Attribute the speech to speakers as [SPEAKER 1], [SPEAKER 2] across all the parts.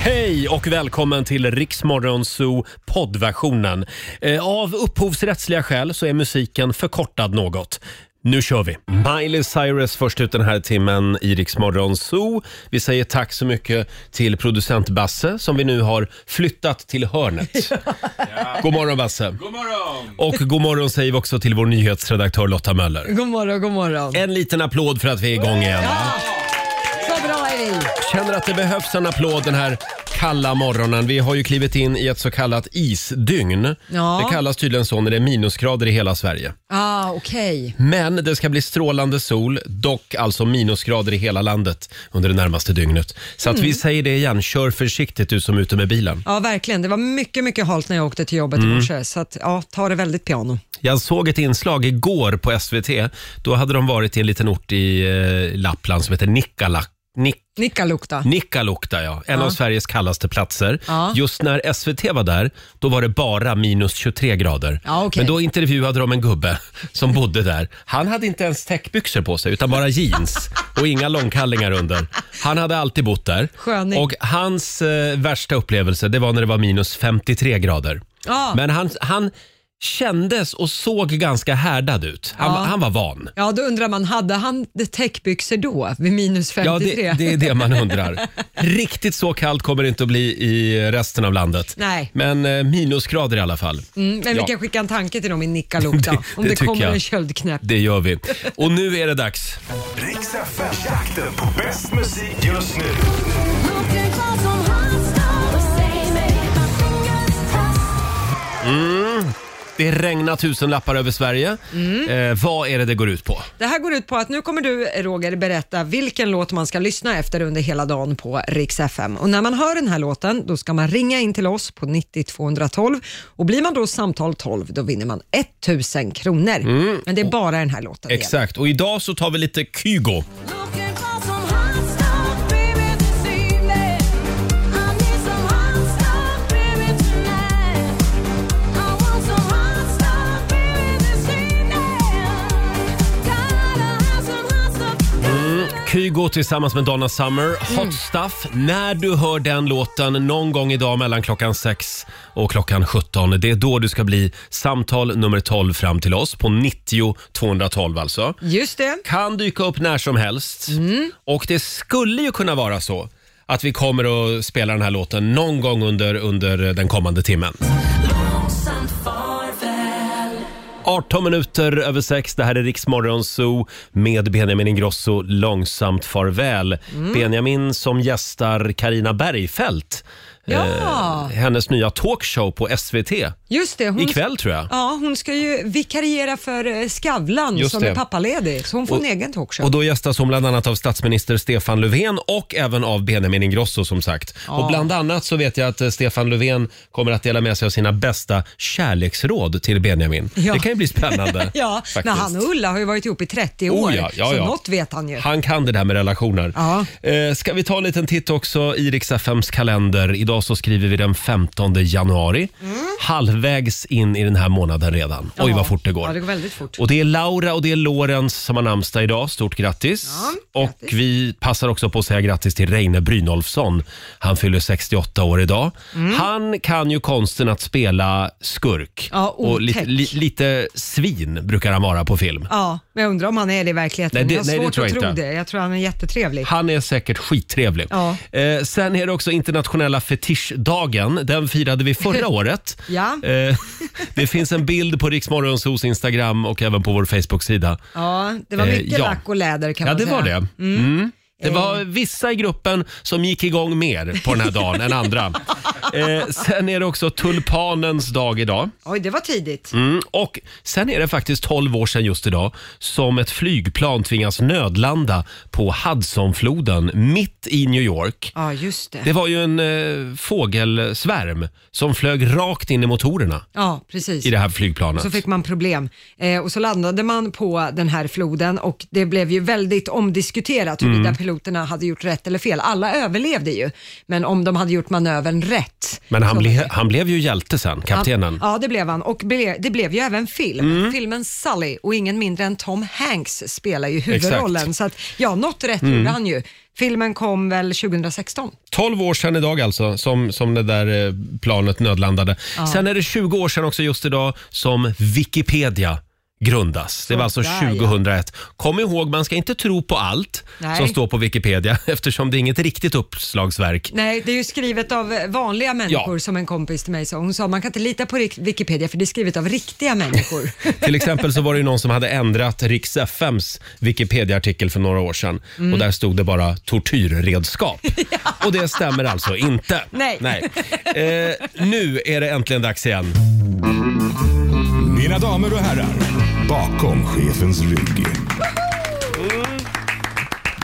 [SPEAKER 1] Hej och välkommen till Riksmorgon Zoo poddversionen. Eh, Av upphovsrättsliga skäl så är musiken förkortad något. Nu kör vi! Miley Cyrus först ut den här timmen i Riksmorgon Zoo. Vi säger tack så mycket till producent Basse som vi nu har flyttat till hörnet. God morgon Basse! God morgon! Och god morgon säger vi också till vår nyhetsredaktör Lotta Möller.
[SPEAKER 2] God morgon, god morgon.
[SPEAKER 1] En liten applåd för att vi är igång igen.
[SPEAKER 2] Så bra är vi.
[SPEAKER 1] Känner att det behövs en applåd den här kalla morgonen. Vi har ju klivit in i ett så kallat isdygn.
[SPEAKER 2] Ja.
[SPEAKER 1] Det kallas tydligen så när det är minusgrader i hela Sverige.
[SPEAKER 2] Ah, okej.
[SPEAKER 1] Men det ska bli strålande sol, dock alltså minusgrader i hela landet under det närmaste dygnet. Så att vi säger det igen, kör försiktigt du som är ute med bilen.
[SPEAKER 2] Ja, verkligen. Det var mycket, mycket halt när jag åkte till jobbet
[SPEAKER 1] Mm.
[SPEAKER 2] i morse. Så att, ja, ta det väldigt piano.
[SPEAKER 1] Jag såg ett inslag igår på SVT. Då hade de varit i en liten ort i eh, Lappland som heter Nikkala. Nik-
[SPEAKER 2] Nikkalukta.
[SPEAKER 1] Mm. Nikkaluokta, ja. En av Sveriges kallaste platser.
[SPEAKER 2] Ja.
[SPEAKER 1] Just när SVT var där, då var det bara minus 23 grader.
[SPEAKER 2] Ja, okej.
[SPEAKER 1] Men då intervjuade de en gubbe som bodde där. Han hade inte ens täckbyxor på sig, utan bara jeans och inga långkallingar under. Han hade alltid bott där.
[SPEAKER 2] Sköning.
[SPEAKER 1] Och hans eh, värsta upplevelse, det var när det var minus 53 grader.
[SPEAKER 2] Ja.
[SPEAKER 1] Men han, han kändes och såg ganska härdad ut. Han, han var van.
[SPEAKER 2] Ja, då undrar man, hade han täckbyxor då, vid minus 53?
[SPEAKER 1] Ja, det, det är det man undrar. Riktigt så kallt kommer det inte att bli i resten av landet.
[SPEAKER 2] Nej.
[SPEAKER 1] Men eh, minusgrader i alla fall.
[SPEAKER 2] Mm, men
[SPEAKER 1] Ja.
[SPEAKER 2] vi kan skicka en tanke till dem i Nikkaluokta,
[SPEAKER 1] Det-
[SPEAKER 2] om
[SPEAKER 1] det
[SPEAKER 2] det
[SPEAKER 1] tycker
[SPEAKER 2] kommer
[SPEAKER 1] jag.
[SPEAKER 2] en köldknäpp.
[SPEAKER 1] Det gör vi. Och nu är det dags.
[SPEAKER 3] Riks FM, jakten på bäst musik just nu.
[SPEAKER 1] Det regnar tusenlappar över Sverige.
[SPEAKER 2] Mm.
[SPEAKER 1] Eh, vad är det det går ut på?
[SPEAKER 2] Det här går ut på att nu kommer du, Roger, berätta vilken låt man ska lyssna efter under hela dagen på Rix FM. Och när man hör den här låten, då ska man ringa in till oss på 90 212 och blir man då samtal 12, då vinner man 1000 kronor. Men det är bara den här låten. det gäller.
[SPEAKER 1] Mm. Exakt. Och idag så tar vi lite Kygo. Kygo tillsammans med Donna
[SPEAKER 2] Mm.
[SPEAKER 1] Summer, Hot Stuff. När du hör den låten någon gång idag mellan klockan 6 och klockan 17, det är då du ska bli samtal nummer 12 fram till oss på 90 212 alltså.
[SPEAKER 2] Just det.
[SPEAKER 1] kan dyka upp när som helst. Och det skulle ju kunna vara så att vi kommer att spela den här låten någon gång under, under den kommande timmen. 18 minuter över sex. Det här är Riksmorgon Zoo med Benjamin Ingrosso, Långsamt farväl. Benjamin som gästar Karina Bergfeldt.
[SPEAKER 2] Ja. Mm.
[SPEAKER 1] hennes nya talkshow på SVT.
[SPEAKER 2] Just det. Hon
[SPEAKER 1] Ikväll tror jag.
[SPEAKER 2] Ja, hon ska ju vikariera för eh, Skavlan
[SPEAKER 1] Just
[SPEAKER 2] som
[SPEAKER 1] det.
[SPEAKER 2] är pappaledig, så hon får en egen talkshow.
[SPEAKER 1] Och då gästas hon bland annat av statsminister Stefan Löfven och även av Benjamin Ingrosso som sagt. Och bland annat så vet jag att eh, Stefan Löfven kommer att dela med sig av sina bästa kärleksråd till Benjamin.
[SPEAKER 2] Ja.
[SPEAKER 1] Det kan ju bli spännande.
[SPEAKER 2] Ja,
[SPEAKER 1] faktiskt.
[SPEAKER 2] men han och Ulla har ju varit ihop i 30 år,
[SPEAKER 1] Oh ja, ja,
[SPEAKER 2] så
[SPEAKER 1] ja.
[SPEAKER 2] något vet han ju.
[SPEAKER 1] Han kan det där med relationer.
[SPEAKER 2] Ja.
[SPEAKER 1] Eh, ska vi ta en liten titt också i Rix FMs kalender. Idag så skriver vi den 15 januari. Halvvägs in i den här månaden redan. Oj
[SPEAKER 2] Mm. Ja.
[SPEAKER 1] vad fort det går.
[SPEAKER 2] Ja, det går väldigt fort.
[SPEAKER 1] Och det är Laura och det är Lorenz som har namnsdag idag. Stort grattis.
[SPEAKER 2] Ja,
[SPEAKER 1] och vi passar också på att säga grattis till Reine Brynolfsson. Han fyller 68 år idag.
[SPEAKER 2] Mm.
[SPEAKER 1] Han kan ju konsten att spela skurk.
[SPEAKER 2] Ja,
[SPEAKER 1] och lite,
[SPEAKER 2] otäck.
[SPEAKER 1] li, lite svin brukar han vara på film.
[SPEAKER 2] Ja, men jag undrar om han är det i verkligheten.
[SPEAKER 1] Nej, det-
[SPEAKER 2] jag har
[SPEAKER 1] nej, det
[SPEAKER 2] svårt
[SPEAKER 1] tror jag
[SPEAKER 2] att tro
[SPEAKER 1] inte.
[SPEAKER 2] det. Jag tror han är jättetrevlig.
[SPEAKER 1] Han är säkert skittrevlig.
[SPEAKER 2] Ja.
[SPEAKER 1] Eh, sen är det också internationella fetischdagen. Den firade vi förra året.
[SPEAKER 2] Ja.
[SPEAKER 1] Eh, det finns en bild på Riksmorgonsos Instagram och även på vår Facebook-sida.
[SPEAKER 2] Ja, det var
[SPEAKER 1] Eh,
[SPEAKER 2] mycket
[SPEAKER 1] ja.
[SPEAKER 2] lack och läder kan
[SPEAKER 1] Ja,
[SPEAKER 2] man
[SPEAKER 1] det
[SPEAKER 2] säga.
[SPEAKER 1] var det. Mm. Det
[SPEAKER 2] Eh.
[SPEAKER 1] var vissa i gruppen som gick igång mer på den här dagen än andra. Eh, sen är det också tulpanens dag idag.
[SPEAKER 2] Oj, det var tidigt.
[SPEAKER 1] Mm. Och sen är det faktiskt 12 år sedan just idag som ett flygplan tvingas nödlanda på Hudsonfloden mitt i New York.
[SPEAKER 2] Ja, just det.
[SPEAKER 1] Det var ju en eh, fågelsvärm som flög rakt in i motorerna
[SPEAKER 2] Ja, precis.
[SPEAKER 1] i det här flygplanet.
[SPEAKER 2] Så fick man problem
[SPEAKER 1] Mm.
[SPEAKER 2] eh, och så landade man på den här floden och det blev ju väldigt omdiskuterat huruvida piloterna hade gjort rätt eller fel. Alla överlevde ju, men om de hade gjort manövern rätt.
[SPEAKER 1] Men han, ble, han blev ju hjälte sen, kaptenen. Mm.
[SPEAKER 2] Ja, det blev han. Och ble, det blev ju även film. Filmen Sully och ingen mindre än Tom Hanks spelar ju huvudrollen.
[SPEAKER 1] Exakt. Mm.
[SPEAKER 2] Så att, ja, något rätt gjorde han ju. Filmen kom väl 2016?
[SPEAKER 1] 12 år sedan idag alltså som, som det där eh, planet nödlandade. Sen är det 20 år sedan också just idag som Wikipedia grundas. Det var alltså
[SPEAKER 2] där, ja.
[SPEAKER 1] 2001. Kom ihåg, man ska inte tro på allt
[SPEAKER 2] Nej.
[SPEAKER 1] som står på Wikipedia eftersom det är inget riktigt uppslagsverk.
[SPEAKER 2] Nej, det är ju skrivet av eh, vanliga människor
[SPEAKER 1] Ja.
[SPEAKER 2] som en kompis till mig sa. Hon sa man kan inte lita på rik- Wikipedia för det är skrivet av riktiga människor.
[SPEAKER 1] Till exempel så var det ju någon som hade ändrat Riks FMs Wikipedia-artikel för några år sedan
[SPEAKER 2] Mm.
[SPEAKER 1] och där stod det bara tortyrredskap. Och det stämmer alltså inte.
[SPEAKER 2] Nej.
[SPEAKER 1] Eh, nu är det äntligen dags igen.
[SPEAKER 3] Mina damer och herrar, bakom chefens rygg.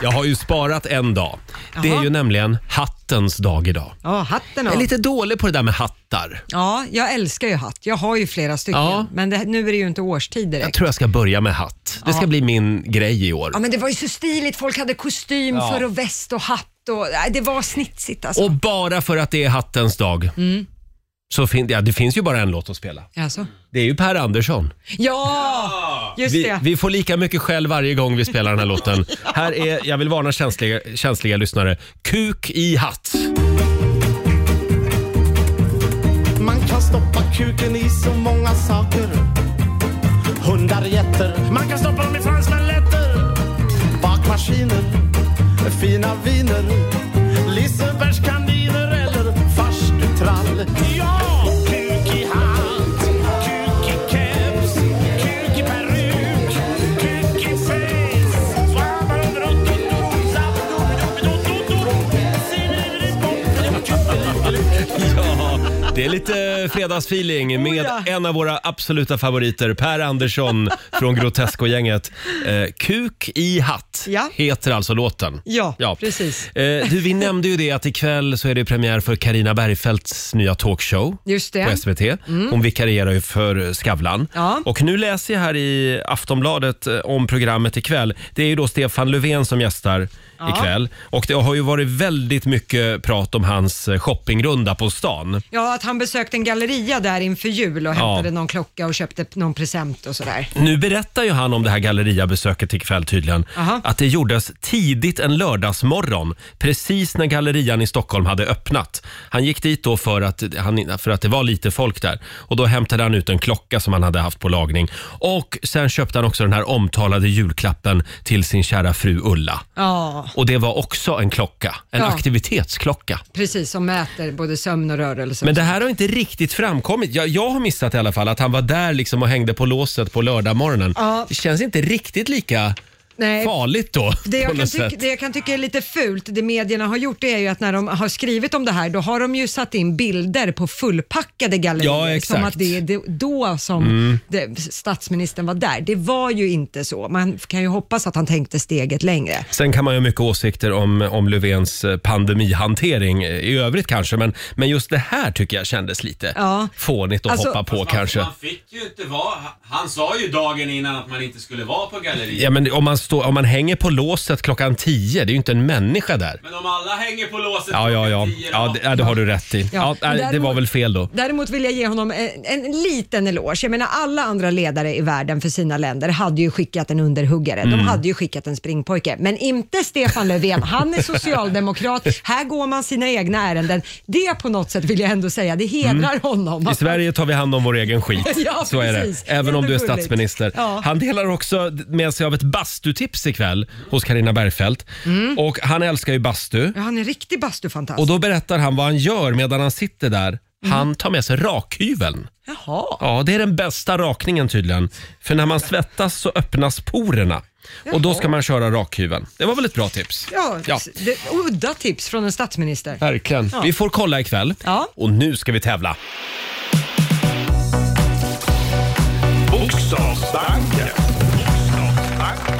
[SPEAKER 1] Jag har ju sparat en dag. Det är
[SPEAKER 2] Jaha.
[SPEAKER 1] ju nämligen hattens dag idag.
[SPEAKER 2] Ja, hatten
[SPEAKER 1] Jag är
[SPEAKER 2] av.
[SPEAKER 1] lite dålig på det där med hattar.
[SPEAKER 2] Ja, jag älskar ju hatt. Jag har ju flera stycken,
[SPEAKER 1] Ja.
[SPEAKER 2] men det, nu är det ju inte årstid
[SPEAKER 1] Jag
[SPEAKER 2] direkt.
[SPEAKER 1] tror jag ska börja med hatt. Det ska bli min grej i år.
[SPEAKER 2] Ja, men det var ju så stiligt. Folk hade kostym
[SPEAKER 1] Ja.
[SPEAKER 2] för och väst och hatt. Och, nej, det var snitsigt alltså.
[SPEAKER 1] Och bara för att det är hattens dag
[SPEAKER 2] Mm.
[SPEAKER 1] så fin- ja, det finns ju bara en låt att spela.
[SPEAKER 2] Alltså.
[SPEAKER 1] Det är ju Per Andersson.
[SPEAKER 2] Ja, just
[SPEAKER 1] Vi,
[SPEAKER 2] det.
[SPEAKER 1] vi får lika mycket skäll varje gång vi spelar den här låten. Här är, jag vill varna känsliga, känsliga lyssnare, Kuk i hatt.
[SPEAKER 4] Man kan stoppa kuken i så många saker. Hundar, getter. Man kan stoppa dem i fransmaletter. Bakmaskiner. Fina viner. Lisebergskaniner eller farstutrall. Ja! Kuk i hatt, kuk i keps, kuk i peruk, kuk i face. Svampar under rocken, dosa, dobidobidobidobido.
[SPEAKER 1] Det är lite
[SPEAKER 2] Oh,
[SPEAKER 1] fredagsfeeling med en av våra absoluta favoriter, Per Andersson från Grotesco-gänget. Eh, Kuk i hatt
[SPEAKER 2] Ja.
[SPEAKER 1] heter alltså låten.
[SPEAKER 2] Ja, precis.
[SPEAKER 1] Eh, du, vi nämnde ju det att ikväll så är det premiär för Karina Bergfeldts nya talkshow
[SPEAKER 2] Just det. Mm.
[SPEAKER 1] på SVT. Hon vikarierar ju för Skavlan.
[SPEAKER 2] Ja.
[SPEAKER 1] Och nu läser jag här i Aftonbladet eh, om programmet ikväll. Det är ju då Stefan Löfven som gästar ikväll. Och det har ju varit väldigt mycket prat om hans eh, shoppingrunda på stan.
[SPEAKER 2] Ja, att han besökte en galleria där inför jul och hämtade någon klocka och köpte någon present och sådär.
[SPEAKER 1] Nu berättar ju han om det här galleriabesöket ikväll tydligen.
[SPEAKER 2] Aha.
[SPEAKER 1] Att det gjordes tidigt en lördagsmorgon, precis när gallerian i Stockholm hade öppnat. Han gick dit då för att, han, för att det var lite folk där. Och då hämtade han ut en klocka som han hade haft på lagning. Och sen köpte han också den här omtalade julklappen till sin kära fru Ulla.
[SPEAKER 2] Ja,
[SPEAKER 1] Och det var också en klocka, en
[SPEAKER 2] Ja.
[SPEAKER 1] aktivitetsklocka.
[SPEAKER 2] precis. Som mäter både sömn och rörelse.
[SPEAKER 1] Men det här har inte riktigt framkommit. Jag, jag har missat i alla fall att han var där liksom och hängde på låset på lördagmorgonen.
[SPEAKER 2] Ja.
[SPEAKER 1] Det känns inte riktigt lika
[SPEAKER 2] Nej.
[SPEAKER 1] farligt då.
[SPEAKER 2] Det
[SPEAKER 1] på
[SPEAKER 2] jag, kan
[SPEAKER 1] något
[SPEAKER 2] tycka,
[SPEAKER 1] sätt.
[SPEAKER 2] det jag kan tycka är lite fult, det medierna har gjort, det är ju att när de har skrivit om det här, då har de ju satt in bilder på fullpackade gallerier.
[SPEAKER 1] Ja, exakt. Mm.
[SPEAKER 2] Som att det är det- då som det, statsministern var där. Det var ju inte så. Man kan ju hoppas att han tänkte steget längre.
[SPEAKER 1] Sen kan man ju ha mycket åsikter om, om Löfvens eh, pandemihantering eh, i övrigt kanske, men, men just det här tycker jag kändes lite
[SPEAKER 2] Ja.
[SPEAKER 1] fånigt att
[SPEAKER 2] Alltså-
[SPEAKER 1] hoppa på
[SPEAKER 5] Man-
[SPEAKER 1] kanske.
[SPEAKER 5] Man fick ju inte vara... Han sa ju dagen innan att man inte skulle vara på galleriet.
[SPEAKER 1] Ja, men om, man står, om man hänger på låset klockan tio, det är ju inte en människa där.
[SPEAKER 5] Men om alla hänger på låset
[SPEAKER 1] Ja, ja, ja.
[SPEAKER 5] klockan tio
[SPEAKER 1] Ja,
[SPEAKER 5] då-
[SPEAKER 1] det, ja, det har du rätt i. Ja,
[SPEAKER 2] Ja,
[SPEAKER 1] nej, det var
[SPEAKER 2] däremot-
[SPEAKER 1] väl fel då.
[SPEAKER 2] Däremot vill jag ge honom en, en liten eloge. Jag menar alla andra ledare i världen för sina länder hade ju skickat en underhuggare. De
[SPEAKER 1] Mm.
[SPEAKER 2] hade ju skickat en springpojke. Men inte Stefan Löfven. Han är socialdemokrat. Här går man sina egna ärenden. Det på något sätt vill jag ändå säga. Det hedrar honom.
[SPEAKER 1] Mm. I Sverige tar vi hand om vår egen skit.
[SPEAKER 2] Ja,
[SPEAKER 1] så är det.
[SPEAKER 2] precis.
[SPEAKER 1] Även om du är
[SPEAKER 2] Jättegulligt.
[SPEAKER 1] statsminister.
[SPEAKER 2] Ja.
[SPEAKER 1] Han delar också med sig av ett bastutips ikväll hos Karina Bergfeldt.
[SPEAKER 2] Mm.
[SPEAKER 1] Och han älskar ju bastu.
[SPEAKER 2] Ja, han är en riktig bastufantast.
[SPEAKER 1] Och då berättar han vad han gör medan han sitter där.
[SPEAKER 2] Mm.
[SPEAKER 1] Han tar med sig rakhyveln.
[SPEAKER 2] Jaha.
[SPEAKER 1] Ja, det är den bästa rakningen tydligen. För när man svettas så öppnas porerna. Och då ska man köra rakhyveln. Det var väl ett bra tips?
[SPEAKER 2] Ja,
[SPEAKER 1] Ja.
[SPEAKER 2] Det, udda tips från en statsminister.
[SPEAKER 1] Verkligen. Vi får kolla ikväll.
[SPEAKER 2] Ja.
[SPEAKER 1] Och nu ska vi tävla.
[SPEAKER 3] Bokstavsbanken.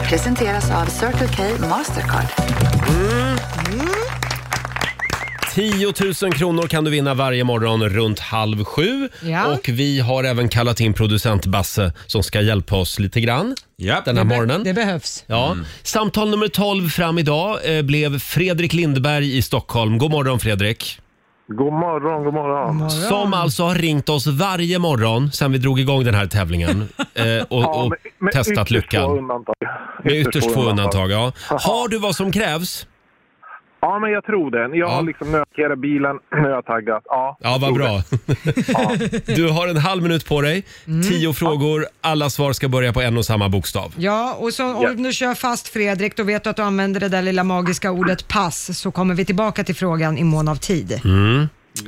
[SPEAKER 6] Presenteras av Circle K Mastercard.
[SPEAKER 1] 10 000 kronor kan du vinna varje morgon runt halv sju.
[SPEAKER 2] Ja.
[SPEAKER 1] Och vi har även kallat in producent Basse som ska hjälpa oss lite grann
[SPEAKER 5] Ja.
[SPEAKER 1] den här morgonen.
[SPEAKER 2] Det behövs.
[SPEAKER 1] Ja. Samtal nummer 12 fram idag eh, blev Fredrik Lindberg i Stockholm. God morgon Fredrik.
[SPEAKER 6] God morgon, god morgon.
[SPEAKER 1] Som alltså har ringt oss varje morgon sedan vi drog igång den här tävlingen eh, och, och testat
[SPEAKER 6] ytterst Få
[SPEAKER 1] lyckan.
[SPEAKER 6] undantag.
[SPEAKER 1] Med ytterst få undantag. Ja. Har du vad som krävs?
[SPEAKER 6] Ja, men jag tror det. Jag
[SPEAKER 1] Ja.
[SPEAKER 6] har liksom nötkerat bilen, nu har jag taggat. Ja,
[SPEAKER 1] Ja, vad
[SPEAKER 6] tror
[SPEAKER 1] bra. Du har en halv minut på dig. Tio frågor. Alla svar ska börja på en och samma bokstav.
[SPEAKER 2] Ja, och så, om du kör fast Fredrik, då vet du att du använder det där lilla magiska ordet pass, så kommer vi tillbaka till frågan i mån av tid.
[SPEAKER 6] det.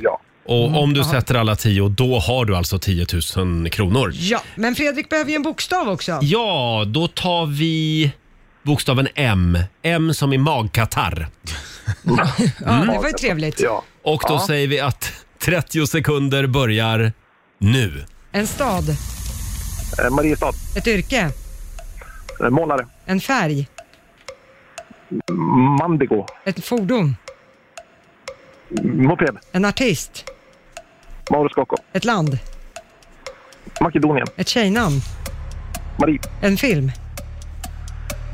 [SPEAKER 6] Ja.
[SPEAKER 1] Och om du sätter alla tio, då har du alltså 10 000 kronor.
[SPEAKER 2] Ja, men Fredrik behöver ju en bokstav
[SPEAKER 1] Mm.
[SPEAKER 2] också.
[SPEAKER 1] Ja, då tar vi bokstaven M. M som i magkatarr.
[SPEAKER 2] Ja, det var ju trevligt.
[SPEAKER 6] ja.
[SPEAKER 1] Och då säger vi att 30 sekunder börjar nu.
[SPEAKER 2] En stad,
[SPEAKER 6] Eh, Mariestad,
[SPEAKER 2] ett yrke,
[SPEAKER 6] eh, målare.
[SPEAKER 2] en färg,
[SPEAKER 6] Mandigo,
[SPEAKER 2] ett fordon,
[SPEAKER 6] moped,
[SPEAKER 2] en artist,
[SPEAKER 6] Mauro Scocco,
[SPEAKER 2] ett land,
[SPEAKER 6] Makedonien,
[SPEAKER 2] ett tjejnamn,
[SPEAKER 6] Marie,
[SPEAKER 2] en film,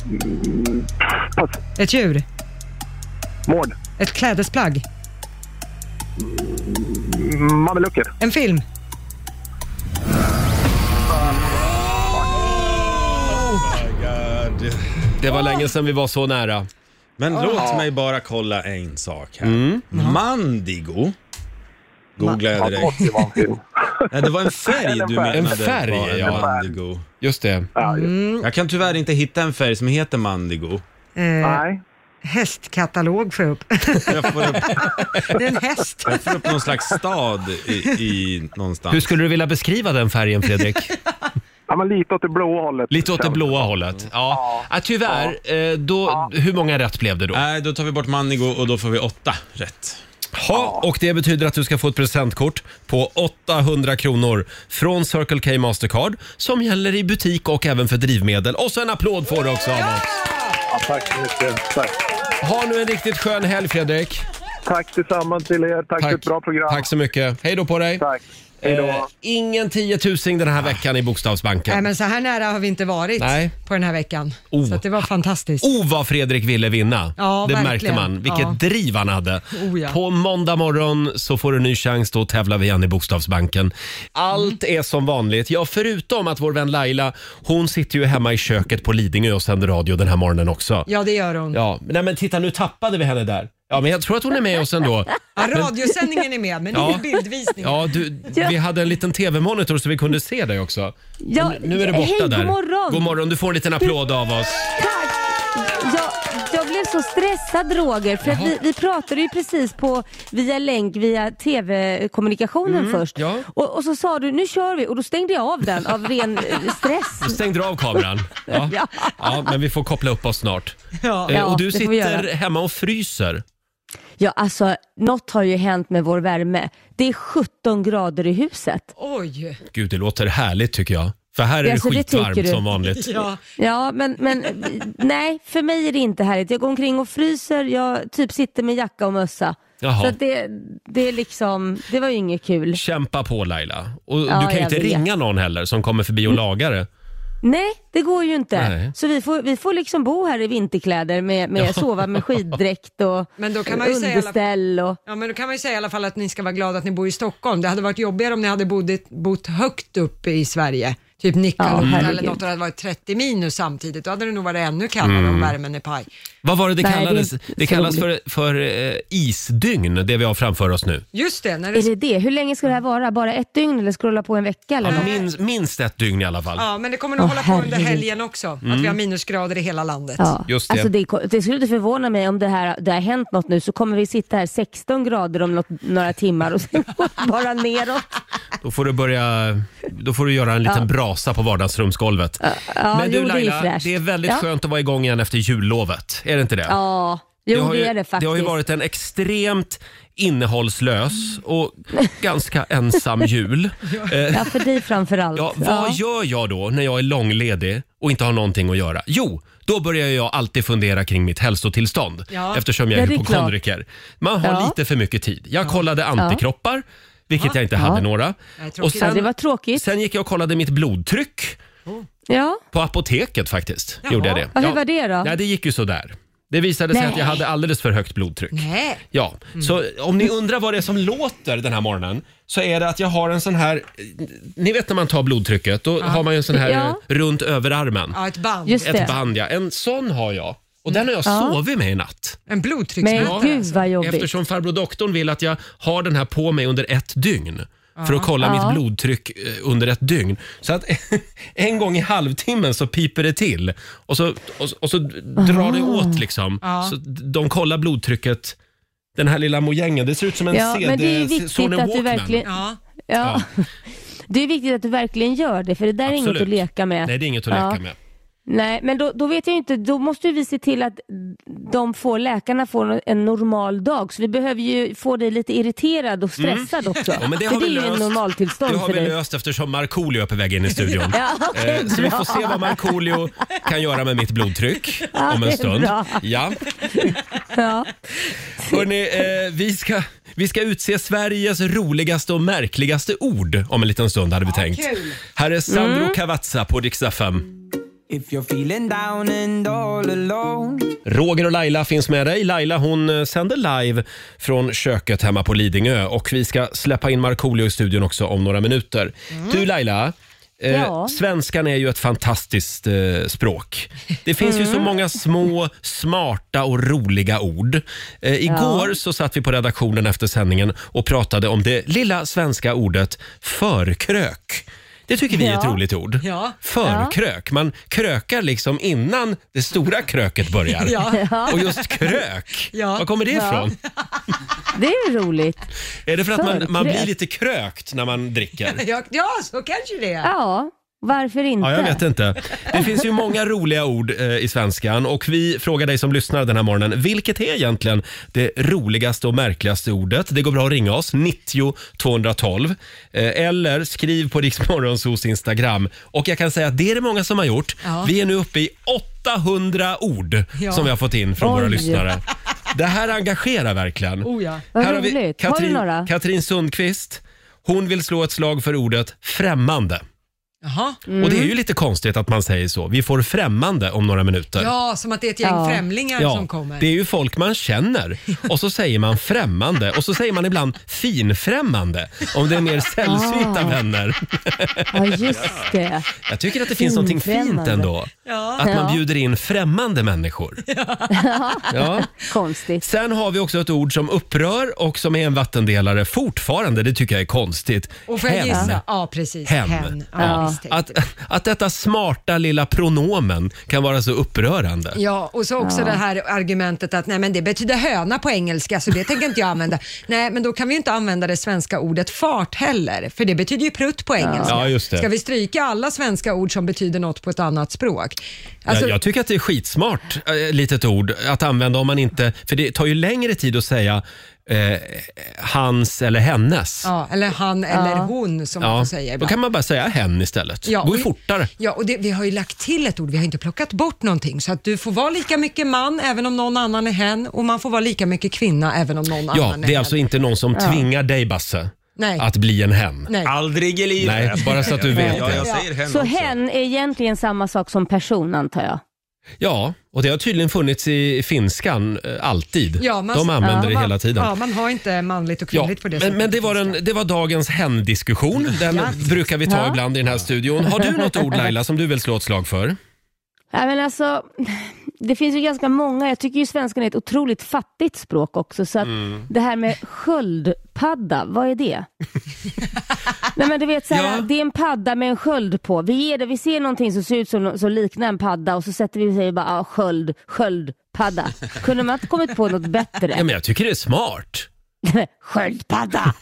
[SPEAKER 1] Mm.
[SPEAKER 6] pass,
[SPEAKER 2] ett djur,
[SPEAKER 6] Mård,
[SPEAKER 2] ett klädesplagg,
[SPEAKER 6] Mamelucker.
[SPEAKER 2] en film.
[SPEAKER 5] God.
[SPEAKER 1] Det var länge sedan vi var så nära.
[SPEAKER 5] Men låt mig bara kolla en sak här.
[SPEAKER 1] Mm.
[SPEAKER 5] Mandigo. Googla
[SPEAKER 6] Ja,
[SPEAKER 5] jag
[SPEAKER 6] det måste
[SPEAKER 5] direkt.
[SPEAKER 6] ju vara en film.
[SPEAKER 5] Nej, det var en färg du menade.
[SPEAKER 6] En
[SPEAKER 1] färg,
[SPEAKER 5] var en
[SPEAKER 1] ja. Mm.
[SPEAKER 5] Mandigo.
[SPEAKER 1] Just det.
[SPEAKER 6] Ja, just-
[SPEAKER 7] Mm.
[SPEAKER 5] Jag kan tyvärr inte hitta en färg som heter Mandigo.
[SPEAKER 2] Eh,
[SPEAKER 6] Nej.
[SPEAKER 2] hästkatalog får jag upp.
[SPEAKER 5] Jag får upp,
[SPEAKER 2] Det är en häst.
[SPEAKER 5] får upp någon slags stad i, i någonstans.
[SPEAKER 1] Hur skulle du vilja beskriva den färgen, Fredrik?
[SPEAKER 6] Ja, men lite åt det blåa hållet.
[SPEAKER 1] Lite åt det blåa hållet. Ja. Ja, tyvärr, eh, då, hur många rätt blev det då?
[SPEAKER 5] Nej, då tar vi bort Mandigo och då får vi åtta rätt.
[SPEAKER 1] Ha, och det betyder att du ska få ett presentkort på 800 kronor från Circle K Mastercard som gäller i butik och även för drivmedel. Och så en applåd får du också av oss.
[SPEAKER 6] Ja, tack så mycket. Tack.
[SPEAKER 1] Ha nu en riktigt skön helg Fredrik.
[SPEAKER 6] Tack tillsammans till er. Tack, för ett bra program.
[SPEAKER 1] Tack så mycket. Hej då på dig.
[SPEAKER 6] Tack. Hej då.
[SPEAKER 1] Eh, ingen 10 000 den här veckan i
[SPEAKER 2] Nej,
[SPEAKER 1] Bokstavsbanken.
[SPEAKER 2] men så här nära har vi inte varit
[SPEAKER 1] Nej.
[SPEAKER 2] på den här veckan.
[SPEAKER 1] Oh.
[SPEAKER 2] Så att det var fantastiskt.
[SPEAKER 1] Oh, vad Fredrik ville vinna.
[SPEAKER 2] Ja,
[SPEAKER 1] det
[SPEAKER 2] verkligen.
[SPEAKER 1] märkte man. Vilket
[SPEAKER 2] Ja.
[SPEAKER 1] driv han hade.
[SPEAKER 2] Oh, ja.
[SPEAKER 1] På måndag morgon så får du en ny chans. Då tävlar vi igen i Bokstavsbanken. Allt är som vanligt. Ja, förutom att vår vän Laila, hon sitter ju hemma i köket på Lidingö och sänder radio den här morgonen också.
[SPEAKER 2] Ja, det gör hon. Ja.
[SPEAKER 1] Ja, men- nej, men titta nu tappade vi henne där. Ja, men jag tror att hon är med oss ändå.
[SPEAKER 2] radiosändningen är med, men
[SPEAKER 1] Ja.
[SPEAKER 2] ingen bildvisning.
[SPEAKER 1] Ja, du, vi hade en liten TV-monitor så vi kunde se dig också.
[SPEAKER 7] Ja,
[SPEAKER 1] Nu är du borta
[SPEAKER 7] hej,
[SPEAKER 1] där.
[SPEAKER 7] God morgon.
[SPEAKER 1] God morgon. Du får en liten applåd av oss.
[SPEAKER 7] Tack. Jag, jag blev så stressad Roger för att vi, vi pratade ju precis på via länk via tv-kommunikationen först
[SPEAKER 1] ja.
[SPEAKER 7] och, och så sa du nu kör vi och då stängde jag av den av ren eh, stress.
[SPEAKER 1] Stängde du av kameran? Ja.
[SPEAKER 7] Ja.
[SPEAKER 1] ja, men vi får koppla upp oss snart.
[SPEAKER 2] Ja.
[SPEAKER 1] Eh, och du
[SPEAKER 7] det får vi
[SPEAKER 1] sitter
[SPEAKER 7] göra.
[SPEAKER 1] hemma och fryser.
[SPEAKER 7] Ja alltså något har ju hänt med vår värme. Det är 17 grader i huset.
[SPEAKER 2] Oj.
[SPEAKER 1] Gud, det låter härligt tycker jag. För här är
[SPEAKER 7] Ja, så
[SPEAKER 1] det
[SPEAKER 7] det tycker
[SPEAKER 1] skitvarmt
[SPEAKER 7] du.
[SPEAKER 1] som vanligt.
[SPEAKER 2] Ja.
[SPEAKER 7] Ja men, men nej för mig är det inte härligt. Jag går omkring och fryser, jag typ sitter med jacka och mössa.
[SPEAKER 1] Jaha.
[SPEAKER 7] Så att det, det är liksom, det var ju inget kul.
[SPEAKER 1] Kämpa på Laila. Och
[SPEAKER 7] Ja,
[SPEAKER 1] du kan ju
[SPEAKER 7] jag
[SPEAKER 1] inte
[SPEAKER 7] vet. Mm.
[SPEAKER 1] ringa någon heller som kommer förbi och lagar det.
[SPEAKER 7] Nej, det går ju inte.
[SPEAKER 1] Nej.
[SPEAKER 7] Så vi får, vi får liksom bo här i vinterkläder med, med sova med skiddräkt och
[SPEAKER 2] Men då kan man ju säga i alla-
[SPEAKER 7] underställ. Och,
[SPEAKER 2] Ja, men då kan man ju säga i alla fall att ni ska vara glada att ni bor i Stockholm. Det hade varit jobbigare om ni hade bodit, bott högt upp i Sverige. Typ Nikkaluokta
[SPEAKER 7] herregud.
[SPEAKER 2] eller något och det hade varit 30 minus samtidigt. Då hade det nog varit ännu kallare
[SPEAKER 7] Mm.
[SPEAKER 2] om värmen är paj.
[SPEAKER 1] Vad var det det
[SPEAKER 7] Nej, det är
[SPEAKER 1] kallades? Det,
[SPEAKER 7] inte så
[SPEAKER 1] kallas för, för eh, isdygn, det vi har framför oss nu.
[SPEAKER 2] Just det, när det
[SPEAKER 7] är det det? Hur länge ska det här vara? Bara ett dygn eller ska det hålla på en vecka? Eller
[SPEAKER 1] Ja,
[SPEAKER 7] något?
[SPEAKER 1] minst, minst ett dygn i alla fall.
[SPEAKER 2] Ja, men det kommer nog
[SPEAKER 7] Åh,
[SPEAKER 2] hålla på under
[SPEAKER 7] herregud. Mm.
[SPEAKER 2] helgen också, att vi har minusgrader i hela landet.
[SPEAKER 7] Ja.
[SPEAKER 1] Just det.
[SPEAKER 7] Alltså det, är ko- det skulle inte förvåna mig om det, här, det har hänt något nu så kommer vi sitta här 16 grader om något, några timmar och sen går det bara neråt.
[SPEAKER 1] Då får du börja, då får du göra en liten brasa på vardagsrumsgolvet.
[SPEAKER 7] Ja,
[SPEAKER 1] Men du
[SPEAKER 7] jo, det är ju
[SPEAKER 1] Laila, det är,
[SPEAKER 7] fräscht.
[SPEAKER 1] väldigt
[SPEAKER 7] ja.
[SPEAKER 1] skönt att vara igång igen efter jullovet. Är det inte det?
[SPEAKER 7] Ja, Jo, det,
[SPEAKER 1] har ju,
[SPEAKER 7] är det faktiskt.
[SPEAKER 1] har ju varit en extremt innehållslös och ganska ensam jul. Eh,
[SPEAKER 7] Ja, för dig framför allt.
[SPEAKER 1] Ja, vad gör jag då när jag är långledig och inte har någonting att göra? Jo, då börjar jag alltid fundera kring mitt hälsotillstånd
[SPEAKER 2] Ja.
[SPEAKER 1] eftersom jag
[SPEAKER 7] Ja,
[SPEAKER 1] är
[SPEAKER 7] det är
[SPEAKER 1] hypokondriker. Man har
[SPEAKER 7] Ja.
[SPEAKER 1] lite för mycket tid. Jag kollade antikroppar, vilket jag inte hade några.
[SPEAKER 2] Nej, tråkigt.
[SPEAKER 1] Och
[SPEAKER 7] Ja, det
[SPEAKER 1] sen,
[SPEAKER 7] var tråkigt.
[SPEAKER 1] sen gick jag och kollade mitt blodtryck
[SPEAKER 7] ja.
[SPEAKER 1] på apoteket faktiskt. Gjorde jag det.
[SPEAKER 7] Ja, hur var det då?
[SPEAKER 1] Nej, det gick ju sådär. Det visade sig
[SPEAKER 7] Nej.
[SPEAKER 1] att jag hade alldeles för högt blodtryck.
[SPEAKER 2] Nej.
[SPEAKER 1] Ja,
[SPEAKER 7] Mm.
[SPEAKER 1] så om ni undrar vad det är som låter den här morgonen så är det att jag har en sån här, ni vet när man tar blodtrycket, då har man ju en sån här
[SPEAKER 7] Ja.
[SPEAKER 1] eh, runt överarmen.
[SPEAKER 2] Ja, ett band.
[SPEAKER 7] Just det.
[SPEAKER 1] Ett band ja, en sån har jag. Och den har jag sovit med i natt.
[SPEAKER 2] En
[SPEAKER 7] Men
[SPEAKER 2] blodtrycksmätare.
[SPEAKER 7] gud vad jobbigt.
[SPEAKER 1] Eftersom farbror doktorn vill att jag har den här på mig under ett dygn. För att kolla
[SPEAKER 7] Ja.
[SPEAKER 1] mitt blodtryck eh, under ett dygn. Så att en gång i halvtimmen så piper det till. Och så, och, och så drar det
[SPEAKER 7] Ah.
[SPEAKER 1] åt liksom. Så de kollar blodtrycket. Den här lilla mojängen, det ser ut som en
[SPEAKER 7] Ja,
[SPEAKER 1] CD,
[SPEAKER 7] men det är ju viktigt
[SPEAKER 1] Sony
[SPEAKER 7] att du
[SPEAKER 1] Walkman.
[SPEAKER 7] verkligen...
[SPEAKER 2] Ja.
[SPEAKER 7] Ja. Det är viktigt att du verkligen gör det, för det där är inget
[SPEAKER 1] Absolut.
[SPEAKER 7] att leka med.
[SPEAKER 1] Nej, det är inget att leka
[SPEAKER 7] Ja.
[SPEAKER 1] med.
[SPEAKER 7] Nej, men då, då vet jag inte. Då måste ju vi se till att de får, läkarna får en normal dag. Så vi behöver ju få dig lite irriterad och stressad också.
[SPEAKER 1] Mm. Ja, men det har
[SPEAKER 7] för
[SPEAKER 1] vi
[SPEAKER 7] det är ju
[SPEAKER 1] löst.
[SPEAKER 7] en
[SPEAKER 1] Det
[SPEAKER 7] normaltillstånd
[SPEAKER 1] har
[SPEAKER 7] för
[SPEAKER 1] vi
[SPEAKER 7] dig.
[SPEAKER 1] löst eftersom Markoolio är på väg in i studion.
[SPEAKER 7] Ja, okej,
[SPEAKER 1] Eh, Så vi
[SPEAKER 7] bra.
[SPEAKER 1] får se vad Markoolio kan göra med mitt blodtryck
[SPEAKER 7] Ja,
[SPEAKER 1] om
[SPEAKER 7] det
[SPEAKER 1] en
[SPEAKER 7] är
[SPEAKER 1] stund.
[SPEAKER 7] bra.
[SPEAKER 1] Ja.
[SPEAKER 7] Ja.
[SPEAKER 1] Hörrni, eh, vi, ska, vi ska utse Sveriges roligaste och märkligaste ord om en liten stund hade vi tänkt.
[SPEAKER 2] kul.
[SPEAKER 1] Här är Sandro Cavazza på Dixa 5.
[SPEAKER 8] If you're feeling down and all alone
[SPEAKER 1] Roger och Laila finns med dig. Laila hon eh, sänder live från köket hemma på Lidingö och vi ska släppa in Markoolio i studion också om några minuter. Du Laila, eh,
[SPEAKER 7] Mm. Ja.
[SPEAKER 1] svenskan är ju ett fantastiskt eh, språk. Det finns ju
[SPEAKER 7] Mm.
[SPEAKER 1] så många små, smarta och roliga ord. Eh, igår så satt vi på redaktionen efter sändningen och pratade om det lilla svenska ordet förkrök. Det tycker vi är ett
[SPEAKER 7] Ja.
[SPEAKER 1] roligt ord.
[SPEAKER 2] Ja.
[SPEAKER 1] Förkrök. Man krökar liksom innan det stora kröket börjar.
[SPEAKER 7] Ja.
[SPEAKER 1] Och just krök,
[SPEAKER 2] Ja.
[SPEAKER 1] var kommer det
[SPEAKER 7] Ja.
[SPEAKER 1] ifrån?
[SPEAKER 7] Det är ju roligt.
[SPEAKER 1] Är det för att man, man
[SPEAKER 7] Förkrök.
[SPEAKER 1] blir lite krökt när man dricker?
[SPEAKER 2] Ja, ja, så kanske det är.
[SPEAKER 7] Ja, varför inte?
[SPEAKER 1] Ja, jag vet inte. Det finns ju många roliga ord eh, i svenskan och vi frågar dig som lyssnar den här morgonen. Vilket är egentligen det roligaste och märkligaste ordet? Det går bra att ringa oss, 90 212. Eh, eller skriv på Riksmorgonsos Instagram. Och jag kan säga att det är det många som har gjort.
[SPEAKER 2] Ja.
[SPEAKER 1] Vi är nu uppe i 800 ord
[SPEAKER 2] Ja.
[SPEAKER 1] som vi har fått in från våra
[SPEAKER 7] Oj.
[SPEAKER 1] lyssnare. Det här engagerar verkligen.
[SPEAKER 2] Oh, ja.
[SPEAKER 7] Vad
[SPEAKER 1] Här har vi
[SPEAKER 7] roligt. Har du
[SPEAKER 1] Katrin,
[SPEAKER 7] några?
[SPEAKER 1] Katrin Sundqvist. Hon vill slå ett slag för ordet främmande.
[SPEAKER 2] Jaha.
[SPEAKER 1] Och
[SPEAKER 2] Mm.
[SPEAKER 1] det är ju lite konstigt att man säger så. Vi får främmande om några minuter.
[SPEAKER 2] Ja, som att det är ett gäng
[SPEAKER 7] Ja.
[SPEAKER 2] främlingar
[SPEAKER 1] Ja,
[SPEAKER 2] som kommer.
[SPEAKER 1] det är ju folk man känner och så säger man främmande och så säger man ibland finfrämmande om det är mer sällsynta
[SPEAKER 7] Ah.
[SPEAKER 1] vänner.
[SPEAKER 7] Ja, just det.
[SPEAKER 1] Jag tycker att det finns någonting fint
[SPEAKER 7] Finfrämmande.
[SPEAKER 1] ändå. Att man
[SPEAKER 7] Ja.
[SPEAKER 1] bjuder in främmande människor. Ja.
[SPEAKER 7] Konstigt.
[SPEAKER 1] Sen har vi också ett ord som upprör och som är en vattendelare fortfarande. Det tycker jag är konstigt.
[SPEAKER 2] Och får jag
[SPEAKER 1] Hen.
[SPEAKER 2] gissa? Ja, precis.
[SPEAKER 1] Hen.
[SPEAKER 2] Ja,
[SPEAKER 7] Ja.
[SPEAKER 2] visst, tänkte
[SPEAKER 1] Att, att detta smarta lilla pronomen kan vara så upprörande.
[SPEAKER 2] Ja, och så också det här argumentet att nej, men det betyder höna på engelska, så det tänker inte jag använda. Nej, men då kan vi ju inte använda det svenska ordet fart heller, för det betyder ju prutt på engelska.
[SPEAKER 1] Ja, just det.
[SPEAKER 2] Ska vi stryka alla svenska ord som betyder något på ett annat språk? Alltså,
[SPEAKER 1] jag, jag tycker att det är skitsmart eh, litet ord att använda om man inte... För det tar ju längre tid att säga eh, hans eller hennes.
[SPEAKER 2] ja, eller han eller hon som man säger
[SPEAKER 1] Då
[SPEAKER 2] ibland.
[SPEAKER 1] kan man bara säga hen istället.
[SPEAKER 2] Ja,
[SPEAKER 1] Går
[SPEAKER 2] och-
[SPEAKER 1] ju fortare.
[SPEAKER 2] Ja, och det, vi har ju lagt till ett ord, vi har inte plockat bort någonting. Så att du får vara lika mycket man även om någon annan är hen och man får vara lika mycket kvinna även om någon
[SPEAKER 1] Ja,
[SPEAKER 2] annan är
[SPEAKER 1] det är
[SPEAKER 2] hen.
[SPEAKER 1] alltså inte någon som tvingar dig Basse
[SPEAKER 2] Nej.
[SPEAKER 1] att bli en hen.
[SPEAKER 2] Nej.
[SPEAKER 5] Aldrig i livet.
[SPEAKER 1] Nej, bara så att du vet
[SPEAKER 5] Ja,
[SPEAKER 1] det.
[SPEAKER 5] jag säger hen
[SPEAKER 7] Så
[SPEAKER 5] också.
[SPEAKER 7] hen är egentligen samma sak som person antar jag?
[SPEAKER 1] Ja, och det har tydligen funnits i finskan eh, alltid.
[SPEAKER 2] Ja, man-
[SPEAKER 1] De använder
[SPEAKER 2] ja,
[SPEAKER 1] det
[SPEAKER 2] man-
[SPEAKER 1] hela tiden.
[SPEAKER 2] Ja, man har inte manligt och
[SPEAKER 1] Ja,
[SPEAKER 2] kvinnligt på det
[SPEAKER 1] men, men det, var en, det var dagens hen-diskussion. Den brukar vi ta
[SPEAKER 7] Mm. Ja.
[SPEAKER 1] ibland i den här studion. Har du något ord Laila som du vill slå ett slag för?
[SPEAKER 7] Ja, men alltså, det finns ju ganska många. Jag tycker ju svenskan är ett otroligt fattigt språk också. Så att
[SPEAKER 2] Mm.
[SPEAKER 7] det här med sköldpadda, vad är det? Nej, men du vet, så här,
[SPEAKER 1] Ja.
[SPEAKER 7] Det är en padda med en sköld på. Vi, ger det, vi ser någonting som ser ut som, som liknar en padda och så sätter vi och säger bara ah, sköld, sköldpadda. Kunde man inte kommit på något bättre?
[SPEAKER 1] Ja, men jag tycker det är smart.
[SPEAKER 7] Sköldpadda!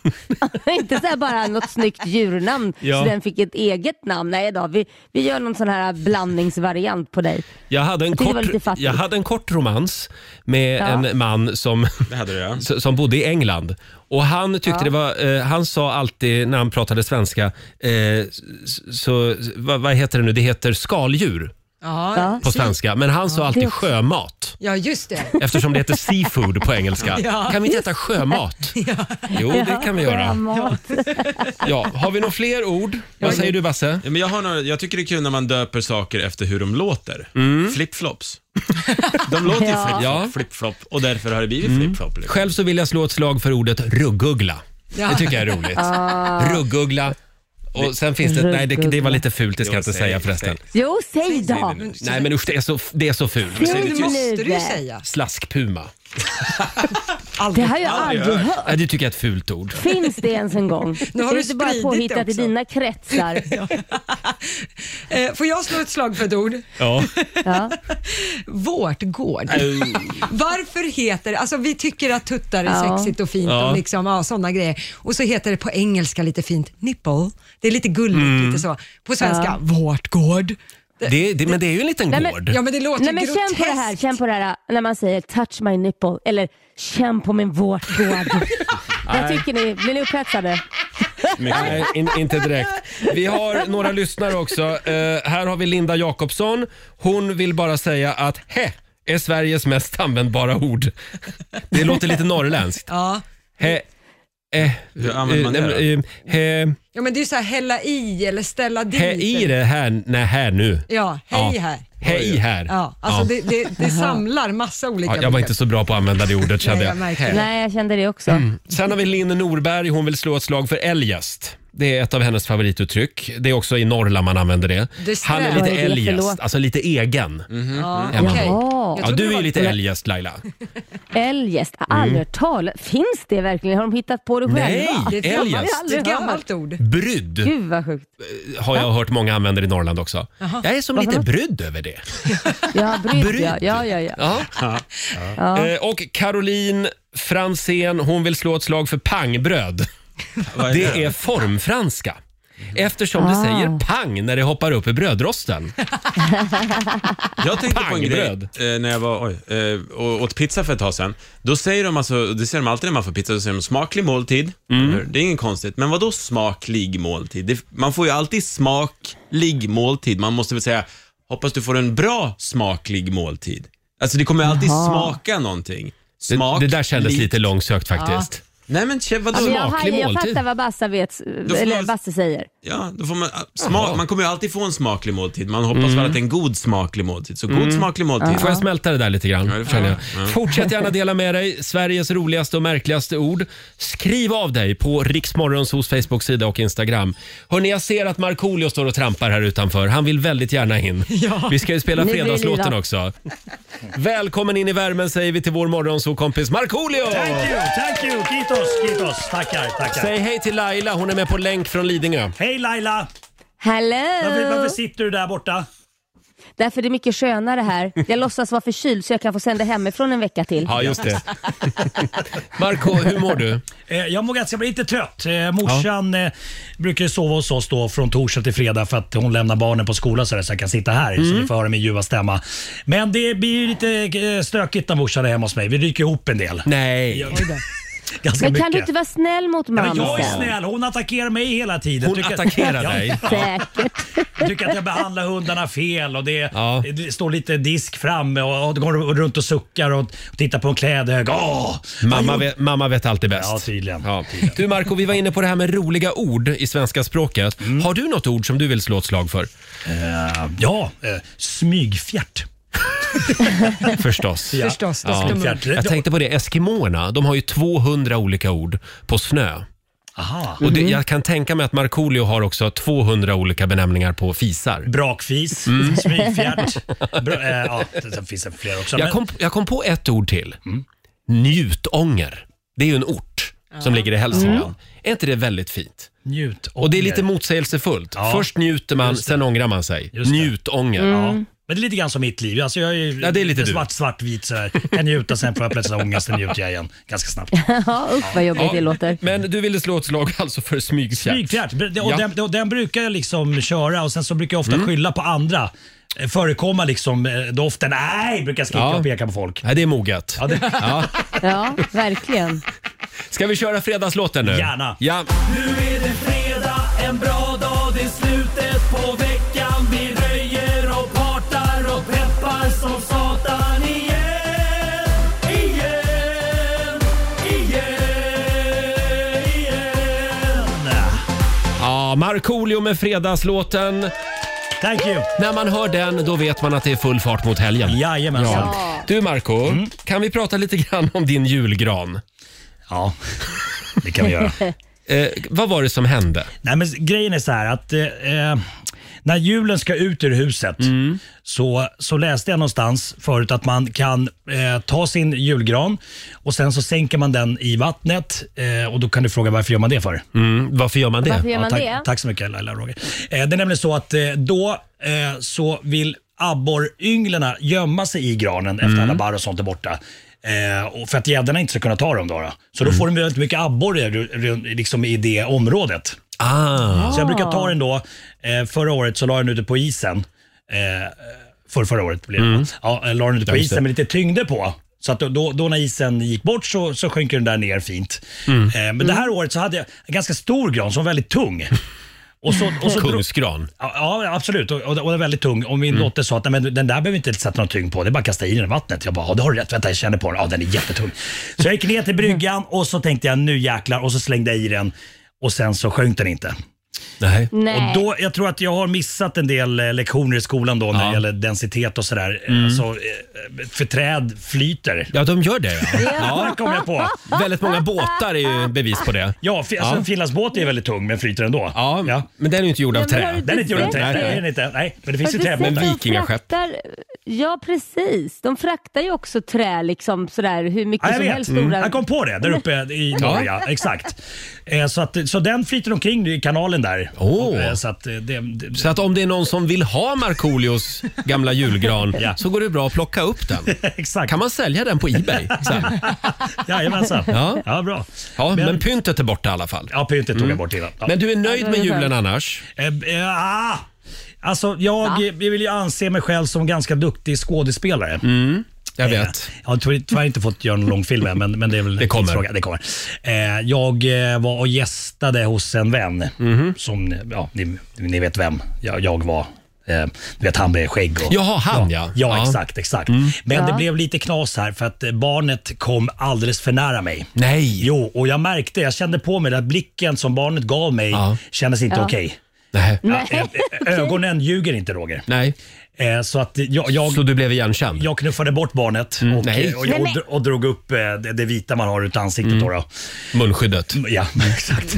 [SPEAKER 7] inte så här bara något snyggt djurnamn
[SPEAKER 1] Ja.
[SPEAKER 7] så den fick ett eget namn. Nej då, vi, vi gör någon sån här blandningsvariant på dig.
[SPEAKER 1] Jag hade en,
[SPEAKER 7] tycker det var lite
[SPEAKER 1] kort,
[SPEAKER 7] fattigt.
[SPEAKER 1] jag hade en kort romans med
[SPEAKER 7] Ja.
[SPEAKER 1] en man som,
[SPEAKER 5] Det hade du ja.
[SPEAKER 1] s- som bodde i England. Och han tyckte det var, eh, han sa alltid när han pratade svenska, eh, s- så, vad, vad heter det nu, det heter skaldjur
[SPEAKER 2] Ja,
[SPEAKER 7] Ja.
[SPEAKER 1] på svenska. Men han sa
[SPEAKER 7] Det
[SPEAKER 1] alltid
[SPEAKER 7] också.
[SPEAKER 1] sjömat.
[SPEAKER 2] ja just det.
[SPEAKER 1] Eftersom det heter seafood på engelska. Kan vi inte äta sjömat? Jo, det kan vi göra.
[SPEAKER 7] Sjömat.
[SPEAKER 1] Ja, har vi några fler ord? Vad säger du Basse?
[SPEAKER 5] Ja, men jag, har några, jag tycker det är kul när man döper saker efter hur de låter. Flip-flops. De låter ju
[SPEAKER 7] Ja.
[SPEAKER 5] flip-flop,
[SPEAKER 1] Mm. Ja. Mm.
[SPEAKER 5] flip-flop och därför har det blivit flip-flop. Liksom.
[SPEAKER 1] Själv så vill jag slå ett slag för ordet ruggugla. Det tycker jag är roligt.
[SPEAKER 7] Ah.
[SPEAKER 1] Ruggugla. Och sen finns det, nej det, det var lite fult, det ska jag inte
[SPEAKER 5] Jo, säg-
[SPEAKER 1] säga förresten.
[SPEAKER 5] säg-
[SPEAKER 7] Jo, säg då!
[SPEAKER 5] säg det nu.
[SPEAKER 1] Nej men usch, det är så, det är så fult.
[SPEAKER 7] Säg
[SPEAKER 2] Det
[SPEAKER 7] det
[SPEAKER 2] måste
[SPEAKER 7] tyst.
[SPEAKER 2] du ju säga.
[SPEAKER 1] Slaskpuma.
[SPEAKER 7] Det har jag aldrig hört.
[SPEAKER 1] Nej, det tycker jag är ett fult ord.
[SPEAKER 7] Finns det ens en gång?
[SPEAKER 2] Nu har
[SPEAKER 7] är
[SPEAKER 2] du
[SPEAKER 7] inte bara
[SPEAKER 2] spridit
[SPEAKER 7] påhittat
[SPEAKER 2] det
[SPEAKER 7] i
[SPEAKER 2] också.
[SPEAKER 7] dina kretsar.
[SPEAKER 2] Eh, Får jag slå ett slag för ett ord?
[SPEAKER 1] Ja.
[SPEAKER 7] Ja.
[SPEAKER 2] Vårtgård. Varför heter alltså vi tycker att tuttar är
[SPEAKER 7] Ja.
[SPEAKER 2] sexigt och fint
[SPEAKER 1] Ja.
[SPEAKER 2] och liksom, ja, sådana grejer. Och så heter det på engelska lite fint nipple. Det är lite gulligt,
[SPEAKER 1] Mm.
[SPEAKER 2] lite så. På svenska, vårtgård.
[SPEAKER 1] Det, det, men det är ju en liten
[SPEAKER 7] Nej, men-
[SPEAKER 1] gård.
[SPEAKER 2] Ja, men det låter
[SPEAKER 7] Nej, men
[SPEAKER 2] groteskt.
[SPEAKER 7] känn på det här, känn på det här när man säger touch my nipple eller känn på min vårtgård. Jag tycker ni, blir ni upphetsade?
[SPEAKER 1] Nej, in, inte direkt. Vi har några lyssnare också. Eh, här har vi Linda Jakobsson. Hon vill bara säga att he är Sveriges mest användbara ord. Det låter lite norrländskt.
[SPEAKER 2] Ja.
[SPEAKER 1] He, eh,
[SPEAKER 5] Hur använder man det då?
[SPEAKER 1] eh, he,
[SPEAKER 2] ja, men det är ju så här hälla i eller ställa dit.
[SPEAKER 1] he i det här, nej här nu.
[SPEAKER 2] Ja, hej här.
[SPEAKER 1] He i här.
[SPEAKER 2] Ja, alltså
[SPEAKER 1] Ja.
[SPEAKER 2] Det, det, det samlar massa olika
[SPEAKER 1] Ja, jag var inte så bra på att använda det ordet kände
[SPEAKER 2] Nej, jag
[SPEAKER 1] jag.
[SPEAKER 2] märkte det.
[SPEAKER 7] Nej, jag kände det också.
[SPEAKER 1] Sen har vi Linn Norberg, hon vill slå ett slag för eljest. Det är ett av hennes favorituttryck. Det är också i Norrland man använder det.
[SPEAKER 2] Det
[SPEAKER 1] Han är
[SPEAKER 7] Vad
[SPEAKER 1] lite
[SPEAKER 7] är det för
[SPEAKER 1] eljest,
[SPEAKER 7] låt?
[SPEAKER 1] alltså lite egen.
[SPEAKER 2] Ja,
[SPEAKER 1] Emma.
[SPEAKER 2] okej.
[SPEAKER 7] Jaha.
[SPEAKER 1] Ja,
[SPEAKER 2] Mm. trodde
[SPEAKER 1] du
[SPEAKER 2] det
[SPEAKER 1] är ju
[SPEAKER 2] var-
[SPEAKER 1] lite eljest Laila.
[SPEAKER 7] Eljest, aldrig hört tal. Finns det verkligen? Har de hittat på det själva?
[SPEAKER 1] Nej,
[SPEAKER 2] Det är ett
[SPEAKER 1] Eljest.
[SPEAKER 2] gammalt, det
[SPEAKER 7] Aldrig
[SPEAKER 2] är ett
[SPEAKER 7] hört.
[SPEAKER 2] gammalt ord.
[SPEAKER 1] Brydd Eh,
[SPEAKER 7] Gud vad sjukt.
[SPEAKER 1] har jag hört många använder i Norrland också. Jag är som lite brydd över det.
[SPEAKER 7] Ja, brydd
[SPEAKER 1] Brydd.
[SPEAKER 7] ja. Ja, ja, ja.
[SPEAKER 1] Ja. Eh, Och Caroline Fransén, hon vill slå ett slag för pangbröd.
[SPEAKER 5] Vad är
[SPEAKER 1] Det är formfranska. Eftersom
[SPEAKER 7] Ah.
[SPEAKER 1] det säger pang när det hoppar upp i brödrosten.
[SPEAKER 5] Jag tänkte på en grej
[SPEAKER 1] Pangbröd.
[SPEAKER 5] eh, när jag var, oj, eh, och åt pizza för ett tag sedan. Då säger de alltså, det säger de alltid när man får pizza, då säger de smaklig måltid.
[SPEAKER 1] Mm.
[SPEAKER 5] Eller, Det är inget konstigt, men vad då smaklig måltid? Det, man får ju alltid smaklig måltid. Man måste väl säga, hoppas du får en bra smaklig måltid. Alltså det kommer ju alltid smaka någonting.
[SPEAKER 1] Det,
[SPEAKER 5] Smak,
[SPEAKER 1] det där kändes
[SPEAKER 5] lik-
[SPEAKER 1] lite långsökt faktiskt.
[SPEAKER 5] Nej men tje, vadå?
[SPEAKER 7] Alltså, jag,
[SPEAKER 1] Smaklig
[SPEAKER 7] haj- jag
[SPEAKER 1] måltid.
[SPEAKER 9] typ.
[SPEAKER 7] fattar vad Bassa vet,
[SPEAKER 5] får
[SPEAKER 7] eller
[SPEAKER 5] man-
[SPEAKER 7] Basse säger.
[SPEAKER 5] Ja, då får man, ah, smak, man kommer ju alltid få en smaklig måltid. Man hoppas
[SPEAKER 1] Mm.
[SPEAKER 5] väl att det är en god smaklig måltid. Så god smaklig måltid.
[SPEAKER 1] Får jag smälta det där lite grann?
[SPEAKER 5] det får
[SPEAKER 1] känner jag.
[SPEAKER 5] du. Ja.
[SPEAKER 1] Fortsätt gärna dela med dig. Sveriges roligaste och märkligaste ord. Skriv av dig på Riksmorgons hos Facebook-sida och Instagram. Hörni, jag ser att Markoolio står och trampar här utanför. Han vill väldigt gärna in. Vi ska ju spela
[SPEAKER 7] Nu blir det
[SPEAKER 1] fredagslåten
[SPEAKER 7] livat.
[SPEAKER 1] också. Välkommen in i värmen säger vi till vår morgonsokompis Markoolio!
[SPEAKER 9] Thank you, thank you. Kitos, kitos. Tackar, tackar.
[SPEAKER 1] Säg hej till Laila, hon är med på länk från Lidingö.
[SPEAKER 9] Hej Laila! Varför,
[SPEAKER 7] Hello!
[SPEAKER 9] varför sitter du där borta?
[SPEAKER 7] Därför är det mycket skönare här. Jag låtsas vara förkyld så jag kan få sända hemifrån en vecka till.
[SPEAKER 1] Ja, just det. Marco, hur mår du?
[SPEAKER 9] Eh, jag mår ganska bra, inte trött. Eh, morsan eh, brukar ju sova hos oss då från torsdag till fredag för att hon lämnar barnen på skolan så, där, så jag kan sitta här
[SPEAKER 1] Mm.
[SPEAKER 9] så ni får höra min ljuva stämma. Men det blir ju lite eh, stökigt när morsan är hemma hos mig. Vi ryker ihop en del.
[SPEAKER 1] Nej.
[SPEAKER 9] Ja, ganska
[SPEAKER 7] Men kan
[SPEAKER 9] mycket.
[SPEAKER 7] du inte vara snäll mot
[SPEAKER 9] Ja, men
[SPEAKER 7] mamma
[SPEAKER 9] jag är
[SPEAKER 7] sen?
[SPEAKER 9] snäll. Hon attackerar mig hela tiden.
[SPEAKER 1] Hon attackerar
[SPEAKER 9] Ja,
[SPEAKER 1] dig.
[SPEAKER 7] Säkert.
[SPEAKER 9] Jag tycker att jag behandlar hundarna fel och det,
[SPEAKER 1] Ja.
[SPEAKER 9] det står lite disk framme och, och går runt och suckar och tittar på en klädhög. Åh!
[SPEAKER 1] Mamma vet, mamma vet alltid bäst.
[SPEAKER 9] Ja, tydligen.
[SPEAKER 1] Ja. Du Marco, vi var inne på det här med roliga ord i svenska språket. Har du något ord som du vill slå ett slag för?
[SPEAKER 9] Mm. Eh, ja, eh, smygfjärt.
[SPEAKER 1] Förstås.
[SPEAKER 9] Ja.
[SPEAKER 2] Förstås, då
[SPEAKER 1] Ja.
[SPEAKER 2] ska man...
[SPEAKER 9] Smygfjärt.
[SPEAKER 1] Jag tänkte på det, Eskimoerna, de har ju 200 olika ord på snö.
[SPEAKER 9] Aha.
[SPEAKER 1] Och det,
[SPEAKER 7] Mm.
[SPEAKER 1] jag kan tänka mig att Markoolio har också 200 olika benämningar på fisar.
[SPEAKER 9] Brakfis,
[SPEAKER 1] Mm.
[SPEAKER 9] smygfjärt. Bra, eh, ja, det, det finns det fler också.
[SPEAKER 1] Jag
[SPEAKER 9] Men, Mm.
[SPEAKER 1] kom, jag kom på ett ord till. Njutånger. Det är ju en ort som ligger i Hälsingland.
[SPEAKER 7] Mm.
[SPEAKER 1] Är inte det väldigt fint?
[SPEAKER 9] njut
[SPEAKER 1] Och det är lite motsägelsefullt.
[SPEAKER 9] Ja.
[SPEAKER 1] Först njuter man, sen ångrar man sig.
[SPEAKER 9] Just det.
[SPEAKER 7] Mm.
[SPEAKER 1] Njutånger.
[SPEAKER 9] Men det är lite grann som mitt liv. Alltså jag är ju
[SPEAKER 1] Ja, det är lite du.
[SPEAKER 9] svart, svartvit sådär. Kan njuta, sen får jag plötsligt ångest, sen njuter jag igen ganska snabbt.
[SPEAKER 7] Ja, usch vad jobbigt det låter.
[SPEAKER 1] Men du ville slå ett slag alltså för smygfjärt.
[SPEAKER 9] Flygfjärt. Och
[SPEAKER 1] Ja.
[SPEAKER 9] den, och den brukar jag liksom köra och sen så brukar jag ofta
[SPEAKER 1] Mm.
[SPEAKER 9] skylla på andra. Eh, Förekomma liksom eh, doften. Nej, brukar jag skrika
[SPEAKER 1] Ja.
[SPEAKER 9] och peka på folk.
[SPEAKER 1] Nej, det är moget.
[SPEAKER 9] Ja, det,
[SPEAKER 7] Ja, verkligen.
[SPEAKER 1] Ska vi köra fredagslåten nu?
[SPEAKER 9] Gärna.
[SPEAKER 1] Ja.
[SPEAKER 4] Nu är det fredag, en bra dag, det är slutet på veckan. Vi röjer och partar och peppar som satan igen. Igen, igen, igen.
[SPEAKER 1] Ja, Markoolio med fredagslåten.
[SPEAKER 9] thank you.
[SPEAKER 1] När man hör den, då vet man att det är full fart mot helgen.
[SPEAKER 9] Jajamensan. Ja.
[SPEAKER 7] Ja.
[SPEAKER 1] Du Marco, kan vi prata lite grann om din julgran?
[SPEAKER 9] ja, det kan vi göra.
[SPEAKER 1] Eh, vad var det som hände?
[SPEAKER 9] Nej, men grejen är så här att eh, eh, när julen ska ut ur huset så, så läste jag någonstans förut att man kan eh, ta sin julgran och sen så sänker man den i vattnet eh, och då kan du fråga varför gör man det för?
[SPEAKER 1] Mm, varför gör man det?
[SPEAKER 7] Varför gör man
[SPEAKER 9] tack,
[SPEAKER 7] det?
[SPEAKER 9] Tack så mycket Laila och Roger. Eh, det är nämligen så att eh, då eh, så vill abborrynglarna gömma sig i granen efter alla barr och sånt är borta. Eh, och för att gäddorna inte ska kunna ta dem. Då, då. Så då får de väldigt mycket abborre ru- ru- liksom i det området.
[SPEAKER 1] Ah,
[SPEAKER 9] Så jag brukar ta den då. Eh, förra året så la jag den ute på isen. Eh, för förra året blev det. va? Ja, jag la den ute på
[SPEAKER 1] Mm. just det.
[SPEAKER 9] isen med lite tyngde på. Så att då- då, då när isen gick bort så, så sjönk den där ner fint.
[SPEAKER 1] Mm.
[SPEAKER 9] Eh, men det här året så hade jag en ganska stor gran som var väldigt tung. Och så, och så drog-
[SPEAKER 1] kungsgran.
[SPEAKER 9] Ja, Ja, absolut. Och, och, och den är väldigt tung. Och
[SPEAKER 1] Mm.
[SPEAKER 9] min dotter sa att Nej, men den där behöver vi inte sätta någon tyngd på. Det är bara att kasta i den i vattnet. Jag bara, ja, det har du rätt. Vänta, jag känner på den. Ja, den är jättetung. Så jag gick ner till bryggan och så tänkte jag, nu jäklar. Och så slängde jag i den och sen så sjönk den inte.
[SPEAKER 1] Nej.
[SPEAKER 7] Nej.
[SPEAKER 9] Och då, jag tror att jag har missat en del eh, lektioner i skolan då när
[SPEAKER 1] Ja.
[SPEAKER 9] det gäller densitet och sådär. Mm. Alltså, eh, för träd flyter.
[SPEAKER 1] Ja, de gör det. Ja.
[SPEAKER 9] Ja. Det kom jag på.
[SPEAKER 1] Väldigt många båtar är ju bevis på det.
[SPEAKER 9] Ja, fi- alltså,
[SPEAKER 1] Ja.
[SPEAKER 9] en finlandsbåt är väldigt tung men flyter ändå.
[SPEAKER 1] Ja, men den är ju inte gjord av
[SPEAKER 7] Ja, men har
[SPEAKER 1] trä.
[SPEAKER 7] du-
[SPEAKER 9] Den är inte gjord av
[SPEAKER 7] Nej,
[SPEAKER 9] trä.
[SPEAKER 7] nej.
[SPEAKER 9] det är den inte. Nej, men det
[SPEAKER 7] Har
[SPEAKER 9] finns
[SPEAKER 7] du
[SPEAKER 9] ju
[SPEAKER 7] sett
[SPEAKER 9] träbåtar.
[SPEAKER 7] att de
[SPEAKER 1] vikingaskepp.
[SPEAKER 7] fraktar- Ja, precis. De fraktar ju också trä liksom sådär hur mycket
[SPEAKER 9] Ja, jag
[SPEAKER 7] som
[SPEAKER 9] vet.
[SPEAKER 7] helst.
[SPEAKER 9] Mm.
[SPEAKER 7] Stora...
[SPEAKER 9] Jag kom på det där uppe i Norge. Exakt. Eh, så, att, så den flyter omkring i kanalen där.
[SPEAKER 1] Åh.
[SPEAKER 9] Och, eh, Så att eh, det, det,
[SPEAKER 1] Så att om det är någon som vill ha Markoolios gamla julgran
[SPEAKER 9] Ja.
[SPEAKER 1] så går det bra att plocka upp den.
[SPEAKER 9] exakt.
[SPEAKER 1] Kan man sälja den på Ebay? Sen?
[SPEAKER 9] Jajamensan.
[SPEAKER 1] Ja.
[SPEAKER 9] Ja. bra.
[SPEAKER 1] Ja, men,
[SPEAKER 9] Men-
[SPEAKER 1] pyntet är borta i alla fall.
[SPEAKER 9] Ja, pyntet tog jag bort innan. Ja.
[SPEAKER 1] Men du är nöjd
[SPEAKER 7] Ja, det
[SPEAKER 1] med
[SPEAKER 7] är
[SPEAKER 1] julen
[SPEAKER 7] skönt.
[SPEAKER 1] annars?
[SPEAKER 9] Eh, eh, ah. Alltså, jag, eh, jag vill ju anse mig själv som ganska duktig skådespelare.
[SPEAKER 1] Jag
[SPEAKER 9] Eh,
[SPEAKER 1] Mm, vet.
[SPEAKER 9] Jag har tyvärr tyvärr inte fått göra någon långfilm än, men, men det är väl en
[SPEAKER 1] Det kommer.
[SPEAKER 9] tidsfråga. Det kommer. Eh, jag eh, var och gästade hos en vän,
[SPEAKER 1] Mhm.
[SPEAKER 9] som ni- ja, ni, ni vet vem jag, jag var. Eh, du vet han med skägg och...
[SPEAKER 1] Jaha, han ja. Mm.
[SPEAKER 9] Ja, exakt. exakt. Men det blev lite knas här för att eh, barnet kom alldeles för nära mig.
[SPEAKER 1] Nej.
[SPEAKER 9] Jo, och jag märkte, jag kände på mig att blicken som barnet gav mig
[SPEAKER 1] Ja.
[SPEAKER 9] kändes inte
[SPEAKER 7] Ja.
[SPEAKER 9] okej.
[SPEAKER 1] Nej.
[SPEAKER 9] Ä- ä- Eh, Ögonen ljuger inte Roger.
[SPEAKER 1] Nej.
[SPEAKER 9] Eh, Så att jag, jag,
[SPEAKER 1] Så du blev igenkänd?
[SPEAKER 9] jag knuffade bort barnet och,
[SPEAKER 1] nej. Mm.
[SPEAKER 9] eh, och, jag, och, dr- och drog upp eh, det, det vita man har runt ansiktet. Då då.
[SPEAKER 1] Munskyddet?
[SPEAKER 9] Ja, exakt.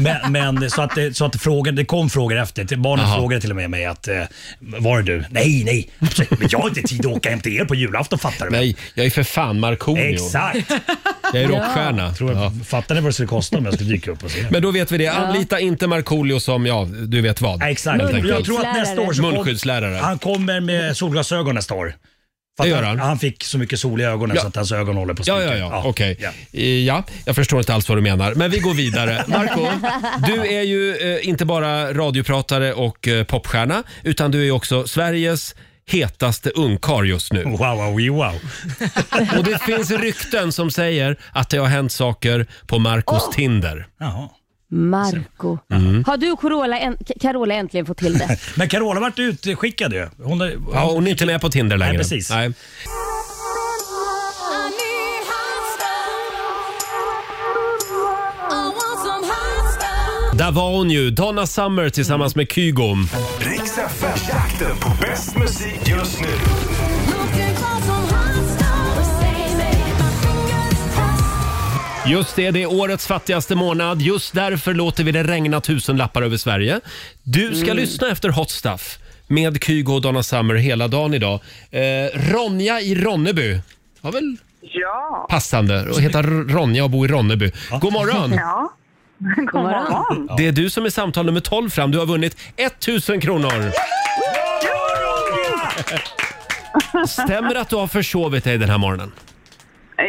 [SPEAKER 9] Men, men så att, det- så att frågan, det kom frågor efter. Till- Barnet
[SPEAKER 1] Jaha.
[SPEAKER 9] frågade till och med mig att eh, var är du? Nej, nej. absolut, Men jag har inte tid att åka hem till er på julafton fattar du. väl?"
[SPEAKER 1] Nej, jag är för fan Markoolio.
[SPEAKER 9] Exakt.
[SPEAKER 1] Jag är rockstjärna.
[SPEAKER 9] Tror jag,
[SPEAKER 1] Ja.
[SPEAKER 9] Fattar ni vad det skulle kosta om jag skulle dyka upp och se?
[SPEAKER 1] Men då vet vi det. Anlita inte Markoolio som, ja, du vet vad.
[SPEAKER 9] Nej, exakt.
[SPEAKER 1] Helt enkelt.
[SPEAKER 9] Jag tror att nästa år så kom-
[SPEAKER 1] Munskyddslärare.
[SPEAKER 9] Han kommer med solglasögon nästa år. För att
[SPEAKER 1] Det gör han.
[SPEAKER 9] Han fick så mycket sol i ögonen
[SPEAKER 1] Ja.
[SPEAKER 9] så att hans ögon håller på att
[SPEAKER 1] Ja, ja,
[SPEAKER 9] spricka.
[SPEAKER 1] ja. Okej.
[SPEAKER 9] ja.
[SPEAKER 1] Eh, Ja, jag förstår inte alls vad du menar. Men vi går vidare. Marco, du är ju eh, inte bara radiopratare och eh, popstjärna, utan du är ju också Sveriges hetaste ungkarl just nu.
[SPEAKER 9] Wow, wow, wee, wow.
[SPEAKER 1] Och det finns rykten som säger att det har hänt saker på
[SPEAKER 9] Oh.
[SPEAKER 1] Marcos Tinder.
[SPEAKER 9] Jaha.
[SPEAKER 7] Marco.
[SPEAKER 9] Mm.
[SPEAKER 7] Har du och Carola, änt- Carola äntligen fått till det?
[SPEAKER 9] Men Carola vart utskickad ju. Hon, är-
[SPEAKER 1] Ja, hon är inte med på Tinder längre.
[SPEAKER 9] Nej, precis.
[SPEAKER 1] Nej. Där var hon ju, Donna Summer tillsammans
[SPEAKER 9] Mm.
[SPEAKER 1] med Kygo.
[SPEAKER 3] Riks FM-jakten på bäst musik just nu.
[SPEAKER 1] Just det, det är årets fattigaste månad. Just därför låter vi det regna tusenlappar över Sverige. Du ska lyssna efter Hot Stuff med Kygo och Donna Summer hela dagen idag. Eh, Ronja i Ronneby. Ja, väl
[SPEAKER 10] Ja,
[SPEAKER 1] passande att heta R- Ronja och bo i Ronneby. God morgon!
[SPEAKER 10] ja. God morgon.
[SPEAKER 1] Det är du som är samtal nummer 12 fram. Du har vunnit 1000 kronor. Stämmer det att du har försovit dig den här morgonen?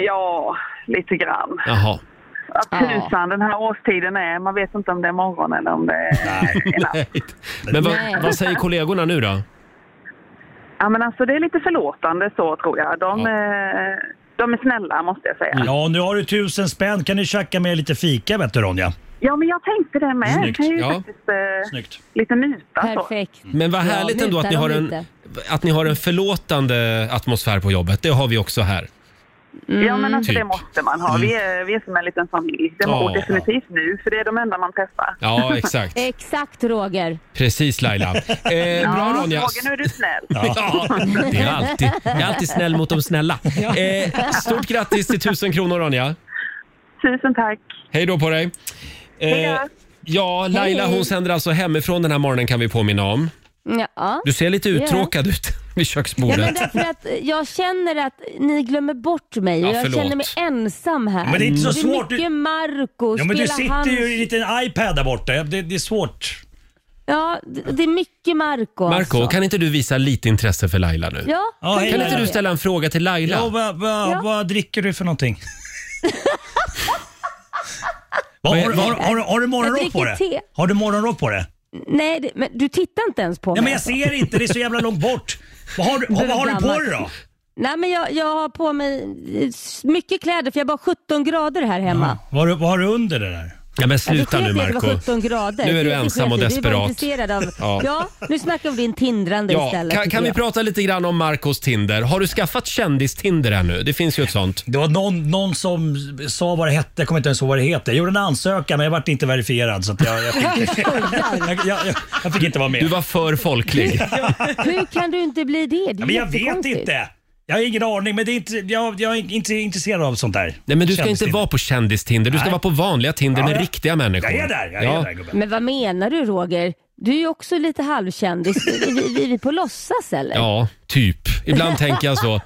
[SPEAKER 10] Ja, lite grann.
[SPEAKER 1] Jaha.
[SPEAKER 10] Att tusan den här årstiden är. Man vet inte om det är morgon eller om det är natt.
[SPEAKER 1] Nej. Men vad,
[SPEAKER 10] Nej.
[SPEAKER 1] vad säger kollegorna nu då?
[SPEAKER 10] Ja, men alltså det är lite förlåtande så tror jag. De, eh, de är snälla måste jag säga.
[SPEAKER 9] Ja, nu har du tusen spänn. Kan du tjacka med lite fika vet du Ronja?
[SPEAKER 10] Ja, men jag tänkte det med.
[SPEAKER 9] Snyggt.
[SPEAKER 10] Det är ju
[SPEAKER 9] Ja.
[SPEAKER 10] faktiskt eh,
[SPEAKER 9] Snyggt.
[SPEAKER 10] lite muta
[SPEAKER 7] Perfekt.
[SPEAKER 1] Men vad härligt ändå att ni, har en, att ni har en förlåtande atmosfär på jobbet. Det har vi också här.
[SPEAKER 10] Ja, men alltså det
[SPEAKER 1] Typ.
[SPEAKER 10] måste man ha. Vi är, vi är som en liten familj. Det
[SPEAKER 1] Ja.
[SPEAKER 10] mår definitivt nu, för det är de enda man träffar.
[SPEAKER 1] Ja, exakt.
[SPEAKER 7] Exakt Roger.
[SPEAKER 1] Precis Laila. Eh, bra
[SPEAKER 10] ja,
[SPEAKER 1] Ronja.
[SPEAKER 10] Roger, nu är du snäll.
[SPEAKER 1] Ja, det är alltid, jag är alltid snäll mot de snälla. Eh, stort grattis till 1000 kronor Ronja.
[SPEAKER 10] Tusen tack.
[SPEAKER 1] Hej då på dig. Eh, ja, Laila
[SPEAKER 7] Hej.
[SPEAKER 1] hon sänder alltså hemifrån den här morgonen kan vi påminna om.
[SPEAKER 7] Ja.
[SPEAKER 1] Du ser lite
[SPEAKER 7] Ja.
[SPEAKER 1] uttråkad ut vid
[SPEAKER 7] Ja, men
[SPEAKER 1] köksbordet.
[SPEAKER 7] därför att jag känner att ni glömmer bort mig och
[SPEAKER 1] Ja,
[SPEAKER 7] jag
[SPEAKER 1] förlåt.
[SPEAKER 7] känner mig ensam här.
[SPEAKER 9] Ja, men det är inte så svårt.
[SPEAKER 7] Det är mycket Marco,
[SPEAKER 9] Ja, men du
[SPEAKER 7] spela
[SPEAKER 9] sitter
[SPEAKER 7] hans...
[SPEAKER 9] ju i en liten iPad där borta. Det, det är svårt.
[SPEAKER 7] Ja, det det är mycket Marco
[SPEAKER 1] Marco,
[SPEAKER 7] alltså.
[SPEAKER 1] kan inte du visa lite intresse för Laila nu?
[SPEAKER 7] Ja,
[SPEAKER 9] Ja, hej,
[SPEAKER 1] Kan inte
[SPEAKER 9] Laila.
[SPEAKER 1] du ställa en fråga till Laila?
[SPEAKER 9] Ja, vad, vad,
[SPEAKER 7] Ja.
[SPEAKER 9] vad dricker du för någonting? vad, har, har, har, har du morgonrock på
[SPEAKER 7] dricker
[SPEAKER 9] det?
[SPEAKER 7] te.
[SPEAKER 9] Har du morgonrock på det?
[SPEAKER 7] Nej, det, men du tittar inte ens på mig.
[SPEAKER 9] Nej, men jag ser inte, det är så jävla långt bort. Vad har du, vad har du på dig då?
[SPEAKER 7] Nej, men jag, jag har på mig eh, s- mycket kläder för jag är bara 17 grader här hemma.
[SPEAKER 9] Vad har du, vad har du under det där?
[SPEAKER 1] Ja, men
[SPEAKER 7] Ja, det
[SPEAKER 1] sluta
[SPEAKER 7] sket
[SPEAKER 1] nu
[SPEAKER 7] i att Det
[SPEAKER 1] Marco.
[SPEAKER 7] var 17 grader.
[SPEAKER 1] Nu är du
[SPEAKER 7] Det
[SPEAKER 1] ensam och
[SPEAKER 7] sket i. Du är bara
[SPEAKER 1] desperat.
[SPEAKER 7] intresserad av...
[SPEAKER 1] Ja.
[SPEAKER 7] ja. nu snackar vi om din tindrande
[SPEAKER 1] Ja,
[SPEAKER 7] istället.
[SPEAKER 1] kan,
[SPEAKER 7] tycker
[SPEAKER 1] kan vi
[SPEAKER 7] jag.
[SPEAKER 1] prata lite grann om Marcos Tinder? Har du skaffat kändis-Tinder ännu? Det finns ju ett sånt.
[SPEAKER 9] Det var någon, någon som sa vad det hette, jag kommer inte ens ihåg vad det heter. Jag gjorde en ansökan men jag vart inte verifierad så att jag, jag, fick, jag, jag, jag, jag fick inte vara med.
[SPEAKER 1] Du var för folklig.
[SPEAKER 7] Hur kan du inte bli det? det är
[SPEAKER 9] Ja, men jag vet
[SPEAKER 7] jättekonstigt.
[SPEAKER 9] inte. Jag har ingen aning men det är inte, jag, jag är inte intresserad av sånt där.
[SPEAKER 1] Nej, men du ska inte
[SPEAKER 9] Kändis-Tinder.
[SPEAKER 1] vara på kändis-Tinder. Du ska
[SPEAKER 9] Nej.
[SPEAKER 1] vara på vanliga Tinder
[SPEAKER 9] Ja,
[SPEAKER 1] med
[SPEAKER 9] ja.
[SPEAKER 1] riktiga människor.
[SPEAKER 9] Jag är där, jag
[SPEAKER 1] Ja.
[SPEAKER 9] är där gubben.
[SPEAKER 7] Men vad menar du Roger? Du är ju också lite halvkändis. Är vi, vi på låtsas eller?
[SPEAKER 1] Ja, typ. Ibland tänker jag så.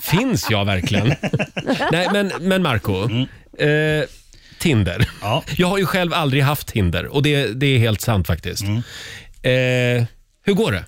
[SPEAKER 1] Finns jag verkligen? Nej, men, men Marco. Eh, Tinder.
[SPEAKER 9] Mm. Ja.
[SPEAKER 1] Jag har ju själv aldrig haft Tinder och det, det är helt sant faktiskt.
[SPEAKER 9] Mm.
[SPEAKER 1] Eh, hur går det?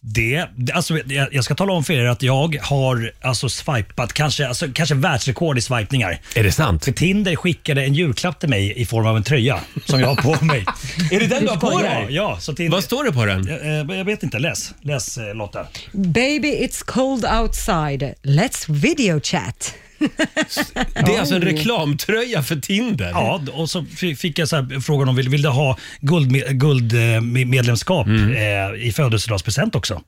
[SPEAKER 9] Det, det- alltså, jag, jag ska tala om för er att jag har alltså, swipat kanske, alltså, kanske världsrekord i swipningar.
[SPEAKER 1] Är det sant?
[SPEAKER 9] För Tinder skickade en julklapp till mig i form av en tröja som jag har på mig.
[SPEAKER 1] Är det den du har på
[SPEAKER 9] ja,
[SPEAKER 1] dig?
[SPEAKER 9] ja, så Tinder,
[SPEAKER 1] Vad står det på den?
[SPEAKER 9] Eh, Jag vet inte, läs. Läs eh, Lotta.
[SPEAKER 2] Baby it's cold outside, let's video chat.
[SPEAKER 1] Det är alltså en reklamtröja för Tinder.
[SPEAKER 9] Ja, och så fi- fick jag så här frågan om vill, vill du ha guldmedlemskap guld, eh, med- medlemskap,
[SPEAKER 1] Mm.
[SPEAKER 9] eh, i födelsedagspresent också.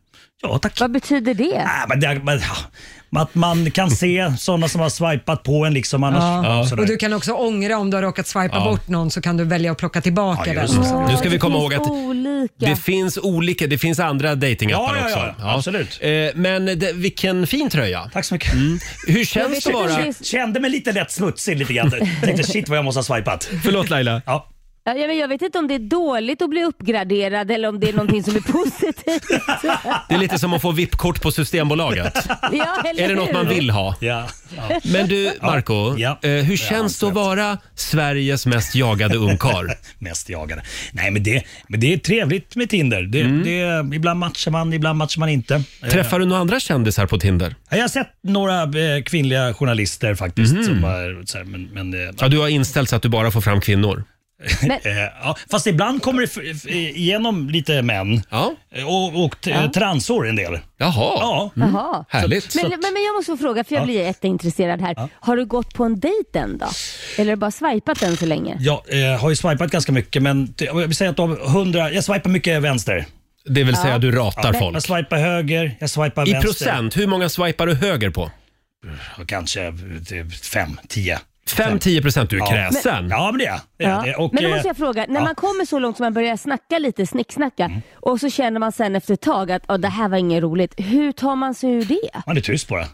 [SPEAKER 9] Ja, tack.
[SPEAKER 7] Vad betyder det?
[SPEAKER 9] Äh, men det, men, ja, att man kan se sådana som har swipat på en liksom annars. Ja. sådär.
[SPEAKER 2] Och du kan också ångra om du har råkat swipa bort någon så kan du välja att plocka tillbaka
[SPEAKER 9] Ja, just
[SPEAKER 2] den.
[SPEAKER 9] det.
[SPEAKER 1] Nu ska vi komma
[SPEAKER 7] det
[SPEAKER 1] ihåg
[SPEAKER 7] finns
[SPEAKER 1] att
[SPEAKER 7] olika.
[SPEAKER 1] det finns olika, det finns andra datingappar
[SPEAKER 9] Ja, ja, ja,
[SPEAKER 1] också.
[SPEAKER 9] absolut.
[SPEAKER 1] Eh, Men det, vilken fin tröja.
[SPEAKER 9] Tack så mycket.
[SPEAKER 1] Mm. Hur
[SPEAKER 7] Jag
[SPEAKER 1] känns
[SPEAKER 7] vet
[SPEAKER 1] det att
[SPEAKER 7] inte om
[SPEAKER 1] vara...
[SPEAKER 7] det är-
[SPEAKER 9] Kände mig lite lätt smutsig lite grann. Tänkte shit vad jag måste ha swipat.
[SPEAKER 1] Förlåt Laila.
[SPEAKER 9] Ja.
[SPEAKER 7] Ja, men jag vet inte om det är dåligt att bli uppgraderad eller om det är någonting som är positivt.
[SPEAKER 1] Det är lite som att få VIP-kort på Systembolaget.
[SPEAKER 7] Ja, eller
[SPEAKER 1] Är det något
[SPEAKER 7] hur?
[SPEAKER 1] man vill ha?
[SPEAKER 9] Ja. Ja.
[SPEAKER 1] Men du, Marco,
[SPEAKER 9] Ja.
[SPEAKER 1] eh, hur
[SPEAKER 9] Ja,
[SPEAKER 1] känns det att
[SPEAKER 9] absolut.
[SPEAKER 1] vara Sveriges mest jagade ungkarl?
[SPEAKER 9] Mest jagade. Nej men det, men det är trevligt med Tinder. Det,
[SPEAKER 1] Mm.
[SPEAKER 9] det, ibland matchar man, ibland matchar man inte.
[SPEAKER 1] Träffar du några andra kändisar på Tinder?
[SPEAKER 9] Ja, Jag har sett några eh, kvinnliga journalister faktiskt.
[SPEAKER 1] Mm.
[SPEAKER 9] Som har, så här, men, men, eh,
[SPEAKER 1] Ja, du har inställt så att du bara får fram kvinnor.
[SPEAKER 9] eh, ja, fast ibland kommer det f- f- igenom lite män
[SPEAKER 1] Ja.
[SPEAKER 9] Eh, och, och t- eh, transor en del.
[SPEAKER 1] Jaha.
[SPEAKER 9] Ja.
[SPEAKER 7] Jaha.
[SPEAKER 1] Härligt.
[SPEAKER 7] Men, men, men jag måste få fråga, för jag blir jätteintresserad här. Har du gått på en dejt än då? Eller har du bara swipat än så länge?
[SPEAKER 9] Jag eh, har ju swipat ganska mycket men t- jag vill säga att av 100, jag swipar mycket vänster.
[SPEAKER 1] Det vill säga du ratar
[SPEAKER 9] Jag
[SPEAKER 1] folk.
[SPEAKER 9] swipar höger, jag swipar
[SPEAKER 1] I
[SPEAKER 9] vänster.
[SPEAKER 1] procent, hur många swipar du höger på?
[SPEAKER 9] Ja, Kanske eh, typ fem, tio.
[SPEAKER 1] 5-10 procent, du är
[SPEAKER 9] Ja.
[SPEAKER 1] kräsen.
[SPEAKER 9] Ja, men det är jag. det är jag.
[SPEAKER 7] Ja.
[SPEAKER 9] Och,
[SPEAKER 7] men då
[SPEAKER 9] eh,
[SPEAKER 7] måste jag fråga, när
[SPEAKER 9] ja. Mm.
[SPEAKER 7] man kommer så långt som man börjar snacka lite, snicksnacka och så känner man sen efter ett tag att "Åh, det här var inget roligt. Hur tar man sig ur det?
[SPEAKER 9] Man är tyst bara.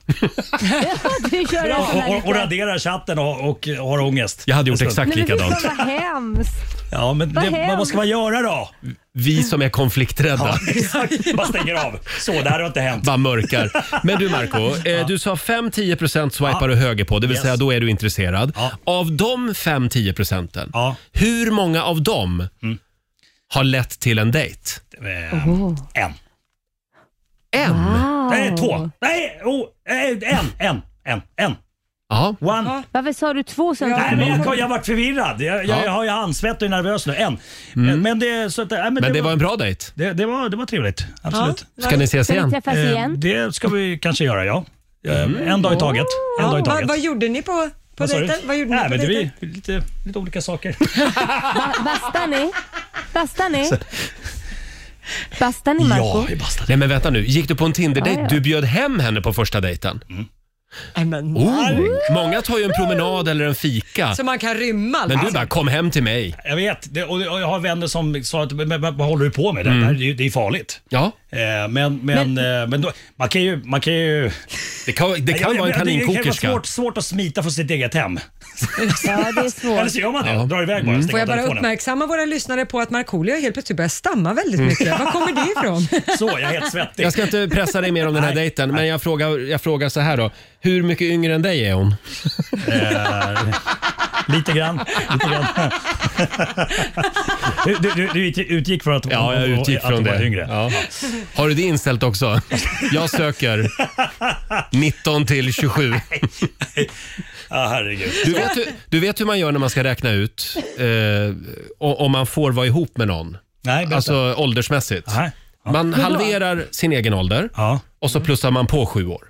[SPEAKER 7] du kör en sån
[SPEAKER 9] Och,
[SPEAKER 7] här
[SPEAKER 9] och, och raderar chatten och, och har ångest.
[SPEAKER 1] Jag hade gjort
[SPEAKER 9] En stund.
[SPEAKER 1] exakt
[SPEAKER 7] Nej, men fy fan,
[SPEAKER 1] likadant.
[SPEAKER 7] vad hemskt.
[SPEAKER 9] Ja, men
[SPEAKER 7] Vad
[SPEAKER 9] det, vad, vad ska man göra då?
[SPEAKER 1] Vi som är konflikträdda.
[SPEAKER 9] Bara stänger av. Så, det här har inte hänt.
[SPEAKER 1] Bara mörkar. Men du Marco, eh, du sa 5-10 procent swipar du höger på, det vill
[SPEAKER 9] Yes.
[SPEAKER 1] säga då är du intresserad.
[SPEAKER 9] Ja.
[SPEAKER 1] Av de 5-10 procenten,
[SPEAKER 9] Ja. Mm.
[SPEAKER 1] hur många av dem har lett till en dejt?
[SPEAKER 9] Eh, En.
[SPEAKER 1] En?
[SPEAKER 9] Nej, två. Nej, oh, eh, en, en, en, en.
[SPEAKER 1] Ja.
[SPEAKER 9] One.
[SPEAKER 7] Varför sa du två sen?
[SPEAKER 9] Nej, men jag, jag varit förvirrad. Jag, jag, jag, har ju ansvett och är nervös nu. En. Men, men det, så att, nej, men
[SPEAKER 1] Mm. Men det var en bra dejt.
[SPEAKER 9] Det, det, var, det var trevligt. Absolut.
[SPEAKER 1] Ja. Ska ni ses Ska ni igen? träffas
[SPEAKER 9] Eh,
[SPEAKER 1] igen?
[SPEAKER 9] Det ska vi kanske göra, ja. Eh, En dag i taget. En dag i
[SPEAKER 2] Mm. vad,
[SPEAKER 9] taget.
[SPEAKER 2] vad gjorde ni på, på
[SPEAKER 9] Vad sa du?
[SPEAKER 2] dejten? Vad gjorde
[SPEAKER 9] Nej,
[SPEAKER 2] ni på
[SPEAKER 9] men det
[SPEAKER 2] dejten?
[SPEAKER 9] var ju lite, lite olika saker.
[SPEAKER 7] Ba- Bastar ni? Bastar ni? Bastar ni Marco?
[SPEAKER 1] Nej men vänta nu, gick du på en Tinder-dejt?
[SPEAKER 7] Ja, ja.
[SPEAKER 1] Du bjöd hem henne på första dejten?
[SPEAKER 9] Mm.
[SPEAKER 1] Oh, många tar ju en promenad eller en fika.
[SPEAKER 2] Så man kan rymma?
[SPEAKER 1] Men du
[SPEAKER 2] liksom.
[SPEAKER 9] Alltså-
[SPEAKER 1] bara, kom hem till mig.
[SPEAKER 9] Jag vet, det, och och jag har vänner som sa att men, men, vad håller du på med? Det, här,
[SPEAKER 1] Mm.
[SPEAKER 9] det, är ju- det är farligt. Eh,
[SPEAKER 1] Ja.
[SPEAKER 9] Men, men, men, eh, men då, man kan ju... Man kan ju
[SPEAKER 1] det kan, det
[SPEAKER 9] Jag-
[SPEAKER 1] kan
[SPEAKER 9] jag-
[SPEAKER 1] vara en
[SPEAKER 9] jag- Det kan
[SPEAKER 1] kaninkokerska.
[SPEAKER 9] ju vara svårt, svårt att smita från sitt eget hem.
[SPEAKER 7] Ja, det är
[SPEAKER 9] Eller
[SPEAKER 7] svårt.
[SPEAKER 9] så gör man det.
[SPEAKER 1] Ja.
[SPEAKER 9] Drar iväg bara.
[SPEAKER 1] Mm.
[SPEAKER 9] stänger
[SPEAKER 2] Får jag
[SPEAKER 9] av
[SPEAKER 2] bara
[SPEAKER 9] telefonen.
[SPEAKER 2] uppmärksamma våra lyssnare på att Markoolio helt plötsligt börjar stamma väldigt mycket.
[SPEAKER 1] Mm.
[SPEAKER 2] Var kommer det ifrån?
[SPEAKER 9] Så, jag är helt svettig.
[SPEAKER 1] Jag ska inte pressa dig mer om den här dejten, men jag frågar, jag frågar så här då. Hur mycket yngre än dig är hon?
[SPEAKER 9] Eh, lite grann. Lite grann. du, du, du, du ut- utgick från att
[SPEAKER 1] Ja, jag utgick
[SPEAKER 9] att
[SPEAKER 1] från
[SPEAKER 9] du var
[SPEAKER 1] det.
[SPEAKER 9] yngre.
[SPEAKER 1] Ja. Har du det inställt också? Jag söker 19 till 27.
[SPEAKER 9] Ah, herregud.
[SPEAKER 1] Du vet, hur- du vet hur man gör när man ska räkna ut eh, o- om man får vara ihop med någon?
[SPEAKER 9] Nej, berätta.
[SPEAKER 1] Alltså åldersmässigt.
[SPEAKER 9] Nej.
[SPEAKER 1] Man halverar sin egen ålder
[SPEAKER 9] Ja.
[SPEAKER 1] och så plussar man på sju år.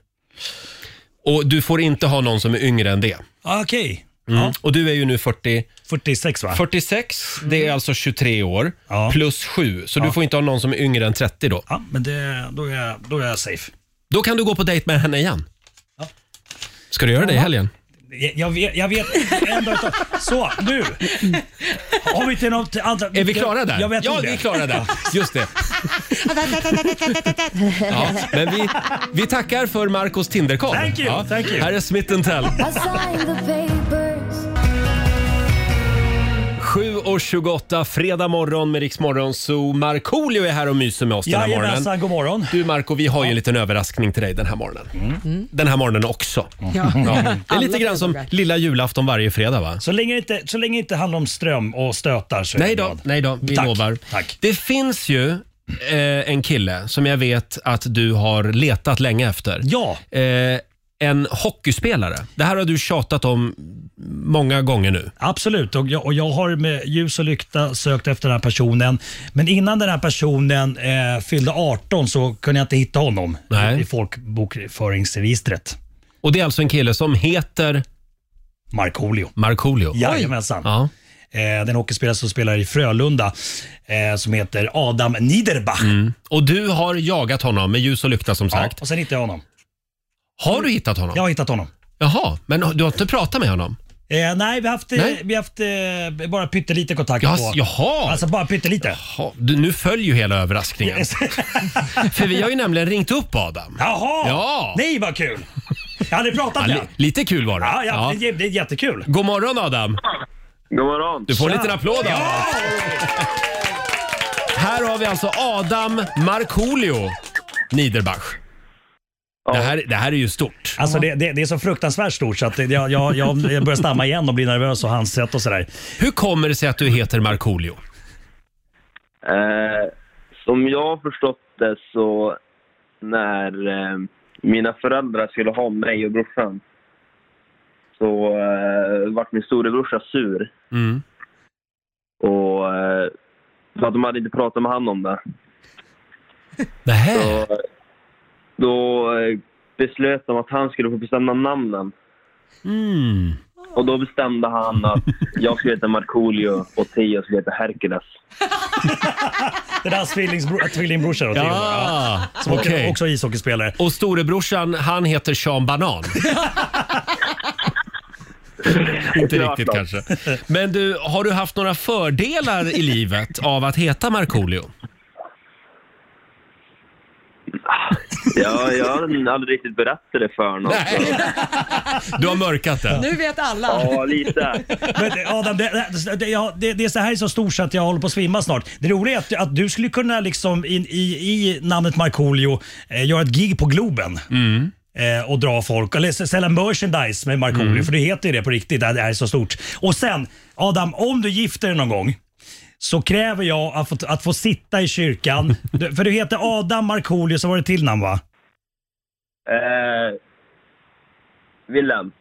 [SPEAKER 1] Och du får inte ha någon som är yngre än det.
[SPEAKER 9] Ah, Okej.
[SPEAKER 1] Mm. Och du är ju nu 40,
[SPEAKER 9] 46 va?
[SPEAKER 1] 46, det är alltså 23 år,
[SPEAKER 9] Ja.
[SPEAKER 1] plus 7. Så du får inte ha någon som är yngre än 30 då.
[SPEAKER 9] Ja, men det, då, är jag, då är jag safe.
[SPEAKER 1] Då kan du gå på dejt med henne igen.
[SPEAKER 9] Ja.
[SPEAKER 1] Ska du göra det i helgen?
[SPEAKER 9] Jag, jag vet, jag vet en dag utav. Så, nu. Har vi inte något annat?
[SPEAKER 1] Är vi klara där?
[SPEAKER 9] Jag vet
[SPEAKER 1] ja,
[SPEAKER 9] inte.
[SPEAKER 1] vi är klara där. Just det. Ja, men vi, vi tackar för Marcos Tinderkoll.
[SPEAKER 9] Thank you,
[SPEAKER 1] ja.
[SPEAKER 9] thank you.
[SPEAKER 1] Här är Smith Tell.
[SPEAKER 4] I signed the papers.
[SPEAKER 1] 7.28 fredag morgon med Rix Morgon Zoo. Markoolio är här och myser med oss den här morgonen.
[SPEAKER 9] Jajamensan, god morgon.
[SPEAKER 1] Du Marco, vi har ju en liten överraskning till dig den här morgonen.
[SPEAKER 9] Mm.
[SPEAKER 1] Den här morgonen också.
[SPEAKER 2] Ja.
[SPEAKER 1] Det är lite grann som lilla julafton varje fredag va?
[SPEAKER 9] Så länge det inte, så länge det inte handlar om ström och stötar så är
[SPEAKER 1] Nej
[SPEAKER 9] jag
[SPEAKER 1] då,
[SPEAKER 9] glad.
[SPEAKER 1] nej då, vi
[SPEAKER 9] Tack,
[SPEAKER 1] lovar.
[SPEAKER 9] tack.
[SPEAKER 1] Det finns ju eh, en kille som jag vet att du har letat länge efter.
[SPEAKER 9] Ja,
[SPEAKER 1] Eh, en hockeyspelare. Det här har du tjatat om många gånger nu.
[SPEAKER 9] absolut. Och jag, och jag har med ljus och lykta sökt efter den här personen. Men innan den här personen eh, fyllde 18 så kunde jag inte hitta honom
[SPEAKER 1] Nej.
[SPEAKER 9] i folkbokföringsregistret.
[SPEAKER 1] Och det är alltså en kille som heter
[SPEAKER 9] Markoolio.
[SPEAKER 1] Markoolio.
[SPEAKER 9] Jajamensan.
[SPEAKER 1] Ja.
[SPEAKER 9] Eh, den hockeyspelare som spelar i Frölunda eh, som heter Adam Niederbach.
[SPEAKER 1] Och du har jagat honom med ljus och lykta som
[SPEAKER 9] Ja,
[SPEAKER 1] sagt.
[SPEAKER 9] och sen hittade jag honom.
[SPEAKER 1] Har du hittat honom?
[SPEAKER 9] Jag har hittat honom.
[SPEAKER 1] Jaha, men du har inte pratat med honom?
[SPEAKER 9] Eh, nej, vi har haft, eh,
[SPEAKER 1] Nej.
[SPEAKER 9] Vi har haft eh, bara pyttelite kontakt.
[SPEAKER 1] Jas,
[SPEAKER 9] på.
[SPEAKER 1] jaha.
[SPEAKER 9] Alltså bara pyttelite.
[SPEAKER 1] Ha, du, nu följer ju hela överraskningen. För vi har ju nämligen ringt upp Adam.
[SPEAKER 9] Jaha!
[SPEAKER 1] Ja.
[SPEAKER 9] Nej, vad kul! Jag hade pratat
[SPEAKER 1] Ja,
[SPEAKER 9] med
[SPEAKER 1] li,
[SPEAKER 9] honom.
[SPEAKER 1] lite kul var det.
[SPEAKER 9] Ja, ja,
[SPEAKER 1] Ja.
[SPEAKER 9] Det, det är jättekul.
[SPEAKER 1] God morgon Adam!
[SPEAKER 6] God morgon.
[SPEAKER 1] Du får en liten applåd Adam. Här har vi alltså Adam Markoolio Niederbach. Det, här, det här är ju stort.
[SPEAKER 9] Alltså det, det, det är så fruktansvärt stort så att det- jag, jag, jag jag börjar stamma igen och blir nervös och handsätt och sådär.
[SPEAKER 1] Hur kommer det sig att du heter Markoolio?
[SPEAKER 11] Eh, som jag har förstått det så när eh, mina föräldrar skulle ha mig och brorsan så eh, vart min storebrorsa sur.
[SPEAKER 1] Mm.
[SPEAKER 11] Och, eh, för att de hade inte pratat med han om det.
[SPEAKER 1] Nähä.
[SPEAKER 11] Så, eh, då eh, beslöt de att han skulle få bestämma namnen.
[SPEAKER 1] Mm.
[SPEAKER 11] Och då bestämde han att jag skulle heta Markoolio och Theo skulle heta Hercules.
[SPEAKER 9] Det där tvillingbror- tvillingbrorsa då, Theo, ja.
[SPEAKER 1] Ja,
[SPEAKER 9] som också-
[SPEAKER 1] okej.
[SPEAKER 9] också är ishockeyspelare.
[SPEAKER 1] Och storebrorsan, han heter Sean Banan. Inte riktigt kanske. Men du, har du haft några fördelar i livet av att heta Markoolio?
[SPEAKER 11] Ja, jag har aldrig riktigt berättat det för någon.
[SPEAKER 1] Nej. Du har mörkat det.
[SPEAKER 2] Nu vet alla.
[SPEAKER 11] Ja, lite.
[SPEAKER 9] Men det- Adam, det, det, det, jag- det, det är så här är så stort så att jag håller på att svimma snart. Det roliga är att, att du skulle kunna liksom in, i, i namnet Markoolio eh, göra ett gig på Globen. Eh, och dra folk, eller s- sälja merchandise med Markoolio för det heter ju det på riktigt. Det här är så stort. Och sen Adam, om du gifter dig någon gång så kräver jag att få, att få sitta i kyrkan. Du, för du heter Adam Markoolio, så var det till namn va?
[SPEAKER 11] Eh, William.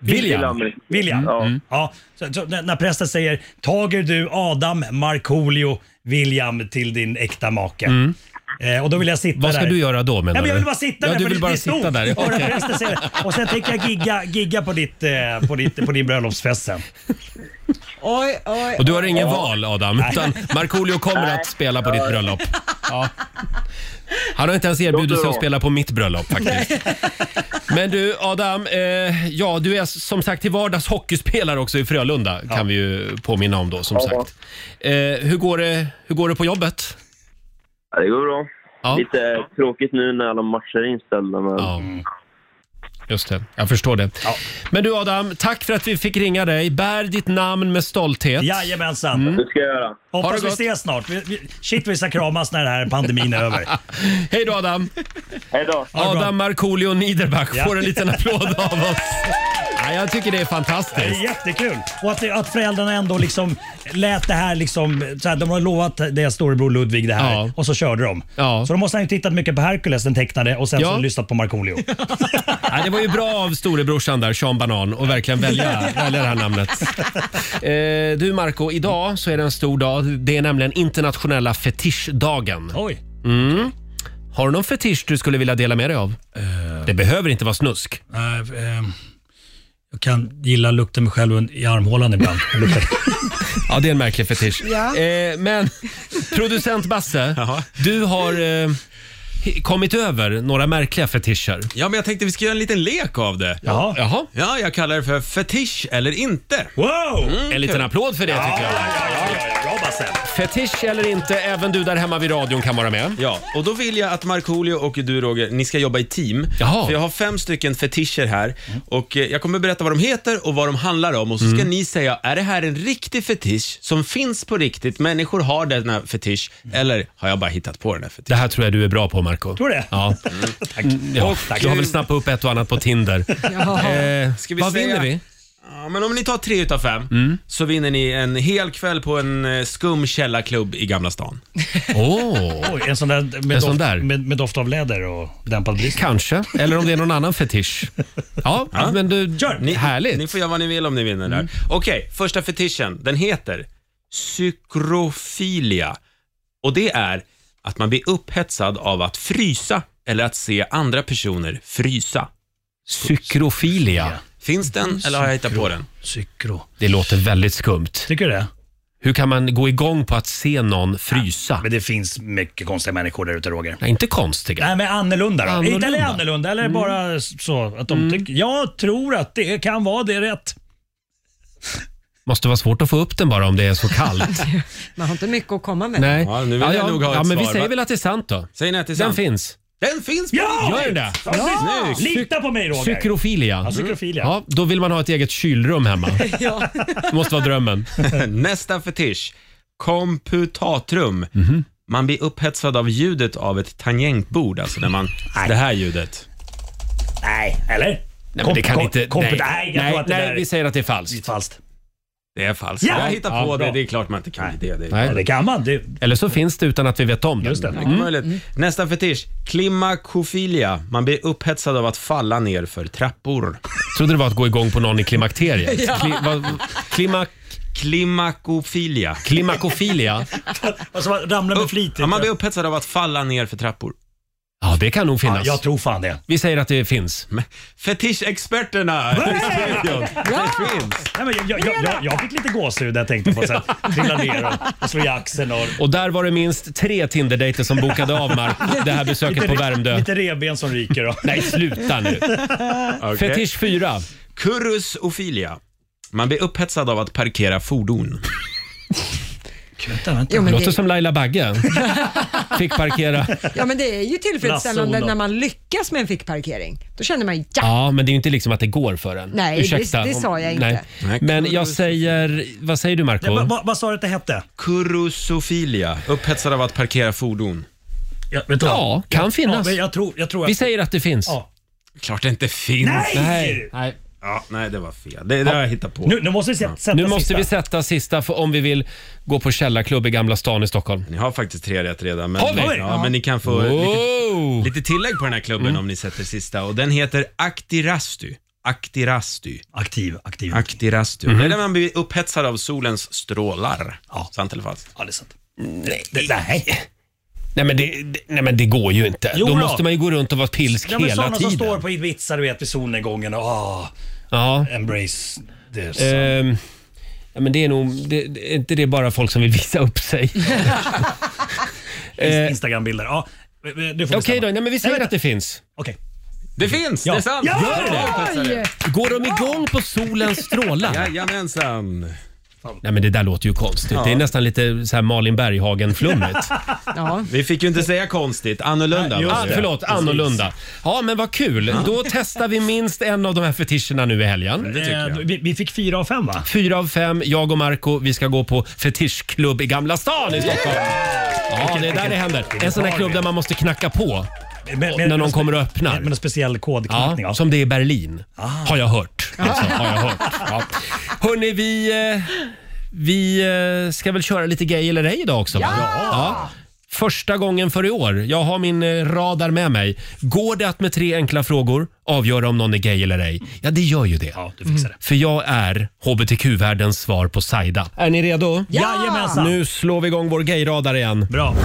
[SPEAKER 9] William. William. Mm.
[SPEAKER 11] Ja.
[SPEAKER 1] Mm.
[SPEAKER 9] Ja, så, så, när när prästen säger tager du Adam Markoolio William till din äkta make.
[SPEAKER 1] Mm.
[SPEAKER 9] Eh, och då vill jag sitta
[SPEAKER 1] Vad ska
[SPEAKER 9] där.
[SPEAKER 1] du göra då, menar
[SPEAKER 9] ja, men Jag
[SPEAKER 1] du?
[SPEAKER 9] vill bara sitta
[SPEAKER 1] Ja,
[SPEAKER 9] där.
[SPEAKER 1] du
[SPEAKER 9] för
[SPEAKER 1] vill
[SPEAKER 9] det-
[SPEAKER 1] bara
[SPEAKER 9] det är stort.
[SPEAKER 1] sitta där.
[SPEAKER 9] Ja, när
[SPEAKER 1] Okej.
[SPEAKER 9] prästen säger det. Och sen tänker jag gigga, gigga på, ditt, eh, på, ditt, på din bröllopsfest sen.
[SPEAKER 1] Mm.
[SPEAKER 2] Oj, oj,
[SPEAKER 1] Och du har ingen
[SPEAKER 9] Ja.
[SPEAKER 1] val Adam,
[SPEAKER 9] Nej.
[SPEAKER 1] utan Markoolio kommer att spela på ditt bröllop. Ja. Han har inte ens erbjudit sig att spela på mitt bröllop faktiskt. Men du Adam, eh, ja du är som sagt till vardags hockeyspelare också i Frölunda kan vi ju påminna om då som
[SPEAKER 11] Ja.
[SPEAKER 1] sagt. Eh, hur, går det, hur går det på jobbet?
[SPEAKER 11] Ja, det går bra. Lite tråkigt nu när alla matcher är inställda, men...
[SPEAKER 1] Just det, jag förstår det. Men du Adam, tack för att vi fick ringa dig. Bär ditt namn med stolthet.
[SPEAKER 9] Jajamensan.
[SPEAKER 1] Mm.
[SPEAKER 9] Det
[SPEAKER 11] ska jag göra.
[SPEAKER 1] Ha det
[SPEAKER 9] Hoppas vi
[SPEAKER 1] gott.
[SPEAKER 9] ses snart. Vi- vi- Shit vi ska kramas när den här pandemin är över.
[SPEAKER 1] Hej då Adam!
[SPEAKER 11] Hej då!
[SPEAKER 1] Adam Markoolio Niederbach
[SPEAKER 9] Ja.
[SPEAKER 1] får en liten applåd av oss. Ja, jag tycker det är
[SPEAKER 9] Det
[SPEAKER 1] fantastiskt.
[SPEAKER 9] är jättekul. Och att, att föräldrarna ändå liksom lät det här liksom, så här, de har lovat deras storebror Ludvig det här och så körde de. Så de måste ha ju tittat mycket på Hercules, den tecknade, och sen
[SPEAKER 1] Ja.
[SPEAKER 9] så lyssnat på Markoolio.
[SPEAKER 1] Ja, det var ju bra av storebrorsan där, Sean Banan, och verkligen välja, välja det här namnet. Eh, du Marco, idag så är det en stor dag. Det är nämligen internationella fetischdagen.
[SPEAKER 9] Oj.
[SPEAKER 1] Mm. Har du någon fetisch du skulle vilja dela med dig av?
[SPEAKER 9] Eh.
[SPEAKER 1] Det behöver inte vara snusk.
[SPEAKER 9] Nej, ehm, jag kan gilla lukten mig själv i armhålan ibland.
[SPEAKER 1] ja, det är en märklig fetisch.
[SPEAKER 9] Ja.
[SPEAKER 1] Eh, men producent Basse, du har eh, hi- kommit över några märkliga fetischer.
[SPEAKER 5] Ja, men jag tänkte vi ska göra en liten lek av det.
[SPEAKER 1] Jaha.
[SPEAKER 5] Ja, jag kallar det för fetisch eller inte.
[SPEAKER 9] Wow!
[SPEAKER 1] en liten applåd för det tycker jag. Fetisch eller inte, även du där hemma vid radion kan vara med.
[SPEAKER 5] Ja, och då vill jag att Markoolio och du Roger, ni ska jobba i team. För jag har fem stycken fetischer här och eh, jag kommer berätta vad de heter och vad de handlar om och så ska
[SPEAKER 1] Mm.
[SPEAKER 5] ni säga, är det här en riktig fetisch som finns på riktigt? Människor har denna fetisch eller har jag bara hittat på den här fetischen?
[SPEAKER 1] Det här tror jag du är bra på Marco
[SPEAKER 5] Tror du det? Mm.
[SPEAKER 1] Ja.
[SPEAKER 5] Tack.
[SPEAKER 1] ja.
[SPEAKER 5] Och,
[SPEAKER 1] Du har väl snappat upp ett och annat på Tinder. Eh,
[SPEAKER 5] Ska vi
[SPEAKER 1] vad
[SPEAKER 5] säga-
[SPEAKER 1] vinner vi?
[SPEAKER 5] Ja, men om ni tar tre utav fem
[SPEAKER 1] Mm.
[SPEAKER 5] så vinner ni en hel kväll på en eh, skum källarklubb i Gamla stan.
[SPEAKER 1] Oh.
[SPEAKER 9] Oj, en sån där med,
[SPEAKER 1] En sån
[SPEAKER 9] doft,
[SPEAKER 1] där.
[SPEAKER 9] Med, med doft av läder och dämpad brist.
[SPEAKER 1] Kanske, eller om det är någon annan fetisch. Ja, men du,
[SPEAKER 5] ni,
[SPEAKER 1] härligt. Mm.
[SPEAKER 5] Ni får göra vad ni vill om ni vinner där. Okej, första fetischen. Den heter psykrofilia. Och det är att man blir upphetsad av att frysa eller att se andra personer frysa.
[SPEAKER 1] Psykrofilia.
[SPEAKER 5] Finns den eller har jag hittat på den?
[SPEAKER 9] Psykro.
[SPEAKER 1] Det låter väldigt skumt.
[SPEAKER 9] Tycker du det?
[SPEAKER 1] Hur kan man gå igång på att se någon frysa?
[SPEAKER 9] men det finns mycket konstiga människor där ute Roger.
[SPEAKER 1] Nej, inte konstiga.
[SPEAKER 9] Nej, men annorlunda då.
[SPEAKER 1] Annorlunda.
[SPEAKER 9] Eller annorlunda, eller
[SPEAKER 1] Mm.
[SPEAKER 9] bara så att de tycker... Jag tror att det kan vara det rätt.
[SPEAKER 1] Måste vara svårt att få upp den bara om det är så kallt.
[SPEAKER 2] Man har inte mycket att komma med.
[SPEAKER 1] Nej.
[SPEAKER 5] nu vill
[SPEAKER 1] ja,
[SPEAKER 5] jag
[SPEAKER 1] ja,
[SPEAKER 5] nog ha ett
[SPEAKER 1] ja, men vi
[SPEAKER 5] svar,
[SPEAKER 1] säger
[SPEAKER 5] va?
[SPEAKER 1] väl att det är sant då.
[SPEAKER 5] Säg nej till
[SPEAKER 1] Den
[SPEAKER 5] sant.
[SPEAKER 1] finns.
[SPEAKER 5] Den finns på
[SPEAKER 9] Ja!
[SPEAKER 1] Gör det?
[SPEAKER 9] Ja! Snyggt!
[SPEAKER 1] Psyk-
[SPEAKER 9] Lita på mig Roger.
[SPEAKER 1] Psykrofilia.
[SPEAKER 9] Ja, psykrofilia.
[SPEAKER 1] Ja, då vill man ha ett eget kylrum hemma. Det måste vara drömmen. Mm.
[SPEAKER 5] Nästa fetisch. Komputatrum.
[SPEAKER 1] Mhm.
[SPEAKER 5] Man blir upphetsad av ljudet av ett tangentbord, alltså när man... Det här ljudet.
[SPEAKER 9] Nej, eller?
[SPEAKER 1] Nej, men det kan
[SPEAKER 9] Kom-
[SPEAKER 1] inte...
[SPEAKER 9] kom-
[SPEAKER 1] nej,
[SPEAKER 9] nej, jag
[SPEAKER 1] nej,
[SPEAKER 9] tror att det
[SPEAKER 1] nej,
[SPEAKER 9] där-
[SPEAKER 1] vi säger att det är falskt. Det är
[SPEAKER 9] falskt.
[SPEAKER 5] Det är falskt.
[SPEAKER 1] Ja!
[SPEAKER 5] Jag hittar på
[SPEAKER 1] Ja,
[SPEAKER 5] det,
[SPEAKER 1] bra.
[SPEAKER 5] det är klart man inte kan det. det.
[SPEAKER 1] Nej. Mm.
[SPEAKER 5] Ja, det
[SPEAKER 9] kan man.
[SPEAKER 1] Eller så finns det utan att vi vet om det. Just det.
[SPEAKER 5] Mycket möjligt. Nästa fetisch, klimakofilia. Man blir upphetsad av att falla ner för trappor.
[SPEAKER 1] Trodde det var att gå igång på någon i klimakteriet.
[SPEAKER 5] Ja.
[SPEAKER 1] Kli, vad, klimak...
[SPEAKER 5] Klimakofilia.
[SPEAKER 1] Klimakofilia?
[SPEAKER 9] Alltså, man ramlar med flit.
[SPEAKER 5] Ja, man blir upphetsad av att falla ner för trappor.
[SPEAKER 1] Ja, det kan nog finnas.
[SPEAKER 5] Ja, jag
[SPEAKER 9] tror fan det.
[SPEAKER 1] Vi säger att det finns.
[SPEAKER 5] Fetischexperterna!
[SPEAKER 9] Ja!
[SPEAKER 5] Det finns.
[SPEAKER 9] Nej, men jag, jag, jag, jag, jag fick lite gåshud där jag tänkte på. Så här, trilla ner och, och slå i axeln. Och,
[SPEAKER 1] Och där var det minst tre Tinder-dejter som bokade av Mark det här besöket
[SPEAKER 9] lite,
[SPEAKER 1] på Värmdö.
[SPEAKER 9] Lite revben som ryker. Och.
[SPEAKER 1] Nej, sluta nu.
[SPEAKER 5] Okej.
[SPEAKER 1] Fetisch 4.
[SPEAKER 5] Kurusofilia. Man blir upphetsad av att parkera fordon.
[SPEAKER 9] Vänta, vänta.
[SPEAKER 2] Jo, men
[SPEAKER 1] Låter
[SPEAKER 2] det-
[SPEAKER 1] som Laila Bagge. Fick parkera.
[SPEAKER 2] Ja, men det är ju tillfredsställande
[SPEAKER 1] Lasse-Olof.
[SPEAKER 2] när man lyckas med en fickparkering. Då känner man ja.
[SPEAKER 1] Ja, men det är ju inte liksom att det går för en.
[SPEAKER 2] Nej, det-
[SPEAKER 1] Ursäkta.
[SPEAKER 2] det sa jag inte.
[SPEAKER 1] Nej. Men jag säger... Vad säger du Marco?
[SPEAKER 9] vad sa du att det hette?
[SPEAKER 5] Kurusofilia. Upphetsad av att parkera fordon.
[SPEAKER 9] Ja, vet du vad?
[SPEAKER 1] Ja, kan finnas.
[SPEAKER 9] men jag tror, jag tror
[SPEAKER 1] Vi säger att det finns.
[SPEAKER 9] Ja.
[SPEAKER 5] Klart det inte finns.
[SPEAKER 1] Nej! Nej.
[SPEAKER 5] Ja, nej det var fel. Det, det har jag hittat på.
[SPEAKER 9] Nu- nu måste vi se- sätta
[SPEAKER 1] Nu måste
[SPEAKER 9] sista.
[SPEAKER 1] vi sätta sista för om vi vill gå på källarklubb i Gamla stan i Stockholm.
[SPEAKER 5] Ni har faktiskt tre rätt redan. Men,
[SPEAKER 1] Har vi?
[SPEAKER 5] Ja, men ni kan få
[SPEAKER 1] Wow.
[SPEAKER 5] lite, lite tillägg på den här klubben
[SPEAKER 1] Mm.
[SPEAKER 5] om ni sätter sista. Och den heter Aktirastu. Aktirastu.
[SPEAKER 9] Aktiv, aktiv.
[SPEAKER 5] Aktirastu.
[SPEAKER 9] Mhm.
[SPEAKER 5] Det
[SPEAKER 1] Mm.
[SPEAKER 5] är där man blir upphetsad av solens strålar. Sant eller falskt?
[SPEAKER 9] Ja, det är sant.
[SPEAKER 1] Nej.
[SPEAKER 9] nej.
[SPEAKER 1] Nej men, det, det- nej men det går ju inte.
[SPEAKER 9] Jo
[SPEAKER 1] då,
[SPEAKER 9] då.
[SPEAKER 1] måste man ju gå runt och vara pilsk
[SPEAKER 9] Ja, men
[SPEAKER 1] hela
[SPEAKER 9] sådana som
[SPEAKER 1] tiden.
[SPEAKER 9] står på vitsar du vet vid solnedgången och ah,
[SPEAKER 1] Ja.
[SPEAKER 9] embrace this.
[SPEAKER 1] Ehm, ja, men det är nog, det, det, är inte det bara folk som vill visa upp sig?
[SPEAKER 9] Inst- Instagram-bilder. Ja, eh, du får bestämma.
[SPEAKER 1] eh, Okej då, nej, men vi säger
[SPEAKER 9] vänta.
[SPEAKER 1] att det finns.
[SPEAKER 9] Okej.
[SPEAKER 5] Det finns,
[SPEAKER 9] Ja.
[SPEAKER 5] det är sant!
[SPEAKER 9] Ja!
[SPEAKER 5] Gör det!
[SPEAKER 1] Går de igång på solens strålar?
[SPEAKER 5] Jajamensan!
[SPEAKER 1] Nej men det där låter ju konstigt.
[SPEAKER 5] Ja.
[SPEAKER 1] Det är nästan lite så här Malin Berghagen-flummigt.
[SPEAKER 5] Vi fick ju inte säga konstigt, annorlunda.
[SPEAKER 1] Ah,
[SPEAKER 5] var det.
[SPEAKER 1] förlåt,
[SPEAKER 5] Precis.
[SPEAKER 1] annorlunda. Ja men vad kul. Då testar vi minst en av de här fetischerna nu i helgen.
[SPEAKER 9] Eh, vi, vi fick fyra av fem va?
[SPEAKER 1] Fyra av fem, jag och Marco, vi ska gå på fetischklubb i Gamla stan i Stockholm. Ja, det är där det händer. En sån där klubb där man måste knacka på när någon kommer och öppnar.
[SPEAKER 9] Med en speciell kodknackning.
[SPEAKER 1] Ja, som det är i Berlin, har jag hört. Alltså, har jag hört. Ja. Hörni, vi, eh, vi eh, ska väl köra lite gay eller ej idag också? va? Ja. Första gången för i år. Jag har min eh, radar med mig. Går det att med tre enkla frågor avgöra om någon är gay eller ej? Ja, det gör ju det. Ja,
[SPEAKER 9] du fixar det.
[SPEAKER 1] För jag är hbtq-världens svar på Saida. Är ni redo?
[SPEAKER 9] Ja! Jajamensan.
[SPEAKER 1] Nu slår vi igång vår gayradar igen.
[SPEAKER 9] Bra.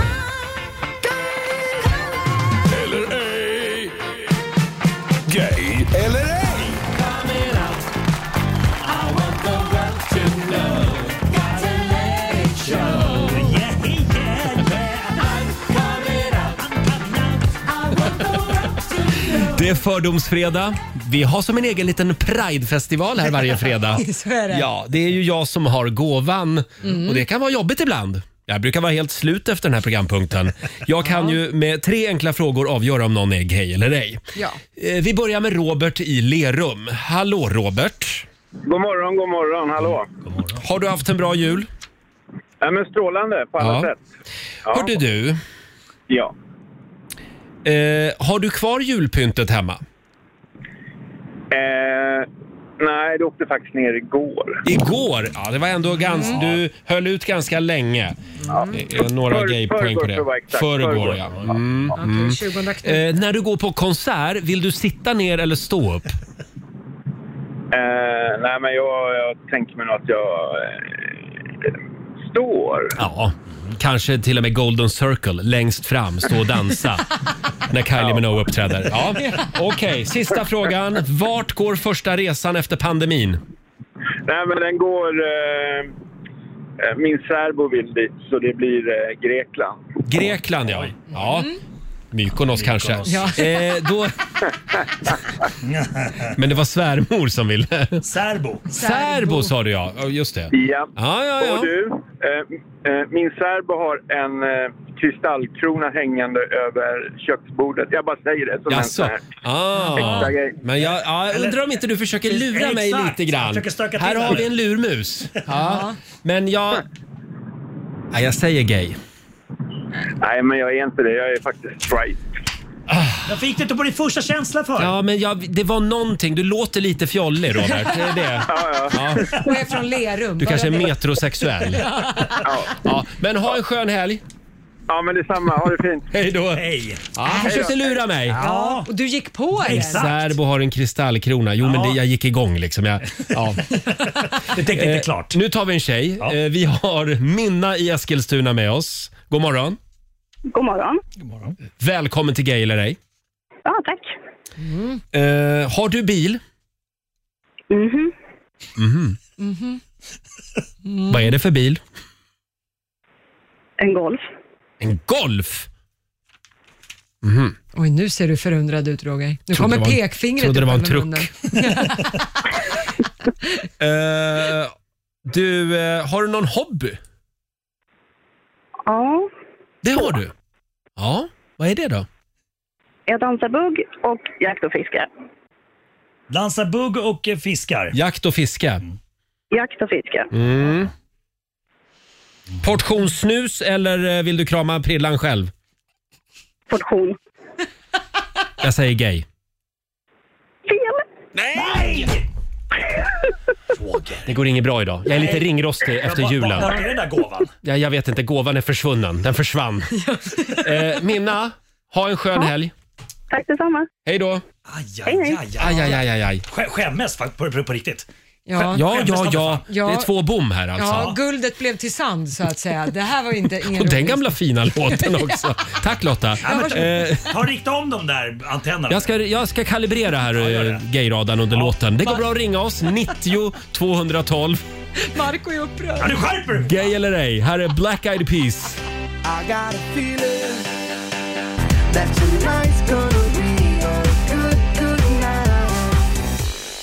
[SPEAKER 3] Gay eller ej?
[SPEAKER 1] Det är Fördomsfredag. Vi har som en egen liten Pride-festival här varje fredag.
[SPEAKER 2] Så är det.
[SPEAKER 1] Ja, det är ju jag som har gåvan
[SPEAKER 2] Mm.
[SPEAKER 1] och det kan vara jobbigt ibland. Jag brukar vara helt slut efter den här programpunkten. Jag kan ju med tre enkla frågor avgöra om någon är gay eller ej.
[SPEAKER 2] Ja.
[SPEAKER 1] Eh, Vi börjar med Robert i Lerum. Hallå Robert!
[SPEAKER 6] God morgon, god morgon. Hallå.
[SPEAKER 1] Har du haft en bra jul?
[SPEAKER 6] Nej, men strålande på alla
[SPEAKER 1] Ja.
[SPEAKER 6] sätt. Ja.
[SPEAKER 1] Hörde du,
[SPEAKER 6] Ja.
[SPEAKER 1] eh, har du kvar julpyntet hemma?
[SPEAKER 6] Eh, nej, det åkte faktiskt ner igår.
[SPEAKER 1] Igår? Ja, det var ändå ganska... Du höll ut ganska länge. Det är några
[SPEAKER 6] För-
[SPEAKER 1] gaypoäng på
[SPEAKER 6] förrgår
[SPEAKER 1] det.
[SPEAKER 6] tror jag, exakt.
[SPEAKER 1] Förrgår,
[SPEAKER 6] Förrgår.
[SPEAKER 1] ja. Mm, mm.
[SPEAKER 2] Okej, 20
[SPEAKER 1] Eh,
[SPEAKER 2] kniv.
[SPEAKER 1] när du går på konsert, vill du sitta ner eller stå upp?
[SPEAKER 6] Eh, nej, men jag, jag tänker mig nog att jag eh, står.
[SPEAKER 1] Ja, kanske till och med Golden Circle längst fram, stå och dansa när Kylie Minogue uppträder. Ja. Okej, sista frågan. Vart går första resan efter pandemin?
[SPEAKER 6] Nej, men den går... Eh, eh, min särbo vill dit, så det blir eh, Grekland.
[SPEAKER 1] Grekland, ja. ja. Mykonos kanske.
[SPEAKER 9] Ja.
[SPEAKER 1] Eh, då... Men det var svärmor som ville.
[SPEAKER 9] Särbo.
[SPEAKER 1] Särbo sa du ja, Ja, just det.
[SPEAKER 6] Ja.
[SPEAKER 1] Ja, ja, ja.
[SPEAKER 6] Och du, eh, eh, min särbo har en eh, kristallkrona hängande över köksbordet. Jag bara säger det som
[SPEAKER 1] Jaså?
[SPEAKER 6] en sån här
[SPEAKER 1] Ah.
[SPEAKER 6] extra grej.
[SPEAKER 1] Men jag ja, jag undrar om inte du försöker lura mig
[SPEAKER 9] Exakt.
[SPEAKER 1] lite grann.
[SPEAKER 9] Jag försöker stöka till
[SPEAKER 1] Här har
[SPEAKER 9] henne.
[SPEAKER 1] vi en lurmus. Ja. Men jag... Ja, jag säger gay.
[SPEAKER 6] Nej, men jag är inte det. Jag är faktiskt straight.
[SPEAKER 9] Varför gick du inte på din första känsla för?
[SPEAKER 1] Ja, men jag, det var någonting. Du låter lite fjollig, Robert. Det är det.
[SPEAKER 6] Ja, ja.
[SPEAKER 1] Ja.
[SPEAKER 2] Och är från Lerum.
[SPEAKER 1] Du kanske är
[SPEAKER 2] Bara det.
[SPEAKER 1] metrosexuell.
[SPEAKER 6] Ja,
[SPEAKER 1] Ja. Men ha en skön helg.
[SPEAKER 6] ja men detsamma. Ha det fint.
[SPEAKER 1] Hej då.
[SPEAKER 9] Hej.
[SPEAKER 1] Ja, han försökte lura mig.
[SPEAKER 2] Ja, och du gick på den.
[SPEAKER 9] Exakt.
[SPEAKER 1] Särbo har en kristallkrona. Jo, men det, jag gick igång liksom. Jag, ja.
[SPEAKER 9] Du tänkte inte klart.
[SPEAKER 1] Eh, Nu tar vi en tjej.
[SPEAKER 9] Ja.
[SPEAKER 1] Eh, Vi har Minna i Eskilstuna med oss. God morgon.
[SPEAKER 10] God morgon.
[SPEAKER 1] Välkommen till Gay eller ej.
[SPEAKER 10] Ja, tack.
[SPEAKER 1] Eh, har du bil? Mm-hmm.
[SPEAKER 10] Mhm.
[SPEAKER 1] Vad är det för bil?
[SPEAKER 10] En golf.
[SPEAKER 1] En Golf!
[SPEAKER 2] Oj, nu ser du förundrad ut Roger. Nu
[SPEAKER 1] Trodde
[SPEAKER 2] kommer
[SPEAKER 1] det var en-
[SPEAKER 2] pekfingret
[SPEAKER 1] trodde det
[SPEAKER 2] upp
[SPEAKER 1] var en
[SPEAKER 2] över
[SPEAKER 1] truck.
[SPEAKER 2] munnen.
[SPEAKER 1] Eh, du, eh, har du någon hobby?
[SPEAKER 10] Ja.
[SPEAKER 1] Det har du? Ja, vad är det då?
[SPEAKER 10] Jag dansar bugg och jakt och fiskar.
[SPEAKER 9] Dansar bugg och eh, fiskar.
[SPEAKER 1] Jakt och fiske.
[SPEAKER 10] Jakt och fiske.
[SPEAKER 1] Mm. Portionssnus eller eh, vill du krama prillan själv?
[SPEAKER 10] Portion.
[SPEAKER 1] Jag säger gay.
[SPEAKER 10] Fel!
[SPEAKER 1] Nej! Det går inget bra idag. Jag är lite ringrostig efter julen.
[SPEAKER 9] Vart är den där gåvan?
[SPEAKER 1] Ja, jag vet inte, gåvan är försvunnen. Den försvann. eh, Minna, ha en skön helg.
[SPEAKER 10] Tack detsamma.
[SPEAKER 1] Hej då.
[SPEAKER 9] Hej, hej.
[SPEAKER 1] Aj, aj, aj, aj, aj.
[SPEAKER 9] Skä- Skämmes fa- på, på, på riktigt.
[SPEAKER 1] Ja,
[SPEAKER 2] Ja.
[SPEAKER 1] ja, ja,
[SPEAKER 2] Ja.
[SPEAKER 1] Det är två bom här
[SPEAKER 2] Ja,
[SPEAKER 1] alltså.
[SPEAKER 2] guldet blev till sand så att säga. Det här var ju inte ingen
[SPEAKER 1] Och den
[SPEAKER 2] rolig-
[SPEAKER 1] gamla fina låten också. Tack Lotta. Eh,
[SPEAKER 9] Har riktat om de där antennerna.
[SPEAKER 1] jag, ska, jag ska kalibrera här ja, gayradarn under låten. Det går bra att ringa oss, 90 212.
[SPEAKER 2] Marco är upprörd.
[SPEAKER 9] Ja, du skärper dig!
[SPEAKER 1] Gay eller ej, här är Black Eyed Peas.
[SPEAKER 4] I got a feeling that tonight's gonna be a good, good night.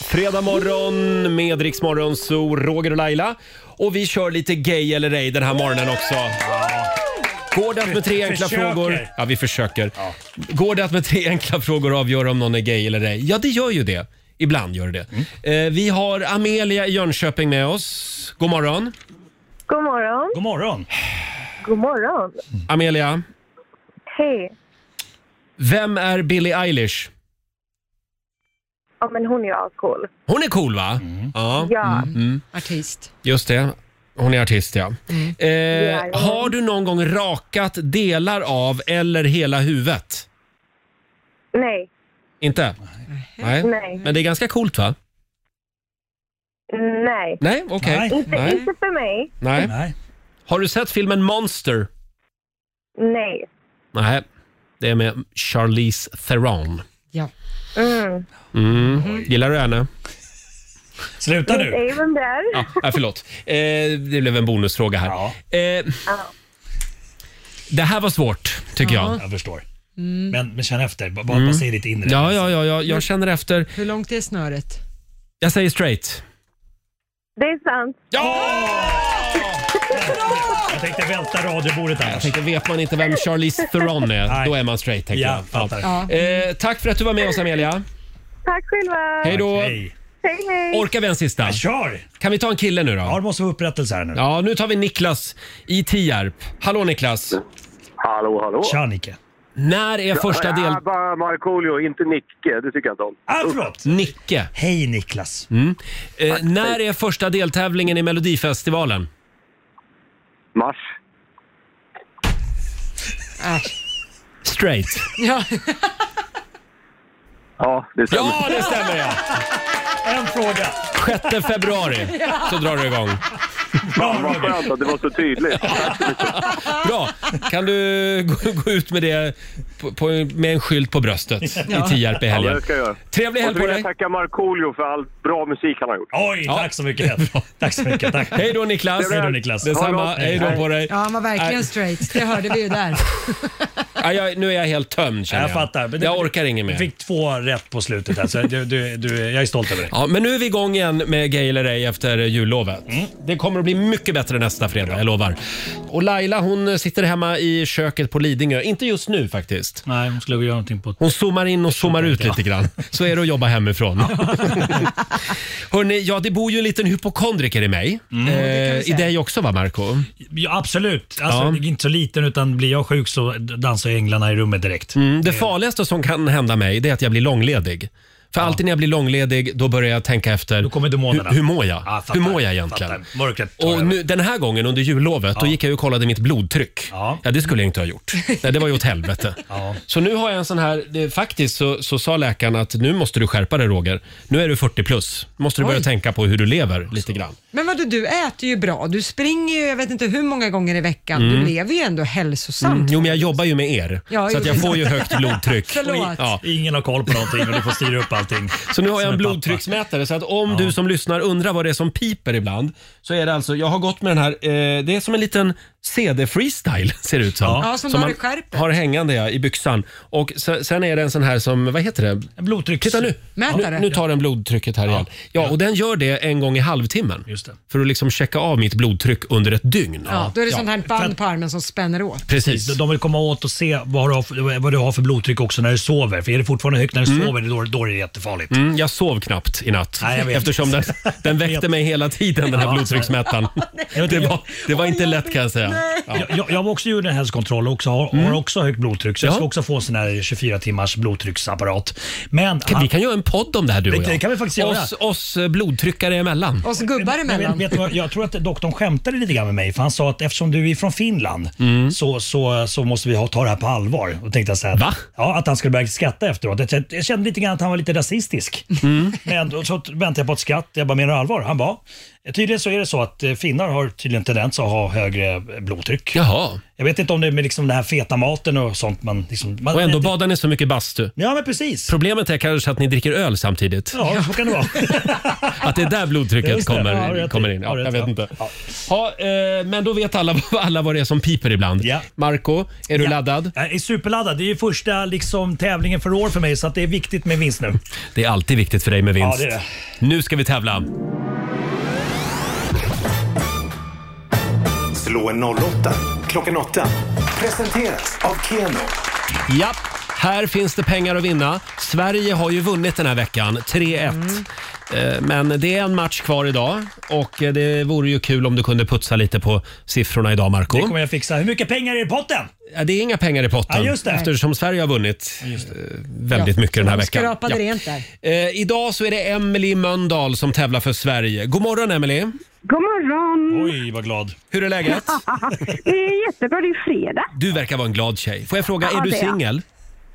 [SPEAKER 1] Fredag morgon med Rix Morgon, så Roger och Laila. Och vi kör lite gay eller ej den här morgonen också. Går det att med tre enkla
[SPEAKER 9] Försöker.
[SPEAKER 1] frågor... Ja, vi försöker. Går det att med tre enkla frågor avgöra om någon är gay eller ej? Ja, det gör ju det. Ibland gör det det. Eh, vi har Amelia i Jönköping med oss. God morgon.
[SPEAKER 12] God morgon.
[SPEAKER 9] God morgon.
[SPEAKER 12] God morgon.
[SPEAKER 1] Amelia,
[SPEAKER 12] Hej.
[SPEAKER 1] vem är Billie Eilish?
[SPEAKER 12] Ja, men hon är ju ascool.
[SPEAKER 1] Hon är cool, va? Ja. Mm.
[SPEAKER 12] Ja.
[SPEAKER 2] Artist.
[SPEAKER 1] Just det. Hon är artist, ja. Eh,
[SPEAKER 12] Jajamän.
[SPEAKER 1] har du någon gång rakat delar av eller hela huvudet?
[SPEAKER 12] Nej.
[SPEAKER 1] Inte? Nej.
[SPEAKER 12] Nej.
[SPEAKER 1] Men det är ganska coolt, va?
[SPEAKER 12] Nej.
[SPEAKER 1] Nej, okej.
[SPEAKER 12] Inte,
[SPEAKER 1] Nej.
[SPEAKER 12] inte för mig.
[SPEAKER 1] Nej. Har du sett filmen Monster?
[SPEAKER 12] Nej.
[SPEAKER 1] Nej. Det är med Charlize Theron.
[SPEAKER 12] Mm.
[SPEAKER 1] Mm. Gillar du henne? Sluta
[SPEAKER 12] Vet ej vem det är.
[SPEAKER 1] Ja, ja, förlåt. Eh, det blev en bonusfråga här. Eh, det här var svårt, tycker
[SPEAKER 9] Ja.
[SPEAKER 1] jag.
[SPEAKER 9] Jag förstår. Men, men känn efter. B- Bara, bara säg ditt inre.
[SPEAKER 1] Ja, ja, ja, ja, jag känner efter.
[SPEAKER 2] Hur långt är snöret?
[SPEAKER 1] Jag säger straight.
[SPEAKER 12] Det är sant.
[SPEAKER 9] Jag tänkte välta radiobordet annars.
[SPEAKER 1] Tänkte, vet man inte vem Charlize Theron är, då är man straight. Tänker
[SPEAKER 9] Ja,
[SPEAKER 1] jag.
[SPEAKER 9] fattar.
[SPEAKER 1] Eh, tack för att du var med oss, Amelia.
[SPEAKER 12] Tack själva.
[SPEAKER 1] Hej då.
[SPEAKER 12] Hej, hej.
[SPEAKER 1] Orkar vi en sista?
[SPEAKER 9] kör!
[SPEAKER 1] Kan vi ta en kille nu då? Ja,
[SPEAKER 9] det måste vara upprättelse här nu.
[SPEAKER 1] Ja, nu tar vi Niklas i Tierp. Hallå Niklas!
[SPEAKER 13] Hallå, hallå.
[SPEAKER 9] Tja Nicke.
[SPEAKER 1] När är första del...
[SPEAKER 13] Ja, bara Markoolio, inte Nicke. Det tycker jag inte om.
[SPEAKER 9] Ah, förlåt!
[SPEAKER 1] Nicke.
[SPEAKER 9] Hej Niklas.
[SPEAKER 1] Mm. Eh, när är första deltävlingen i Melodifestivalen?
[SPEAKER 13] Mars.
[SPEAKER 1] Straight.
[SPEAKER 2] Ja.
[SPEAKER 13] Ja, det stämmer.
[SPEAKER 1] Ja, det stämmer ja!
[SPEAKER 9] En fråga.
[SPEAKER 1] 6 februari så drar du igång.
[SPEAKER 13] Bra, vad skönt att det var så tydligt.
[SPEAKER 1] Bra! Kan du gå, gå ut med det på, på, med en skylt på bröstet i Tierp i
[SPEAKER 13] Ja, men
[SPEAKER 1] helgen?
[SPEAKER 13] det ska jag göra.
[SPEAKER 1] Trevlig helg
[SPEAKER 13] Och så
[SPEAKER 1] på
[SPEAKER 13] vill
[SPEAKER 1] dig.
[SPEAKER 13] jag tacka Markoolio för all bra musik han har gjort.
[SPEAKER 9] Oj, tack så mycket. tack så mycket. Tack.
[SPEAKER 1] Hej då Niklas!
[SPEAKER 9] Hej då Niklas.
[SPEAKER 1] Detsamma, hej då på dig!
[SPEAKER 2] Ja, han var
[SPEAKER 1] Äh.
[SPEAKER 2] verkligen straight. Det hörde vi ju där.
[SPEAKER 1] Ja, jag, nu är jag helt tömd känner
[SPEAKER 9] Jag fattar. Men det-
[SPEAKER 1] jag orkar inget
[SPEAKER 9] Du
[SPEAKER 1] mer.
[SPEAKER 9] fick två rätt på slutet här, så du, du, du, jag är stolt över dig.
[SPEAKER 1] Ja, men nu är vi igång igen med Gay eller ej efter jullovet.
[SPEAKER 9] Mm.
[SPEAKER 1] Det kommer att bli mycket bättre nästa fredag, jag lovar. Och Laila hon sitter hemma i köket på Lidingö. Inte just nu faktiskt.
[SPEAKER 9] Nej, hon skulle göra någonting på...
[SPEAKER 1] Hon zoomar in och zoomar ut lite grann. Så är det att jobba hemifrån. Hörni, ja det bor ju en liten hypokondriker i mig. Eh, I dig också va Marco?
[SPEAKER 9] Ja, absolut. Alltså,
[SPEAKER 1] Ja.
[SPEAKER 9] Inte så liten, utan blir jag sjuk så dansar änglarna i rummet direkt.
[SPEAKER 1] Mm, det farligaste som kan hända mig det är att jag blir långledig. För alltid när jag blir långledig då börjar jag tänka efter. Då kommer
[SPEAKER 9] demonerna.
[SPEAKER 1] Hur, hur mår jag?
[SPEAKER 9] Ja, fattar,
[SPEAKER 1] hur mår jag egentligen?
[SPEAKER 9] fattar. Mörkret tar
[SPEAKER 1] Och
[SPEAKER 9] över.
[SPEAKER 1] nu, den här gången under jullovet, då gick jag ju och kollade mitt blodtryck. Ja. det skulle jag inte ha gjort. Nej, det var ju åt helvete.
[SPEAKER 9] Ja.
[SPEAKER 1] Så nu har jag en sån här, det, faktiskt så, så sa läkaren att nu måste du skärpa dig Roger. Nu är du 40 plus. Måste du börja
[SPEAKER 2] Oj.
[SPEAKER 1] tänka på hur du lever lite grann.
[SPEAKER 2] Men vadå, du äter ju bra. Du springer ju, jag vet inte hur många gånger i veckan.
[SPEAKER 1] Mm.
[SPEAKER 2] Du lever ju ändå hälsosamt.
[SPEAKER 1] Mm, jo men jag jobbar ju med er,
[SPEAKER 2] Ja,
[SPEAKER 1] så
[SPEAKER 2] jo,
[SPEAKER 1] att jag
[SPEAKER 2] det är
[SPEAKER 1] får ju
[SPEAKER 2] sant.
[SPEAKER 1] högt blodtryck.
[SPEAKER 2] Förlåt.
[SPEAKER 1] Ja.
[SPEAKER 9] Ingen har koll på någonting och du får styra upp allting.
[SPEAKER 1] Så nu har
[SPEAKER 9] Som
[SPEAKER 1] jag en
[SPEAKER 9] en pappa.
[SPEAKER 1] blodtrycksmätare så att om du som lyssnar undrar vad det är som piper ibland så är det alltså, jag har gått med den här, eh, det är som en liten CD-freestyle ser det ut som.
[SPEAKER 2] Ja, som du har i skärpet.
[SPEAKER 1] har hängande ja, i byxan. Och se- sen är det en sån här som, vad heter det?
[SPEAKER 9] En blodtrycks...
[SPEAKER 1] Titta nu!
[SPEAKER 2] Mätare.
[SPEAKER 1] Nu, nu tar den blodtrycket här igen. Ja, och den gör det en gång i halvtimmen. För att liksom checka av mitt blodtryck under ett dygn.
[SPEAKER 2] Ja, då är det sånt här band på armen som spänner åt.
[SPEAKER 1] Precis.
[SPEAKER 9] De- De vill komma åt och se vad du, har för, vad du har för blodtryck också när du sover. För är det fortfarande högt när du
[SPEAKER 1] Mm.
[SPEAKER 9] sover, då, då är det jättefarligt.
[SPEAKER 1] Mm, jag sov knappt i natt
[SPEAKER 9] Nej, jag vet.
[SPEAKER 1] eftersom den, den väckte mig hela tiden den här
[SPEAKER 9] Ja.
[SPEAKER 1] blodtrycksmätaren. Det var, det var inte lätt kan jag säga.
[SPEAKER 9] Jag, jag, jag var också gjorde en hälsokontroll och också,
[SPEAKER 1] Mm.
[SPEAKER 9] har, har också högt blodtryck, så jag ska också få en sån här 24 timmars blodtrycksapparat. Men
[SPEAKER 1] Kan- vi kan göra en podd om det här du och
[SPEAKER 9] Det, det
[SPEAKER 1] jag.
[SPEAKER 9] kan vi faktiskt göra.
[SPEAKER 1] Oss- eh, blodtryckare emellan.
[SPEAKER 2] Oss gubbar emellan.
[SPEAKER 9] Vet, vet, du vad, jag tror att doktorn skämtade lite grann med mig för han sa att eftersom du är från Finland
[SPEAKER 1] Mm.
[SPEAKER 9] så, så, så måste vi ha, ta det här på allvar. Och tänkte jag så här, Va? Ja, att han skulle börja skratta efteråt. Jag, jag kände lite grann att han var lite rasistisk.
[SPEAKER 1] Mm.
[SPEAKER 9] Men då så väntade jag på ett skratt. Jag bara, menar du allvar? Han bara, tydligen så är det så att eh, finnar har tydligen tendens att ha högre blodtryck.
[SPEAKER 1] Jaha.
[SPEAKER 9] Jag vet inte om det är med liksom den här feta maten och sånt man... Liksom, man
[SPEAKER 1] Och ändå badar ni så mycket bastu.
[SPEAKER 9] Ja, men precis.
[SPEAKER 1] Problemet är kanske att ni dricker öl samtidigt.
[SPEAKER 9] Ja, så kan det vara.
[SPEAKER 1] Att det är där blodtrycket
[SPEAKER 9] Just det. Ja,
[SPEAKER 1] kommer,
[SPEAKER 9] rätt i.
[SPEAKER 1] kommer in.
[SPEAKER 9] Ja,
[SPEAKER 1] Ja,
[SPEAKER 9] rätt,
[SPEAKER 1] jag vet
[SPEAKER 9] ja.
[SPEAKER 1] inte. Ja, eh, men då vet alla, alla vad det är som piper ibland. Marco, är du laddad?
[SPEAKER 9] Jag är superladdad. Det är ju första liksom, tävlingen för år för mig så att det är viktigt med vinst nu.
[SPEAKER 1] Det är alltid viktigt för dig med vinst.
[SPEAKER 9] Ja, det är
[SPEAKER 1] Nu ska vi tävla.
[SPEAKER 3] Slå en 08 klockan 8. Presenteras av Keno.
[SPEAKER 1] Ja, här finns det pengar att vinna. Sverige har ju vunnit den här veckan, 3-1.
[SPEAKER 9] Mm.
[SPEAKER 1] Eh, Men det är en match kvar idag och eh, det vore ju kul om du kunde putsa lite på siffrorna idag, Marco.
[SPEAKER 9] Det kommer jag fixa. Hur mycket pengar är i potten?
[SPEAKER 1] Ja, det är inga pengar i potten
[SPEAKER 9] Ja, just det.
[SPEAKER 1] eftersom Sverige har vunnit eh, väldigt mycket den här veckan.
[SPEAKER 2] Skrapade
[SPEAKER 1] Ja.
[SPEAKER 2] rent där.
[SPEAKER 1] Eh, idag så är det Emily Mölndal som tävlar för Sverige. God morgon Emily.
[SPEAKER 12] God morgon!
[SPEAKER 9] Oj, vad glad.
[SPEAKER 1] Hur är läget?
[SPEAKER 12] det är jättebra, det är fredag.
[SPEAKER 1] Du verkar vara en glad tjej. Får jag fråga,
[SPEAKER 12] Ja,
[SPEAKER 1] är du
[SPEAKER 12] det är jag.
[SPEAKER 1] singel?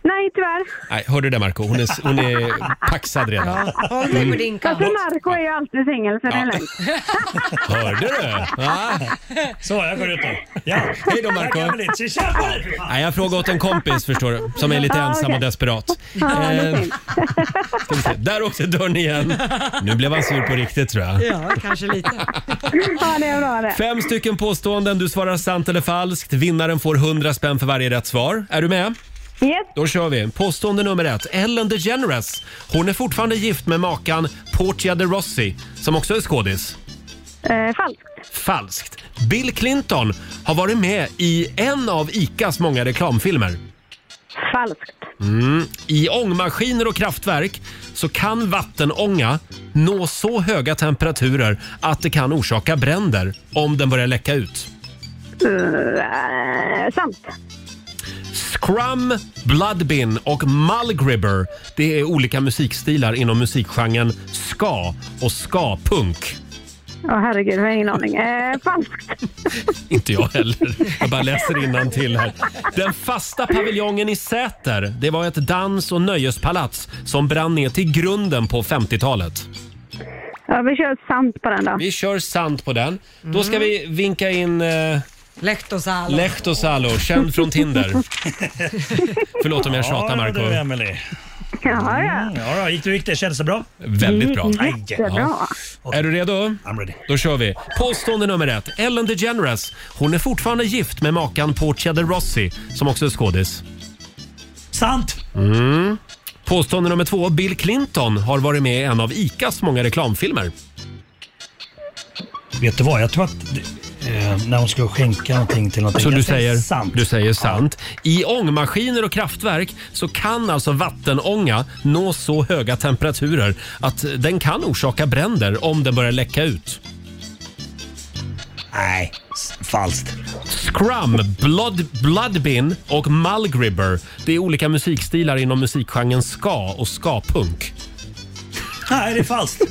[SPEAKER 12] Nej, tyvärr.
[SPEAKER 1] Nej, hörde du det Marco? Hon är, hon är paxad redan. Mm.
[SPEAKER 12] Fast Marco är ju alltid singel, så det är lugnt.
[SPEAKER 1] Hörde du? Ja.
[SPEAKER 9] Så, jag går ut nu. Ja. Hej
[SPEAKER 1] då, Marco. Nej, jag frågade åt en kompis förstår du, som är lite
[SPEAKER 12] Ja,
[SPEAKER 1] ensam
[SPEAKER 12] okej.
[SPEAKER 1] och desperat.
[SPEAKER 12] Ja, det är
[SPEAKER 1] Eh,
[SPEAKER 12] fint.
[SPEAKER 1] ska vi se. Där åkte dörren igen. Nu blev han sur på riktigt tror jag.
[SPEAKER 2] Ja, kanske lite.
[SPEAKER 12] ja, det är bra det.
[SPEAKER 1] Fem stycken påståenden, du svarar sant eller falskt. Vinnaren får 100 spänn för varje rätt svar. Är du med?
[SPEAKER 12] Yes.
[SPEAKER 1] Då kör vi. Påstående nummer ett. Ellen DeGeneres. Hon är fortfarande gift med makan Portia de Rossi, som också är skådis.
[SPEAKER 12] Eh, falskt.
[SPEAKER 1] Falskt. Bill Clinton har varit med i en av ICAs många reklamfilmer.
[SPEAKER 12] Falskt.
[SPEAKER 1] Mm. I ångmaskiner och kraftverk så kan vattenånga nå så höga temperaturer att det kan orsaka bränder om den börjar läcka ut.
[SPEAKER 12] Eh, sant.
[SPEAKER 1] Scrum, Bloodbin och Mulgribber det är olika musikstilar inom musikgenren ska och ska-punk.
[SPEAKER 12] Åh herregud, jag har ingen aning. Eh, falskt.
[SPEAKER 1] Inte jag heller. Jag bara läser till här. Den fasta paviljongen i Säter, det var ett dans och nöjespalats som brann ner till grunden på 50-talet.
[SPEAKER 12] Ja, vi kör sant på den då.
[SPEAKER 1] Vi kör sant på den. Då ska vi vinka in eh,
[SPEAKER 2] Lehtosalo.
[SPEAKER 1] Lehtosalo, känd från Tinder. Förlåt om jag tjatar, Marco.
[SPEAKER 9] Ja, du, Emily.
[SPEAKER 12] Ja, ja.
[SPEAKER 9] Ja, då, gick det, gick det? Kändes det bra?
[SPEAKER 1] Väldigt bra.
[SPEAKER 9] Mm, jättebra.
[SPEAKER 1] Är du redo? I'm
[SPEAKER 9] ready.
[SPEAKER 1] Då kör vi. Påstående nummer ett. Ellen DeGeneres. Hon är fortfarande gift med makan Portia de Rossi, som också är skådis.
[SPEAKER 9] Sant!
[SPEAKER 1] Mm. Påstående nummer två. Bill Clinton har varit med i en av ICAs många reklamfilmer.
[SPEAKER 9] Vet du vad? Jag tror att eh, när hon skulle skänka någonting till någonting.
[SPEAKER 1] Så
[SPEAKER 9] Jag
[SPEAKER 1] Alltså, du säger,
[SPEAKER 9] sant.
[SPEAKER 1] du säger sant. I ångmaskiner och kraftverk så kan alltså vattenånga nå så höga temperaturer att den kan orsaka bränder om den börjar läcka ut.
[SPEAKER 9] Nej, s- falskt.
[SPEAKER 1] Scrum, Blood, Bloodbin och Mulgribber. Det är olika musikstilar inom musikgenren ska och ska-punk.
[SPEAKER 9] Nej, det är falskt.